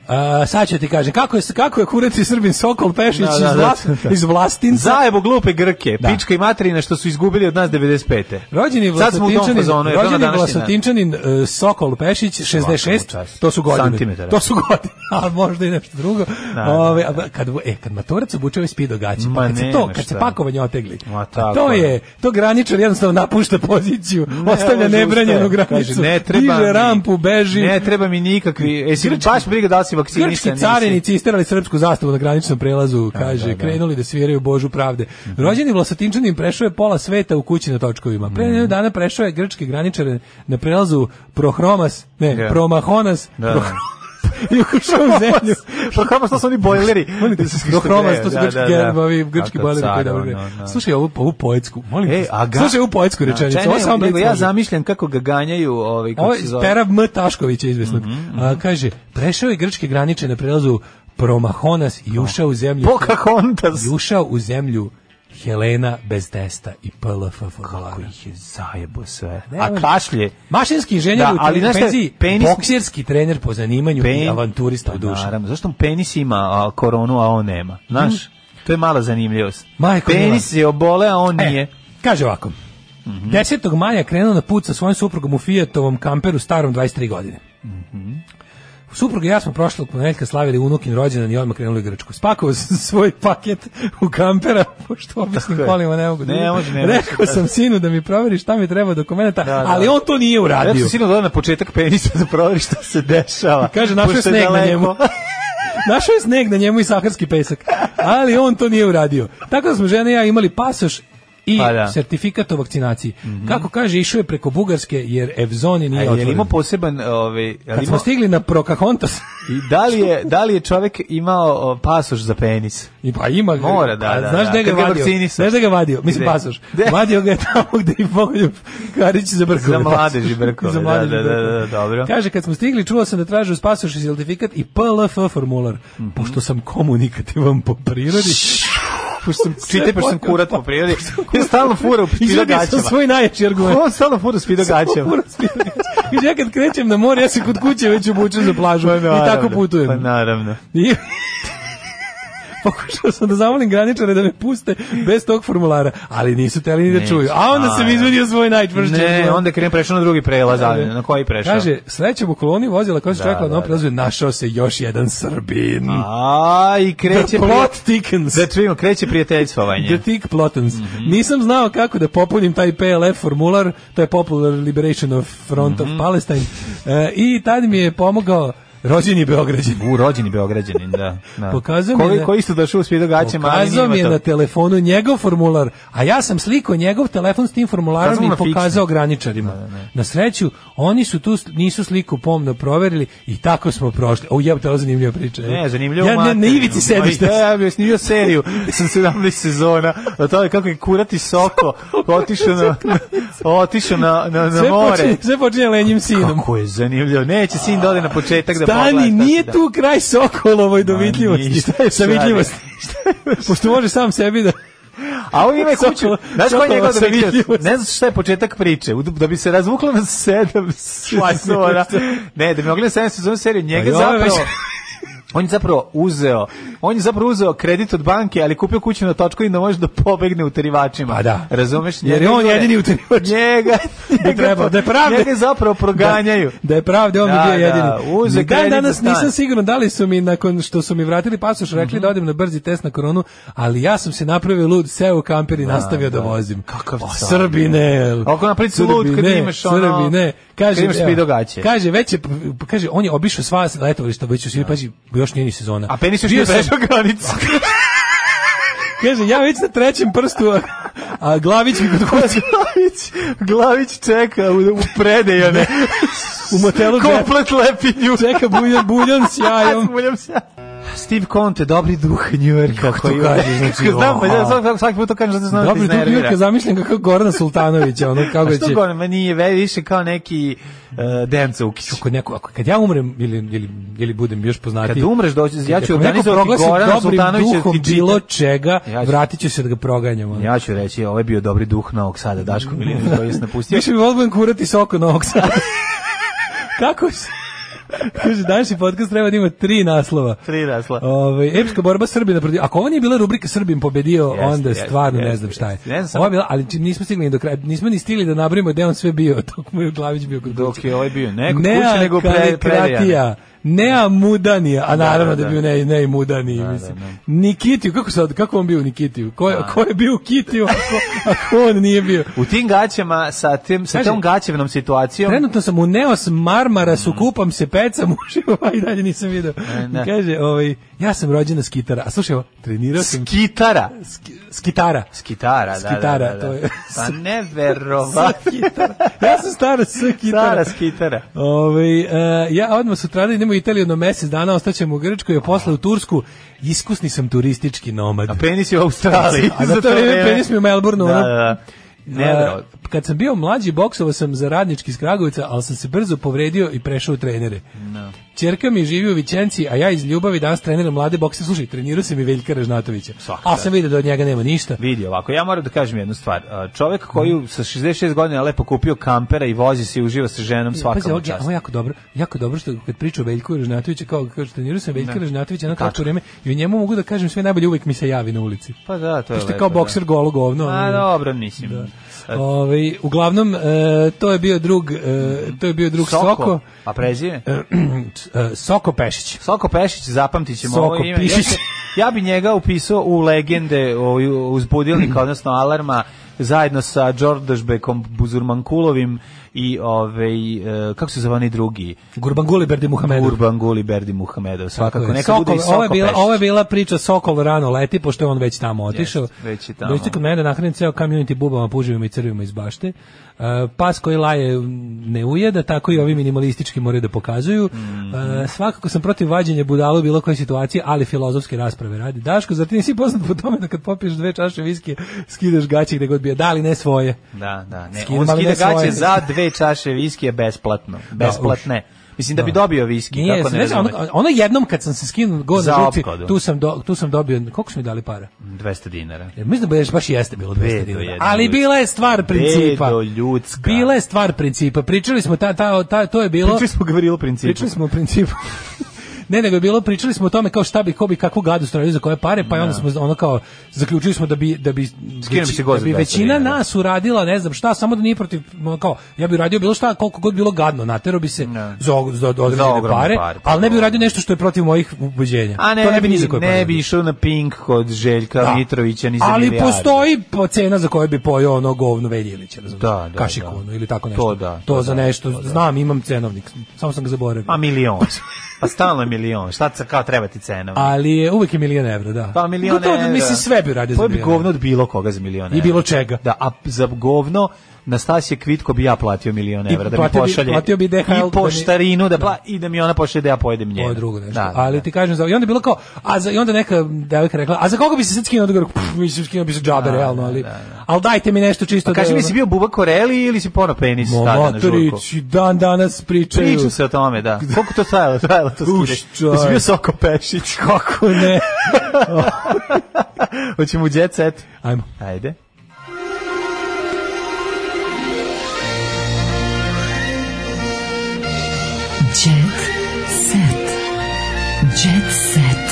Speaker 7: A, sad ću ti kažem, kako je, kako je kurac i srbin Sokol Pešić
Speaker 6: Da, da,
Speaker 7: iz,
Speaker 6: da,
Speaker 7: Vla-
Speaker 6: da.
Speaker 7: iz Vlastinca.
Speaker 6: Zajebo glupe Grke,
Speaker 7: Da.
Speaker 6: pička i materina što su izgubili od nas 95.
Speaker 7: Rođeni
Speaker 6: Sad smo u tom
Speaker 7: Vlasotinčanin,
Speaker 6: fazonu, jer to na
Speaker 7: rođeni
Speaker 6: današnji dan.
Speaker 7: Vlasotinčanin e, Sokol Pešić 66,
Speaker 6: čast.
Speaker 7: to su godine.
Speaker 6: Santimetara.
Speaker 7: To su godine, a možda i nešto drugo.
Speaker 6: da.
Speaker 7: Ove, a kad e kad maturac obuče ove spido gaće,
Speaker 6: Ma
Speaker 7: pa kad se to
Speaker 6: nema
Speaker 7: kad se
Speaker 6: šta.
Speaker 7: pakovanje otegli.
Speaker 6: Ma
Speaker 7: a
Speaker 6: tako
Speaker 7: to
Speaker 6: je.
Speaker 7: je, to graničar jednostavno napušta poziciju, ostavlja
Speaker 6: može,
Speaker 7: nebranjenu
Speaker 6: ustaje.
Speaker 7: granicu.
Speaker 6: Kaže, ne treba
Speaker 7: diže
Speaker 6: mi-
Speaker 7: rampu, beži.
Speaker 6: Ne treba mi nikakvi, e, si baš briga da li si vakcinisan.
Speaker 7: Grčki
Speaker 6: nisi.
Speaker 7: carinici isterali srpsku zastavu na graničnom prelazu, kaže,
Speaker 6: da, Mhm. da.
Speaker 7: krenuli da sviraju Božu pravde. Rođeni Vlasotinčanin prešao je pola sveta u kući na točkovima. Pre
Speaker 6: Mhm.
Speaker 7: nedelju dana prešao je grčke graničare na prelazu Prohromas, ne,
Speaker 6: Da.
Speaker 7: Promahonas,
Speaker 6: Da.
Speaker 7: Prohrom- i ušao u zemlju.
Speaker 6: Pa kamo što su oni bojleri?
Speaker 7: Molim te, Prohromas, to su grčki gerbovi, grčki
Speaker 6: Kako
Speaker 7: bojleri koji
Speaker 6: car,
Speaker 7: dobro
Speaker 6: ono,
Speaker 7: gre.
Speaker 6: ono.
Speaker 7: Slušaj ovu, ovu poetsku, molim
Speaker 6: Ej,
Speaker 7: te,
Speaker 6: a ga...
Speaker 7: slušaj ovu poetsku
Speaker 6: Da,
Speaker 7: rečenicu,
Speaker 6: čaj,
Speaker 7: ovo
Speaker 6: ne,
Speaker 7: samo
Speaker 6: nego
Speaker 7: Blic
Speaker 6: ja
Speaker 7: može.
Speaker 6: zamišljam kako ga ganjaju, ovaj, kako
Speaker 7: Ovo
Speaker 6: se
Speaker 7: je
Speaker 6: zove. Mhm,
Speaker 7: pera M. Taškovića izvesnog. A, kaže, prešao je grčke graniče na prelazu Promahonas i ušao u zemlju.
Speaker 6: Pocahontas.
Speaker 7: I ušao u zemlju Helena bez testa i PLF
Speaker 6: Kako
Speaker 7: formulara.
Speaker 6: ih je zajebo sve.
Speaker 7: Ne,
Speaker 6: A
Speaker 7: on-
Speaker 6: kašlje.
Speaker 7: Mašinski inženjer
Speaker 6: Da,
Speaker 7: u
Speaker 6: ali znaš šta,
Speaker 7: penziji,
Speaker 6: penis-
Speaker 7: boksirski trener po zanimanju i
Speaker 6: Pen-
Speaker 7: avanturista u
Speaker 6: Pa
Speaker 7: duši.
Speaker 6: Naravno, zašto penis ima a, koronu, a on nema? Znaš, to je mala zanimljivost.
Speaker 7: Hm. Majko
Speaker 6: penis je obole, a on
Speaker 7: E,
Speaker 6: nije. Mhm.
Speaker 7: kaže ovako. 10. maja krenuo na put sa svojim suprugom u Fijatovom kamperu starom 23 godine.
Speaker 6: Mhm.
Speaker 7: Suprug i ja smo prošlog ponedeljka slavili unukin rođendan i odmah krenuli u Grčku. Spakovao sam svoj paket u kampera, pošto običnim
Speaker 6: Tako je.
Speaker 7: kolima ne mogu da
Speaker 6: Ne
Speaker 7: idu.
Speaker 6: može, ne može.
Speaker 7: Rekao sam sinu da mi proveri šta mi treba dokumenta,
Speaker 6: Da, da.
Speaker 7: ali on to nije
Speaker 6: Ja sam
Speaker 7: uradio.
Speaker 6: sinu dodao na početak penisa da proveri šta se dešava.
Speaker 7: Kaže, našao je
Speaker 6: Pošto je
Speaker 7: sneg na
Speaker 6: daleko.
Speaker 7: njemu. E, našao je sneg na njemu i saharski pesak. Ali on to nije uradio. Tako da smo žene i ja imali pasoš i
Speaker 6: Pa da. Mhm.
Speaker 7: sertifikat o vakcinaciji. Kako kaže, išao je preko Bugarske jer Evzoni nije
Speaker 6: A je li
Speaker 7: otvoren.
Speaker 6: imao E, poseban... Ove, je
Speaker 7: Kad
Speaker 6: li
Speaker 7: smo
Speaker 6: imao,
Speaker 7: stigli na Prokahontas,
Speaker 6: i da, li je, da li je čovek imao o, pasoš za penis?
Speaker 7: i pa ima ga.
Speaker 6: Mora, da,
Speaker 7: A
Speaker 6: da,
Speaker 7: Znaš
Speaker 6: da.
Speaker 7: gde ga
Speaker 6: Kad ga
Speaker 7: je vadio?
Speaker 6: vakcinisao.
Speaker 7: Znaš gde ga je vadio? Mislim,
Speaker 6: Gde?
Speaker 7: pasoš.
Speaker 6: Gde?
Speaker 7: Vadio ga je tamo gde i Bogoljub Karić za brkove.
Speaker 6: Za mladež i brkove,
Speaker 7: Za mladež i
Speaker 6: da, da, da,
Speaker 7: brkove.
Speaker 6: da, dobro.
Speaker 7: Kaže, kad smo stigli, čuo sam da traže spasoš i sertifikat i PLF formular.
Speaker 6: Mhm.
Speaker 7: Pošto sam komunikativan po prirodi,
Speaker 6: Pošto sam, čitaj, pošto sam kurat po prirodi. Ja stalno fura u spida
Speaker 7: Izvadio sam
Speaker 6: gaćama.
Speaker 7: svoj najjači argument.
Speaker 6: On stalno fura u spida gaćama.
Speaker 7: Fura spina gaća. Kaže, ja kad krećem na more, ja se kod kuće već obučem za plažu i tako
Speaker 6: Naravno,
Speaker 7: putujem.
Speaker 6: Pa naravno.
Speaker 7: I- Pokušao sam da zamolim graničare da me puste bez tog formulara, ali nisu teli ni da
Speaker 6: Neće.
Speaker 7: čuju. A onda sam
Speaker 6: A,
Speaker 7: izvadio svoj najčvršći.
Speaker 6: Ne,
Speaker 7: argument.
Speaker 6: onda je krenuo prešao na drugi prelaz, ali na koji prešao?
Speaker 7: E, Kaže, srećem u koloni vozila koja se
Speaker 6: Da,
Speaker 7: čekala na
Speaker 6: da,
Speaker 7: ovom prelazu, je našao se još jedan Srbin.
Speaker 6: A, i kreće...
Speaker 7: The
Speaker 6: prije-
Speaker 7: plot thickens.
Speaker 6: Da čujemo, kreće prijateljstvovanje.
Speaker 7: The Thick Plotons.
Speaker 6: Mhm.
Speaker 7: Nisam znao kako da popunim taj PLF formular, to je Popular Liberation of Front
Speaker 6: Mhm.
Speaker 7: of Palestine, e, i tad mi je pomogao rođeni Beograđan.
Speaker 6: U, rođeni Beograđanin, da. da.
Speaker 7: Pokazao mi je
Speaker 6: koji,
Speaker 7: da-
Speaker 6: koji su došli u svijetu gaćama, ali
Speaker 7: Pokazao Znači, mi je
Speaker 6: nije
Speaker 7: na
Speaker 6: to.
Speaker 7: telefonu njegov formular, a ja sam slikao njegov telefon s tim
Speaker 6: Pokazao
Speaker 7: formularom
Speaker 6: mu
Speaker 7: i
Speaker 6: na fiksni.
Speaker 7: pokazao graničarima. Na sreću, oni su tu s- nisu sliku pomno proverili i tako smo prošli. O, jebate, ovo je zanimljiva priča.
Speaker 6: Ne, zanimljivo
Speaker 7: Ja ne, na
Speaker 6: materinu.
Speaker 7: ivici sedište.
Speaker 6: Ma, Ja bih snimio seriju sam 17 sezona. O tome kako je kurati soko otišao na, na otišao na na, na
Speaker 7: Sve
Speaker 6: more.
Speaker 7: počinje, sve počinje lenjim sinom.
Speaker 6: Kako je zanimljivo. Neće sin dode na početak da pogleda.
Speaker 7: Stani,
Speaker 6: šta
Speaker 7: nije
Speaker 6: se da-
Speaker 7: tu kraj Sokolovoj
Speaker 6: nije,
Speaker 7: dovidljivosti.
Speaker 6: šta je
Speaker 7: Sa
Speaker 6: sad?
Speaker 7: vidljivosti. Pošto može sam sebi da...
Speaker 6: A on ima i kuću.
Speaker 7: Sokolo-
Speaker 6: Znaš koji je
Speaker 7: Sokolova
Speaker 6: njegov dobitljivost?
Speaker 7: vidljivost.
Speaker 6: Ne znaš šta je početak priče. U- Da bi se razvuklo na sedam sezona. Ne, da bi mogli na sedam sezona seriju. Njega
Speaker 7: Pa i ovo je
Speaker 6: zapravo...
Speaker 7: već-
Speaker 6: On je zapravo uzeo, on je zapravo uzeo kredit od banke, ali kupio kuću na točku i da može da pobegne utarivačima.
Speaker 7: Pa da.
Speaker 6: Razumeš?
Speaker 7: Jer je
Speaker 6: Njega
Speaker 7: on
Speaker 6: gore-
Speaker 7: jedini utarivač.
Speaker 6: Njega,
Speaker 7: Da je trebao, da je pravde.
Speaker 6: Njega zapravo proganjaju.
Speaker 7: Da, da je pravde, on
Speaker 6: Da,
Speaker 7: bi bio
Speaker 6: da,
Speaker 7: jedini.
Speaker 6: uze
Speaker 7: Ni dan
Speaker 6: kredit za
Speaker 7: danas
Speaker 6: stan. Mhm.
Speaker 7: nisam siguran da li su mi nakon što su mi vratili pasoš rekli da odem na brzi test na koronu, ali ja sam se napravio lud, seo u kamper i nastavio da, vozim.
Speaker 6: Kakav
Speaker 7: o,
Speaker 6: car.
Speaker 7: Srbine.
Speaker 6: Ako napraviti si lud kad
Speaker 7: Srbine,
Speaker 6: imaš ono-
Speaker 7: Srbine. Kaže,
Speaker 6: kad imaš
Speaker 7: evo,
Speaker 6: spidogaće.
Speaker 7: Kaže, već je, kaže, on je obišao sva letovališta, već u Siriji, pazi, još nije ni sezona.
Speaker 6: A penis još
Speaker 7: Bio
Speaker 6: nije
Speaker 7: sam-
Speaker 6: prešao granicu.
Speaker 7: Kaže, ja već na trećem prstu, a, a glavić mi kod kuće.
Speaker 6: Glavić, Glavić čeka u, u predejone.
Speaker 7: U motelu dve-
Speaker 6: Komplet lepinju.
Speaker 7: čeka buljan, buljan s jajom.
Speaker 6: Smuljam se. Steve Conte, dobri duh New Yorka. Kako
Speaker 7: to kažeš, znači,
Speaker 6: znam, pa ja
Speaker 7: oha.
Speaker 6: svaki, svaki put to kažem da te znam da
Speaker 7: Dobro,
Speaker 6: te
Speaker 7: tu
Speaker 6: iznervira.
Speaker 7: Bjurka zamišljam kako Gorana Sultanovića, ono kako
Speaker 6: A
Speaker 7: će...
Speaker 6: što gore, ma nije ve- više kao neki uh, Denca Ukić.
Speaker 7: Ako neko, ako, kad ja umrem ili, ili, ili budem još poznatiji...
Speaker 6: Kad umreš, doći, ja ću
Speaker 7: ako me neko
Speaker 6: organizovati
Speaker 7: proglasi
Speaker 6: Gorana
Speaker 7: dobrim
Speaker 6: Sultanovića
Speaker 7: duhom
Speaker 6: ti
Speaker 7: bilo čega,
Speaker 6: Ja ću-
Speaker 7: vratit ću se da ga proganjam. Ono.
Speaker 6: Ja ću reći, ovo je bio dobri duh Novog Sada, Daško Milinović koji je napustio.
Speaker 7: Više mi odbujem kurati soko na ovog sada. kako se... Kaže, današnji podcast treba da ima tri naslova.
Speaker 6: Tri rasla.
Speaker 7: Ove, epska borba Srbina protiv... Ako ovo nije bila rubrika Srbim pobedio,
Speaker 6: Jeste,
Speaker 7: onda
Speaker 6: jeste,
Speaker 7: stvarno ne
Speaker 6: jeste,
Speaker 7: znam šta je.
Speaker 6: jeste. Ne znam samo-
Speaker 7: Ovo je bila, ali čim nismo stigli ni do kraja, nismo ni stigli da nabrojimo gde on sve bio, dok mu je Glavić bio kod
Speaker 6: Dok
Speaker 7: kuće.
Speaker 6: je ovaj bio ne kod kuće, nego pre, predejan.
Speaker 7: Kalikratija, Nea Mudanija, a naravno da,
Speaker 6: da,
Speaker 7: je bio
Speaker 6: da.
Speaker 7: ne, ne Mudaniji, mislim. Nikitiju, kako, sad, kako on bio u Nikitiju? Ko je, ko je bio u Kitiju ako, ako on nije bio?
Speaker 6: U tim gaćama, sa, tim, sa
Speaker 7: Kaže,
Speaker 6: tom gaćevnom situacijom,
Speaker 7: Trenutno sam u Neos Marmarasu, kupam se, pecam, uživam, i dalje nisam video.
Speaker 6: Mm. E, ne.
Speaker 7: Kaže, ovaj, ja sam rođena s kitara, a slušaj, ovo, trenirao sam
Speaker 6: skitara.
Speaker 7: s, s kitara.
Speaker 6: Skitara, da,
Speaker 7: Skitara,
Speaker 6: da, da, da.
Speaker 7: to je.
Speaker 6: Pa
Speaker 7: Sa
Speaker 6: neverovatno.
Speaker 7: kitara. Ja sam stara s kitara.
Speaker 6: Stara skitara.
Speaker 7: Ove, Ovaj, e, ja odmah sutra idemo u Italiju na mesec dana, ostaćem u Grčkoj, a posle u Tursku. Iskusni sam turistički nomad.
Speaker 6: A penis je u Australiji.
Speaker 7: A za to vreme penis mi je u Melbourneu,
Speaker 6: Da, da,
Speaker 7: ono.
Speaker 6: da.
Speaker 7: A,
Speaker 6: Neverovatno.
Speaker 7: kad sam bio mlađi, boksovao sam za radnički iz Kragovica, ali sam se brzo povredio i prešao u trenere. Ćerka mi živi u Vićenci, a ja iz ljubavi danas treniram mlade bokse. Slušaj, trenirao sam i Veljka Režnatovića.
Speaker 6: Svaka
Speaker 7: Ali
Speaker 6: čast.
Speaker 7: sam vidio da od njega nema ništa.
Speaker 6: Vidi ovako, ja moram da kažem jednu stvar. A, Čovek koji sa 66 godina lepo kupio kampera i vozi se i uživa sa ženom
Speaker 7: E, Pazi,
Speaker 6: svaka mu
Speaker 7: ovo, je-
Speaker 6: čast.
Speaker 7: ovo je jako dobro, jako dobro što kad priča o Veljku Režnatoviću, kao kao što trenirao sam Veljka Režnatovića jedno kratko vreme i o njemu mogu da kažem sve najbolje uvek mi se javi na ulici.
Speaker 6: Pa da, to je
Speaker 7: Pošto je
Speaker 6: lepo.
Speaker 7: kao bokser
Speaker 6: da.
Speaker 7: golo govno.
Speaker 6: A
Speaker 7: ono.
Speaker 6: dobro, mislim. E, A,
Speaker 7: Ovaj, uglavnom, e, to je bio drug, e, to je bio drug Soko.
Speaker 6: Mhm. Soko. A prezime?
Speaker 7: E, Soko Pešić.
Speaker 6: Soko Pešić, zapamtit ćemo
Speaker 7: Soko
Speaker 6: ovo ime. Ja,
Speaker 7: Pišić.
Speaker 6: se- ja bi njega upisao u legende ovaj, uz budilnika, odnosno alarma, zajedno sa Đordašbekom Buzurmankulovim i ovaj, e, kako se zove onaj drugi?
Speaker 7: Gurbanguli Berdi Muhamedov.
Speaker 6: Urbanguli Berdi Muhamedov. Svakako, neka
Speaker 7: Sokol,
Speaker 6: bude i Soko
Speaker 7: ovo, je bila,
Speaker 6: Pešić.
Speaker 7: ovo je bila priča Sokol rano leti, pošto je on već tamo otišao.
Speaker 6: već je tamo.
Speaker 7: Dođite kod mene da nahranim ceo community bubama, puževima i crvima iz bašte. Uh, pas koji laje ne ujeda, tako i ovi minimalistički moraju da pokazuju.
Speaker 6: Mhm.
Speaker 7: E, svakako sam protiv vađenja budala u bilo koje situacije, ali filozofske rasprave radi. Daško, zar ti nisi poznat po tome da kad popiješ dve čaše viskija, skidaš gaće gde god bio, da li ne svoje?
Speaker 6: Da, da, ne.
Speaker 7: Skidam,
Speaker 6: on
Speaker 7: ali
Speaker 6: skida
Speaker 7: ne svoje.
Speaker 6: gaće za dve čaše viskija besplatno. Besplatne. Mislim da bi dobio viski,
Speaker 7: Nije,
Speaker 6: kako ne
Speaker 7: ne znam,
Speaker 6: razumeš.
Speaker 7: ono, ono jednom kad sam se skinuo go
Speaker 6: Za
Speaker 7: na žuti,
Speaker 6: opkladu.
Speaker 7: tu sam, do, tu sam dobio, koliko su mi dali para?
Speaker 6: 200 dinara.
Speaker 7: Jer mislim da baš, baš jeste bilo 200
Speaker 6: Bedo
Speaker 7: dinara.
Speaker 6: jedna
Speaker 7: Ali
Speaker 6: ljudska.
Speaker 7: bila je stvar principa.
Speaker 6: Bedo ljudska.
Speaker 7: Bila je stvar principa. Pričali smo, ta, ta, ta, to je bilo...
Speaker 6: Pričali smo govorilo principu.
Speaker 7: Pričali smo o principu. ne, nego je bilo, pričali smo o tome kao šta bi, ko bi, kakvu gadu stravio za koje pare, pa i onda smo ono kao, zaključili smo da bi, da bi,
Speaker 6: Skinuo bi se
Speaker 7: da
Speaker 6: gost
Speaker 7: bi
Speaker 6: za 200
Speaker 7: većina
Speaker 6: dinara.
Speaker 7: nas uradila, ne znam šta, samo da nije protiv, ono kao, ja bi uradio bilo šta, koliko god bilo gadno, natero bi se
Speaker 6: Ne.
Speaker 7: za, og- za određene
Speaker 6: ogromne
Speaker 7: pare,
Speaker 6: pare, pa
Speaker 7: ali ne bi
Speaker 6: to.
Speaker 7: uradio nešto što je protiv mojih ubeđenja.
Speaker 6: A ne,
Speaker 7: to ne bi
Speaker 6: bi,
Speaker 7: ni za koje pare
Speaker 6: ne
Speaker 7: uradio.
Speaker 6: bi išao na Pink kod Željka
Speaker 7: Da.
Speaker 6: Mitrovića ni za
Speaker 7: Ali
Speaker 6: milijardu.
Speaker 7: postoji po- cena za koju bi pojeo ono govno Veljilića, razumiješ?
Speaker 6: Da, da,
Speaker 7: Kašiku,
Speaker 6: da.
Speaker 7: ono, ili tako nešto.
Speaker 6: To da, to
Speaker 7: za
Speaker 6: da,
Speaker 7: nešto,
Speaker 6: to da.
Speaker 7: znam, imam cenovnik, samo sam ga zaboravio.
Speaker 6: Pa milion. Pa stalno je milion. Šta ca- kao treba ti cena?
Speaker 7: Ali je uvek je milion evra, da.
Speaker 6: Pa milion
Speaker 7: Gotovo da,
Speaker 6: evra.
Speaker 7: Mislim, sve bi radio za
Speaker 6: Koje bi
Speaker 7: milion evra.
Speaker 6: govno od bilo koga za milion evra?
Speaker 7: I bilo čega.
Speaker 6: Da, a za govno Nastasije Kvitko bi ja platio milion
Speaker 7: I
Speaker 6: evra da mi
Speaker 7: platio bi-
Speaker 6: pošalje.
Speaker 7: platio bi DHL da mi-
Speaker 6: I poštarinu da, pla, i da mi ona pošalje da ja pojedem njenu.
Speaker 7: Ovo je drugo nešto.
Speaker 6: Da, da,
Speaker 7: ali
Speaker 6: da.
Speaker 7: ti kažem, za, i onda je bilo kao, a za, i onda neka devojka rekla, a za koga bi se sad skinuo odgovor? Pff, mislim, skinuo bi se džabe, realno, ali, ali dajte mi nešto čisto.
Speaker 6: Pa
Speaker 7: ono-
Speaker 6: Kaži mi si bio Buba Koreli ili si pono penis tada na žurku?
Speaker 7: Motorić, dan danas pričaju.
Speaker 6: Priča se o tome, da. Koliko to trajalo? Trajalo to
Speaker 7: Uš,
Speaker 6: skide. Da si bio
Speaker 7: čovek.
Speaker 6: Soko Pešić.
Speaker 7: Kako ne?
Speaker 6: Hoćemo u jet set?
Speaker 7: Ajmo.
Speaker 6: Ajde.
Speaker 8: Jet set.
Speaker 10: Jet set.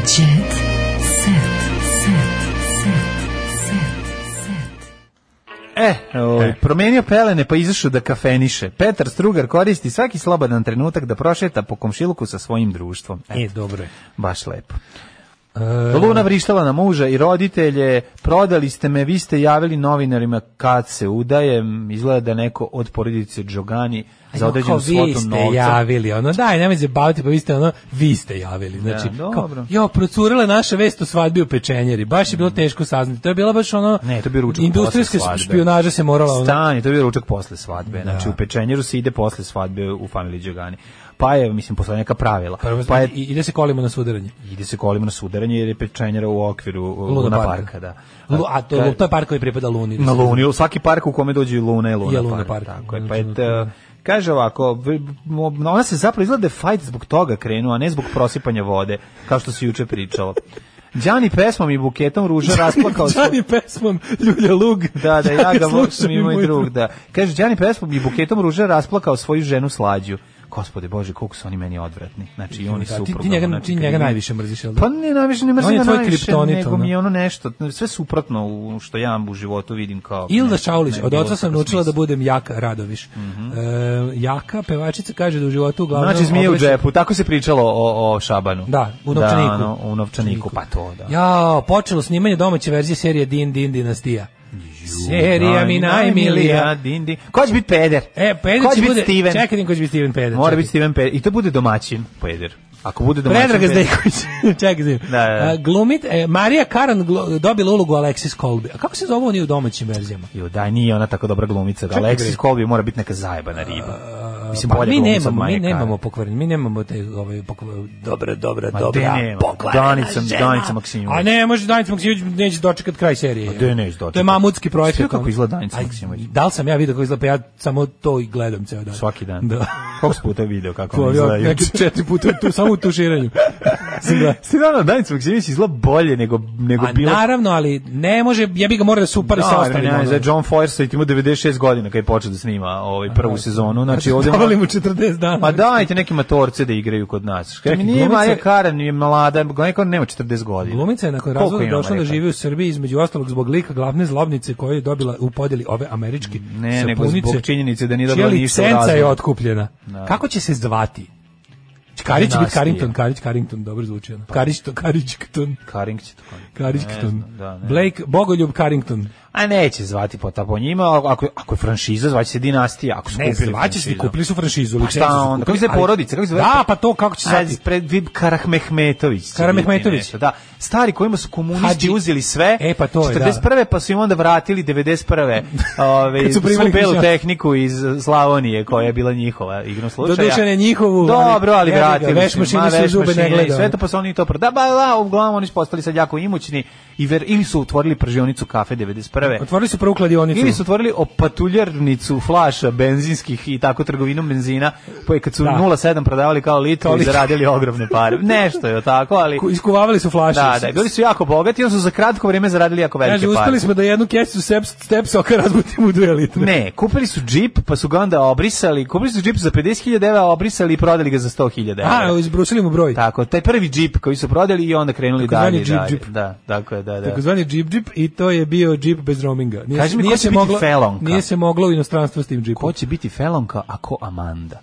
Speaker 10: Jet set. Set. Set. Set. Set.
Speaker 6: E, ovaj, promenio pelene pa izašao da kafeniše. Petar Strugar koristi svaki slobodan trenutak da prošeta po komšiluku sa svojim društvom. E,
Speaker 7: E, dobro je.
Speaker 6: baš lepo.
Speaker 7: E.
Speaker 6: Luna vrištala na muža i roditelje, prodali ste me, vi ste javili novinarima kad se udajem, izgleda da neko od porodice Džogani za
Speaker 7: Ono, kao,
Speaker 6: određenu
Speaker 7: vi
Speaker 6: svotu
Speaker 7: ste
Speaker 6: novca.
Speaker 7: javili, ono, daj, nemoj se baviti, pa vi ste, ono, vi ste javili. Znači,
Speaker 6: Da,
Speaker 7: kao,
Speaker 6: dobro. Mm.
Speaker 7: jo, procurila je naša vest o svadbi u pečenjeri, baš je bilo teško saznati. To je bilo baš ono,
Speaker 6: Ne, to je bio ručak
Speaker 7: industrijska
Speaker 6: posle svadbe.
Speaker 7: špionaža se morala, ono,
Speaker 6: Stani, to je bio ručak posle svadbe. Znači, u pečenjeru se ide posle svadbe u familiji Đogani. Pa je, mislim, postoje neka pravila.
Speaker 7: prvo, znači
Speaker 6: pa je
Speaker 7: i- ide se kolima na sudaranje.
Speaker 6: ide se kolima na sudaranje jer je pečenjara u okviru uh,
Speaker 7: Luna
Speaker 6: Luna
Speaker 7: parka.
Speaker 6: parka, da.
Speaker 7: Lu- a to,
Speaker 6: Kad-
Speaker 7: to je park koji pripada Luni. da
Speaker 6: na
Speaker 7: se-
Speaker 6: Luni, svaki park u kome dođe i Luna je Luna,
Speaker 7: Je Luna
Speaker 6: park,
Speaker 7: park.
Speaker 6: tako je. Pa je
Speaker 7: Znači,
Speaker 6: t-
Speaker 7: ono-
Speaker 6: kaže ovako, v- m- ona se zapravo izgleda da je fajt zbog toga krenuo, a ne zbog prosipanja vode, kao što se juče pričalo. Đani pesmom i buketom ruža rasplakao svoj-
Speaker 7: Čani pesmom Ljulja Lug.
Speaker 6: Da, da, ja ga
Speaker 7: slušam
Speaker 6: volim i moj drug, da. Kaže, Đani Pespo i buketom ruže rasplakao svoju ženu slađu. Gospode Bože, koliko su oni meni odvratni. Znači, i oni
Speaker 7: Da,
Speaker 6: su
Speaker 7: ti- ti njega- ti njega najviše mrziš, jel da?
Speaker 6: Pa ne, najviše, ne
Speaker 7: On
Speaker 6: mrzim
Speaker 7: je
Speaker 6: ga
Speaker 7: tvoj
Speaker 6: najviše,
Speaker 7: kriptonit,
Speaker 6: nego
Speaker 7: ono.
Speaker 6: mi je ono nešto, sve suprotno u što ja u životu vidim kao...
Speaker 7: Ilda
Speaker 6: ne-
Speaker 7: Šaulić,
Speaker 6: ne-
Speaker 7: od
Speaker 6: bilo
Speaker 7: oca sam
Speaker 6: kakav
Speaker 7: naučila da
Speaker 6: smisao. Mhm.
Speaker 7: budem Jaka Radoviš. E, jaka pevačica kaže da u životu uglavnom...
Speaker 6: Znači, zmije u
Speaker 7: oblači-
Speaker 6: džepu, tako se pričalo o, o Šabanu.
Speaker 7: ono Da, u novčaniku.
Speaker 6: Da, ono, u novčaniku, pa to, da.
Speaker 7: Jao, počelo snimanje domaće verzije serije Din Din Dinastija. Serija er mi najmilija.
Speaker 6: Din, din. Ko će biti peder?
Speaker 7: E, Peder
Speaker 6: Ko će
Speaker 7: će
Speaker 6: biti
Speaker 7: bude...
Speaker 6: Steven?
Speaker 7: Čekaj, vidim ko će biti Steven Peder.
Speaker 6: Mora
Speaker 7: čekaj.
Speaker 6: biti Steven Peder. I to bude domaćin Peder. Ako bude domaćin
Speaker 7: Predraga
Speaker 6: Peder-
Speaker 7: Zdejković. Čekaj, zim.
Speaker 6: Da, da, da.
Speaker 7: glumit, e, Marija Karan glu- dobila ulogu Alexis Colby. A kako se zove oni u domaćim verzijama?
Speaker 6: Jo, daj, nije ona tako dobra glumica. Da Alexis
Speaker 7: bre.
Speaker 6: Colby mora biti neka zajebana riba. Mislim,
Speaker 7: Pa,
Speaker 6: bolja
Speaker 7: mi
Speaker 6: glumica od
Speaker 7: nemamo, mi
Speaker 6: Maje Kare.
Speaker 7: nemamo pokvaren, mi nemamo te ovaj pokvaren, dobra, dobra,
Speaker 6: Ma
Speaker 7: dobra,
Speaker 6: gde nema?
Speaker 7: pokvarena
Speaker 6: Danica-
Speaker 7: žena.
Speaker 6: Danica Maksimović.
Speaker 7: A ne, može Danica Maksimović neće dočekat kraj serije.
Speaker 6: A gde neće dočekat?
Speaker 7: To je mamutski projekt.
Speaker 6: Sve kako
Speaker 7: kao-
Speaker 6: izgleda Danica
Speaker 7: Aj,
Speaker 6: Maksimović.
Speaker 7: Da li sam ja vidio kako izgleda, pa ja samo to i gledam ceo dan.
Speaker 6: Svaki dan.
Speaker 7: Da.
Speaker 6: Koliko si puta video kako
Speaker 7: To
Speaker 6: ona
Speaker 7: ja znači,
Speaker 6: izgleda?
Speaker 7: neke četiri puta tu, samo u tuširanju. Sam gledao.
Speaker 6: Stilano, Danica Maksimović izgleda bolje nego, nego
Speaker 7: A
Speaker 6: bilo...
Speaker 7: naravno, ali ne može, ja bi ga morao da se upari sa
Speaker 6: ne,
Speaker 7: ostalim.
Speaker 6: ne,
Speaker 7: ono.
Speaker 6: za John Forsythe ima 96 godina kad je počeo da snima ovaj prvu sezonu. Znači, ovde...
Speaker 7: Davali mu 40 dana.
Speaker 6: Ma dajte neke matorce da igraju kod nas. Kaj mi
Speaker 7: Čekaj,
Speaker 6: nije
Speaker 7: glumica-
Speaker 6: Marija Karan, nije mlada, neka nema 40 godina.
Speaker 7: Glumica je nakon
Speaker 6: Koliko
Speaker 7: razvoda
Speaker 6: ima
Speaker 7: došla da
Speaker 6: Marija
Speaker 7: živi u Srbiji između ostalog zbog lika glavne zlobnice koju je dobila u podeli ove američke
Speaker 6: Ne, nego
Speaker 7: sapunice,
Speaker 6: zbog činjenice da nije
Speaker 7: čija
Speaker 6: dobila ništa u
Speaker 7: licenca je
Speaker 6: razvodu.
Speaker 7: otkupljena. Kako će se zvati? Karić će biti
Speaker 6: Dinastija.
Speaker 7: Carrington, Karić, Carrington, dobro zvuči. ono. Karić, to, Karićton,
Speaker 6: Karing će tako.
Speaker 7: Karićton.
Speaker 6: znam, da, ne.
Speaker 7: Blake, Bogoljub Carrington.
Speaker 6: A neće zvati po ta po njima, ako, ako je franšiza, zvaće se dinastija, ako su
Speaker 7: Ne,
Speaker 6: kupili
Speaker 7: zvaće se,
Speaker 6: franšizu.
Speaker 7: kupili su franšizu.
Speaker 6: Pa
Speaker 7: licencu
Speaker 6: šta
Speaker 7: su
Speaker 6: onda, kako
Speaker 7: kupili,
Speaker 6: se
Speaker 7: ali-
Speaker 6: porodice, kako se zove?
Speaker 7: Da, pa to kako će se
Speaker 6: Sad,
Speaker 7: zvati?
Speaker 6: pred vid Karahmehmetović. će biti
Speaker 7: Karahmehmetović.
Speaker 6: nešto, Da, stari kojima su komunisti
Speaker 7: Hadži.
Speaker 6: uzeli sve.
Speaker 7: E, pa to je, da.
Speaker 6: 41. pa su im onda vratili 91. Ove,
Speaker 7: Kad
Speaker 6: su
Speaker 7: su primili
Speaker 6: svu belu
Speaker 7: hrišćan-
Speaker 6: tehniku iz Slavonije koja je bila njihova igrom slučaja.
Speaker 7: Doduše ne njihovu, ali-
Speaker 6: Dobro, ali
Speaker 7: jebi ga,
Speaker 6: vratili.
Speaker 7: veš
Speaker 6: su im,
Speaker 7: mašini
Speaker 6: ma,
Speaker 7: se u
Speaker 6: veš
Speaker 7: zube ne
Speaker 6: mašine i
Speaker 7: gleda,
Speaker 6: Sve
Speaker 7: ono.
Speaker 6: to pa su oni to pro- Da, ba, da, uglavnom oni su postali sad jako imućni i ver, ili su otvorili pržionicu kafe 91.
Speaker 7: Otvorili su prvu kladionicu.
Speaker 6: Ili su otvorili opatuljarnicu flaša benzinskih i tako trgovinu benzina, pa je kad su
Speaker 7: Da.
Speaker 6: 0,7 prodavali kao litru i
Speaker 7: litru.
Speaker 6: zaradili ogromne pare. Nešto je tako, ali...
Speaker 7: Ku- Iskuvavali su flaše.
Speaker 6: Da, da, bili su jako bogati, onda su za kratko vrijeme zaradili jako velike
Speaker 7: Kaže,
Speaker 6: pare.
Speaker 7: uspeli smo da jednu kesicu step, step soka razbutimo u dve litre.
Speaker 6: Ne, kupili su džip, pa su ga onda obrisali, kupili su džip za 50.000 evra, obrisali i prodali ga za 100.000
Speaker 7: A,
Speaker 6: evra.
Speaker 7: izbrusili mu broj.
Speaker 6: Tako, taj prvi džip koji su prodali i onda krenuli
Speaker 7: Takozvani
Speaker 6: dalje. i
Speaker 7: džip,
Speaker 6: dalje.
Speaker 7: džip.
Speaker 6: Da, tako je, da, da.
Speaker 7: Takozvani džip džip i to je bio džip bez roaminga. Nije,
Speaker 6: Kaži mi, ko
Speaker 7: nije
Speaker 6: će biti felonka?
Speaker 7: Nije se moglo u inostranstvo s tim
Speaker 6: Ko
Speaker 7: džipom.
Speaker 6: će biti Felonka, ako Amanda?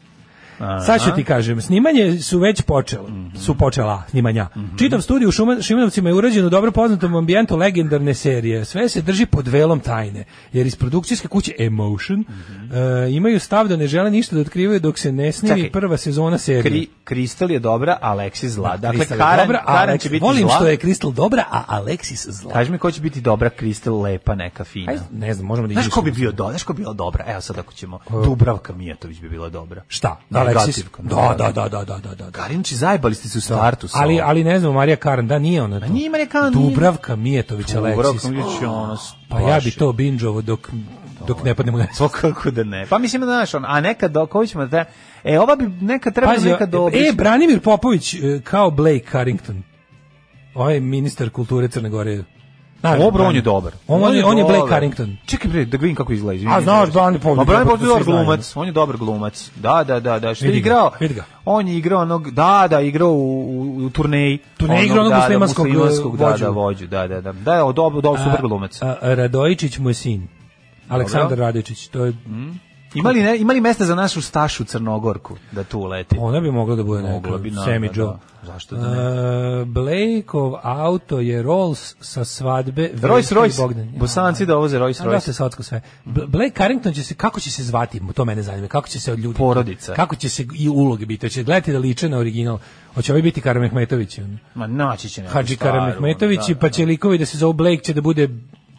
Speaker 7: Sad ću ti kažem, snimanje su već počelo,
Speaker 6: Mhm.
Speaker 7: su počela snimanja. Čitav studij u Šuma- Šimanovcima je urađen u dobro poznatom ambijentu legendarne serije. Sve se drži pod velom tajne, jer iz produkcijske kuće Emotion e, imaju stav da ne žele ništa da otkrivaju dok se ne snimi
Speaker 6: Mhm. Čekaj.
Speaker 7: prva sezona serije.
Speaker 6: Kri, Kristal je dobra, a Alexis zla. dakle,
Speaker 7: Crystal je
Speaker 6: Karan,
Speaker 7: dobra, a
Speaker 6: Karan
Speaker 7: Alexis-
Speaker 6: će biti
Speaker 7: volim
Speaker 6: zla.
Speaker 7: što je Kristal dobra, a Alexis zla.
Speaker 6: Kaži mi ko će biti dobra, Kristal lepa, neka fina. ono.
Speaker 7: Aj, ne znam, možemo da
Speaker 6: Znaš ko
Speaker 7: izmislimo.
Speaker 6: bi bio do, znaš ko bi bila dobra? Evo sad ako ćemo, Dubravka Mijatović bi bila dobra.
Speaker 7: Šta? Alexis?
Speaker 6: Negativka,
Speaker 7: Da, da, da, da, da, da, da. da.
Speaker 6: Karin, či zajebali ste se u startu sa
Speaker 7: Ali,
Speaker 6: ovom.
Speaker 7: ali ne znam, Marija Karan, da, nije ona to.
Speaker 6: nije Marija Karan, nije.
Speaker 7: Dubravka Mijetović,
Speaker 6: Dubravka
Speaker 7: Alexis.
Speaker 6: Mijatović je ono... s-
Speaker 7: Pa ja bi
Speaker 6: baš je.
Speaker 7: to binđovo dok, dok ne padnemo na
Speaker 6: To kako da ne. Pa mislim da znaš, on, a neka do, koju ćemo da... E, ova bi neka treba
Speaker 7: Pazi,
Speaker 6: neka do...
Speaker 7: e, Branimir Popović e, kao Blake Carrington. Ovaj ministar kulture Crne Gore. Naravno,
Speaker 6: Obro, on
Speaker 7: Brani.
Speaker 6: je dobar.
Speaker 7: On- on je- on je Blake
Speaker 6: dobar.
Speaker 7: Carrington.
Speaker 6: Čekaj bre, da vidim kako izgleda. izvini.
Speaker 7: A, znaš, Brani Povlić,
Speaker 6: Ma Brani
Speaker 7: kako
Speaker 6: Povlić je dobar
Speaker 7: se zna.
Speaker 6: glumac, on je dobar glumac. Da, da, da, da. Što je
Speaker 7: Vidi ga,
Speaker 6: igrao?
Speaker 7: vidi ga.
Speaker 6: On je igrao onog, da, da, igrao u, u, u turneji.
Speaker 7: Turneji igrao onog
Speaker 6: da, da,
Speaker 7: muslimanskog, eh,
Speaker 6: muslimanskog, da,
Speaker 7: vođu.
Speaker 6: da, vođu, da, da, da. Da, je dobar, dobar, super glumac.
Speaker 7: A, a, Radojičić mu je sin. Aleksandar
Speaker 6: Dobro.
Speaker 7: Radojičić, to je
Speaker 6: Ima li, ne, ima li mesta za našu stašu Crnogorku da tu leti?
Speaker 7: Ona bi mogla da bude
Speaker 6: Mogla
Speaker 7: neka
Speaker 6: bi, da,
Speaker 7: Semi
Speaker 6: da,
Speaker 7: Joe.
Speaker 6: da. Zašto da ne?
Speaker 7: E, Blakeov auto je Rolls sa svadbe
Speaker 6: Rolls
Speaker 7: Royce
Speaker 6: Royce, bosanci da ovo za Rolls
Speaker 7: Da se
Speaker 6: Royce.
Speaker 7: sotko sve. B- Blake Carrington će se kako će se zvati, to mene zanima. Kako će se od ljudi
Speaker 6: Porodica.
Speaker 7: Kako će se i uloge biti? Hoće gledati da liče na original. Hoće ovaj biti Karamehmetović. ono,
Speaker 6: Ma naći će neku
Speaker 7: Hadži
Speaker 6: staru,
Speaker 7: Karamehmetović i pa će likovi da se zove Blake će da bude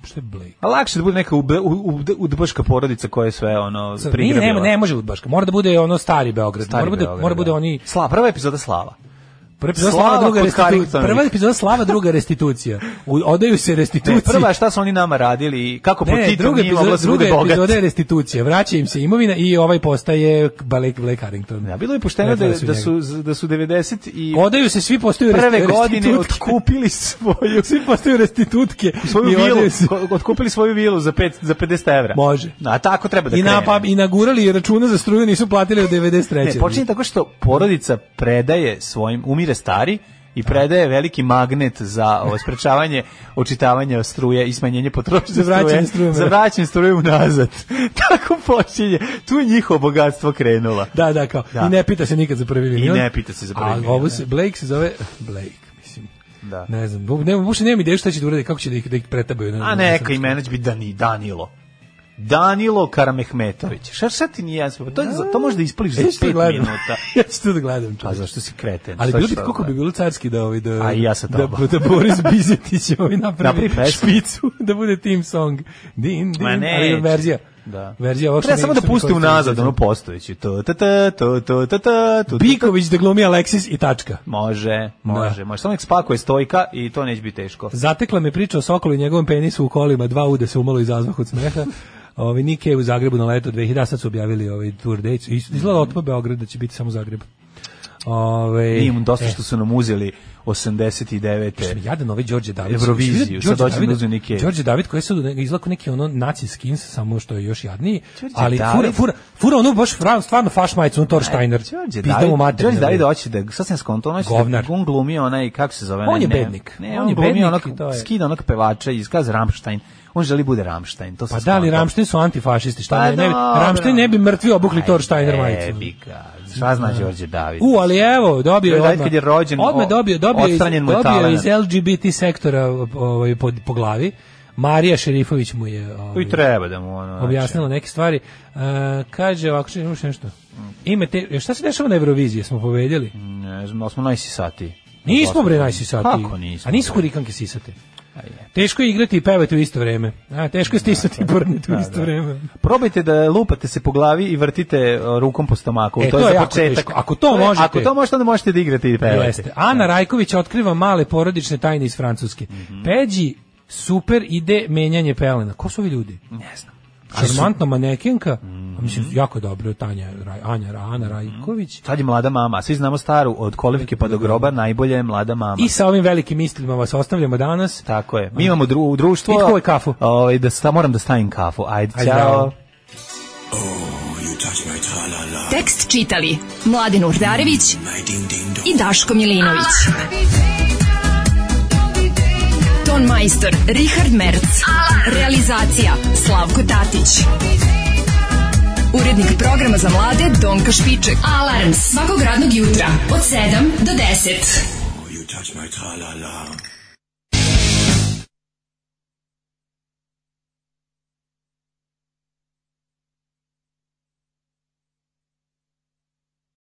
Speaker 7: što je Blake?
Speaker 6: pa- A lakše da bude neka ube- u- u- udbaška porodica koja je sve ono
Speaker 7: Sad, Nije,
Speaker 6: prigrabila.
Speaker 7: nema, ne može udbaška. Mora da bude ono stari Beograd.
Speaker 6: Stari
Speaker 7: mora bude,
Speaker 6: Beograd,
Speaker 7: mora bude
Speaker 6: da.
Speaker 7: oni
Speaker 6: Sla, prva epizoda Slava.
Speaker 7: Prva epizoda
Speaker 6: Slava
Speaker 7: slava, druga
Speaker 6: kod
Speaker 7: restitucija.
Speaker 6: Carringtona.
Speaker 7: Prva epizoda slava, druga restitucija. U, odaju se
Speaker 6: Ne,
Speaker 7: restituciji.
Speaker 6: prva je šta su oni nama radili i kako po
Speaker 7: ne,
Speaker 6: Titu
Speaker 7: druga
Speaker 6: nije
Speaker 7: epizoda,
Speaker 6: mogla se
Speaker 7: druga
Speaker 6: bude bogat.
Speaker 7: epizoda je restitucija. Vraća im se imovina i ovaj postaje Blake, Blake Harrington.
Speaker 6: Ja, bilo je pošteno da,
Speaker 7: Vratili
Speaker 6: da,
Speaker 7: njega.
Speaker 6: su, da su 90 i
Speaker 7: Odaju se, svi postaju resti-
Speaker 6: prve godine
Speaker 7: restitutke.
Speaker 6: otkupili svoju
Speaker 7: Svi postaju restitutke.
Speaker 6: svoju
Speaker 7: I odaju
Speaker 6: vilu,
Speaker 7: se-
Speaker 6: ko- otkupili svoju vilu za, pet, za 50 evra.
Speaker 7: Može.
Speaker 6: A tako treba da
Speaker 7: I,
Speaker 6: krene.
Speaker 7: na, pa, I nagurali računa za struju nisu platili od 93.
Speaker 6: Ne, E, počinje tako što porodica predaje svojim, umire stari i predaje veliki magnet za ovo, sprečavanje očitavanja struje i smanjenje potrošnje
Speaker 7: Za vraćanje struje.
Speaker 6: za vraćanje struje unazad. tako počinje. Tu je njihovo bogatstvo krenulo.
Speaker 7: Da, da, kao.
Speaker 6: Da.
Speaker 7: I ne pita se nikad za prvi milion.
Speaker 6: ne pita se za prvi
Speaker 7: A
Speaker 6: milion,
Speaker 7: ovo
Speaker 6: ne.
Speaker 7: se, Blake se zove Blake, mislim.
Speaker 6: Da.
Speaker 7: Ne znam, bu- ne, uopšte nemam ideju šta će da urede, kako će da ih, da ih pretabaju.
Speaker 6: A neka imena će biti Dani, Danilo. Danilo Karamehmetović. Šta šta ti nije jasno? To, je za- to možda ispliš za
Speaker 7: Ja ću to
Speaker 6: 5
Speaker 7: da gledam.
Speaker 6: minuta.
Speaker 7: ja ću to da gledam. čovječe.
Speaker 6: A zašto si kreten?
Speaker 7: Ali
Speaker 6: Šta
Speaker 7: bilo
Speaker 6: ću
Speaker 7: bi
Speaker 6: sad
Speaker 7: kako bi bilo carski da ovaj da
Speaker 6: A i ja sa
Speaker 7: da,
Speaker 6: tobom.
Speaker 7: da Boris Bizetić ovaj napravi
Speaker 6: Napravi pesmu.
Speaker 7: špicu da bude team song. Din din,
Speaker 6: Ma ne,
Speaker 7: ali verzija.
Speaker 6: Da.
Speaker 7: Verzija ovog što
Speaker 6: Treba
Speaker 7: mi-
Speaker 6: samo da
Speaker 7: što mi
Speaker 6: pusti
Speaker 7: koristi
Speaker 6: unazad
Speaker 7: za-
Speaker 6: ono postojeći. To, ta, ta, to, to, ta, ta, to, ta,
Speaker 7: Biković da glumi Aleksis i tačka.
Speaker 6: Može, može, može. Samo nek spakuje stojka i to neće biti teško.
Speaker 7: Zatekla me priča o Sokolu i njegovom penisu u kolima, dva ude se umalo izazvah od smeha. Ovi Nike je u Zagrebu na leto 2000, sad su objavili ovaj tour dates. Is- Izgleda otpa Beograd da će biti samo Zagreb. Ove,
Speaker 6: Nije im dosta što su nam uzeli
Speaker 7: Mislim,
Speaker 6: 89.
Speaker 7: Jadan ovaj Đorđe David.
Speaker 6: Euroviziju, sad hoće da uzme neki-
Speaker 7: Đorđe David koji se izlako neki ono naci skins, samo što je još jadniji,
Speaker 6: Đorđe
Speaker 7: ali
Speaker 6: David- E,
Speaker 7: fura, fura, fura ono baš fra- stvarno faš majicu, ono Torsteiner.
Speaker 6: Đorđe
Speaker 7: Pizda mu
Speaker 6: David,
Speaker 7: mater,
Speaker 6: Đorđe
Speaker 7: ne
Speaker 6: David
Speaker 7: vredi.
Speaker 6: hoće da, sad sam skonto, ono on hoće
Speaker 7: Govnar.
Speaker 6: da on glumi onaj, kako se zove?
Speaker 7: On
Speaker 6: onaj,
Speaker 7: je
Speaker 6: ne-
Speaker 7: bednik.
Speaker 6: Ne,
Speaker 7: On
Speaker 6: on,
Speaker 7: je
Speaker 6: je glumi
Speaker 7: bednik
Speaker 6: onog,
Speaker 7: i to je-
Speaker 6: skida onog pevača iz Kaz Ramštajn. On želi bude Ramštajn, to
Speaker 7: Pa
Speaker 6: sam
Speaker 7: da li
Speaker 6: skonto.
Speaker 7: Ramštin su antifašisti? Šta
Speaker 6: Pa
Speaker 7: ne, ne, bi-
Speaker 6: dobro.
Speaker 7: Rammstein ne bi mrtvi obukli Torsteiner
Speaker 6: Aj,
Speaker 7: majicu.
Speaker 6: jebi ga, Šta zna Đorđe David?
Speaker 7: U, ali evo, dobio je
Speaker 6: Joj, daj,
Speaker 7: odmah.
Speaker 6: kad je rođen,
Speaker 7: odmah
Speaker 6: o-
Speaker 7: dobio, dobio, je iz,
Speaker 6: odstranjen mu je
Speaker 7: dobio je iz
Speaker 6: talenat.
Speaker 7: LGBT sektora ovaj, po, po glavi. Marija Šerifović mu je ovaj,
Speaker 6: I treba da mu ono... znači,
Speaker 7: objasnila neke stvari. E, kaže, ovako, čekaj, imaš nešto. Ime te, e, šta se dešava na Euroviziji? Smo pobedili?
Speaker 6: Ne znam, ali smo najsisati.
Speaker 7: Nismo bre najsisati.
Speaker 6: pa Kako nismo? Pa
Speaker 7: A nisu hurikanke sisate. Teško je igrati i pevati u isto vreme. A, teško je stisati i brniti u isto vreme.
Speaker 6: Probajte da lupate se po glavi i vrtite e, rukom po stomaku.
Speaker 7: E, to
Speaker 6: to,
Speaker 7: je
Speaker 6: je za
Speaker 7: jako
Speaker 6: početak.
Speaker 7: teško. Ako to
Speaker 6: je-
Speaker 7: možete-
Speaker 6: Ako to možete, onda možete da igrate i pevate.
Speaker 7: Jeste. Ana Rajković otkriva male porodične tajne iz Francuske.
Speaker 6: Mhm.
Speaker 7: Peđi super ide menjanje pelena. Ko su ovi ljudi?
Speaker 6: Ne znam. Mhm.
Speaker 7: Šarmantna manekenka, a mislim jako dobro Tanja Raj, Anja Ra- Ana Rajković.
Speaker 6: Sad je mlada mama, svi znamo staru, od kolevke pa do groba, najbolje je mlada mama.
Speaker 7: I sa ovim velikim mislima vas ostavljamo danas.
Speaker 6: Tako je. Mi imamo dru, u društvo.
Speaker 7: I tko je kafu?
Speaker 6: Ovaj, da sta, moram da stavim kafu. Ajde,
Speaker 7: Ajde,
Speaker 6: ćao.
Speaker 7: zdravo.
Speaker 10: Tekst čitali Mladin Urdarević i Daško Milinović. Ton majstor Richard Merc. Realizacija Slavko Tatić. Urednik programa za mlade Donka Špiček. Alarms svakog radnog jutra od 7 do 10.
Speaker 1: Oh, you touch my tra-la-la.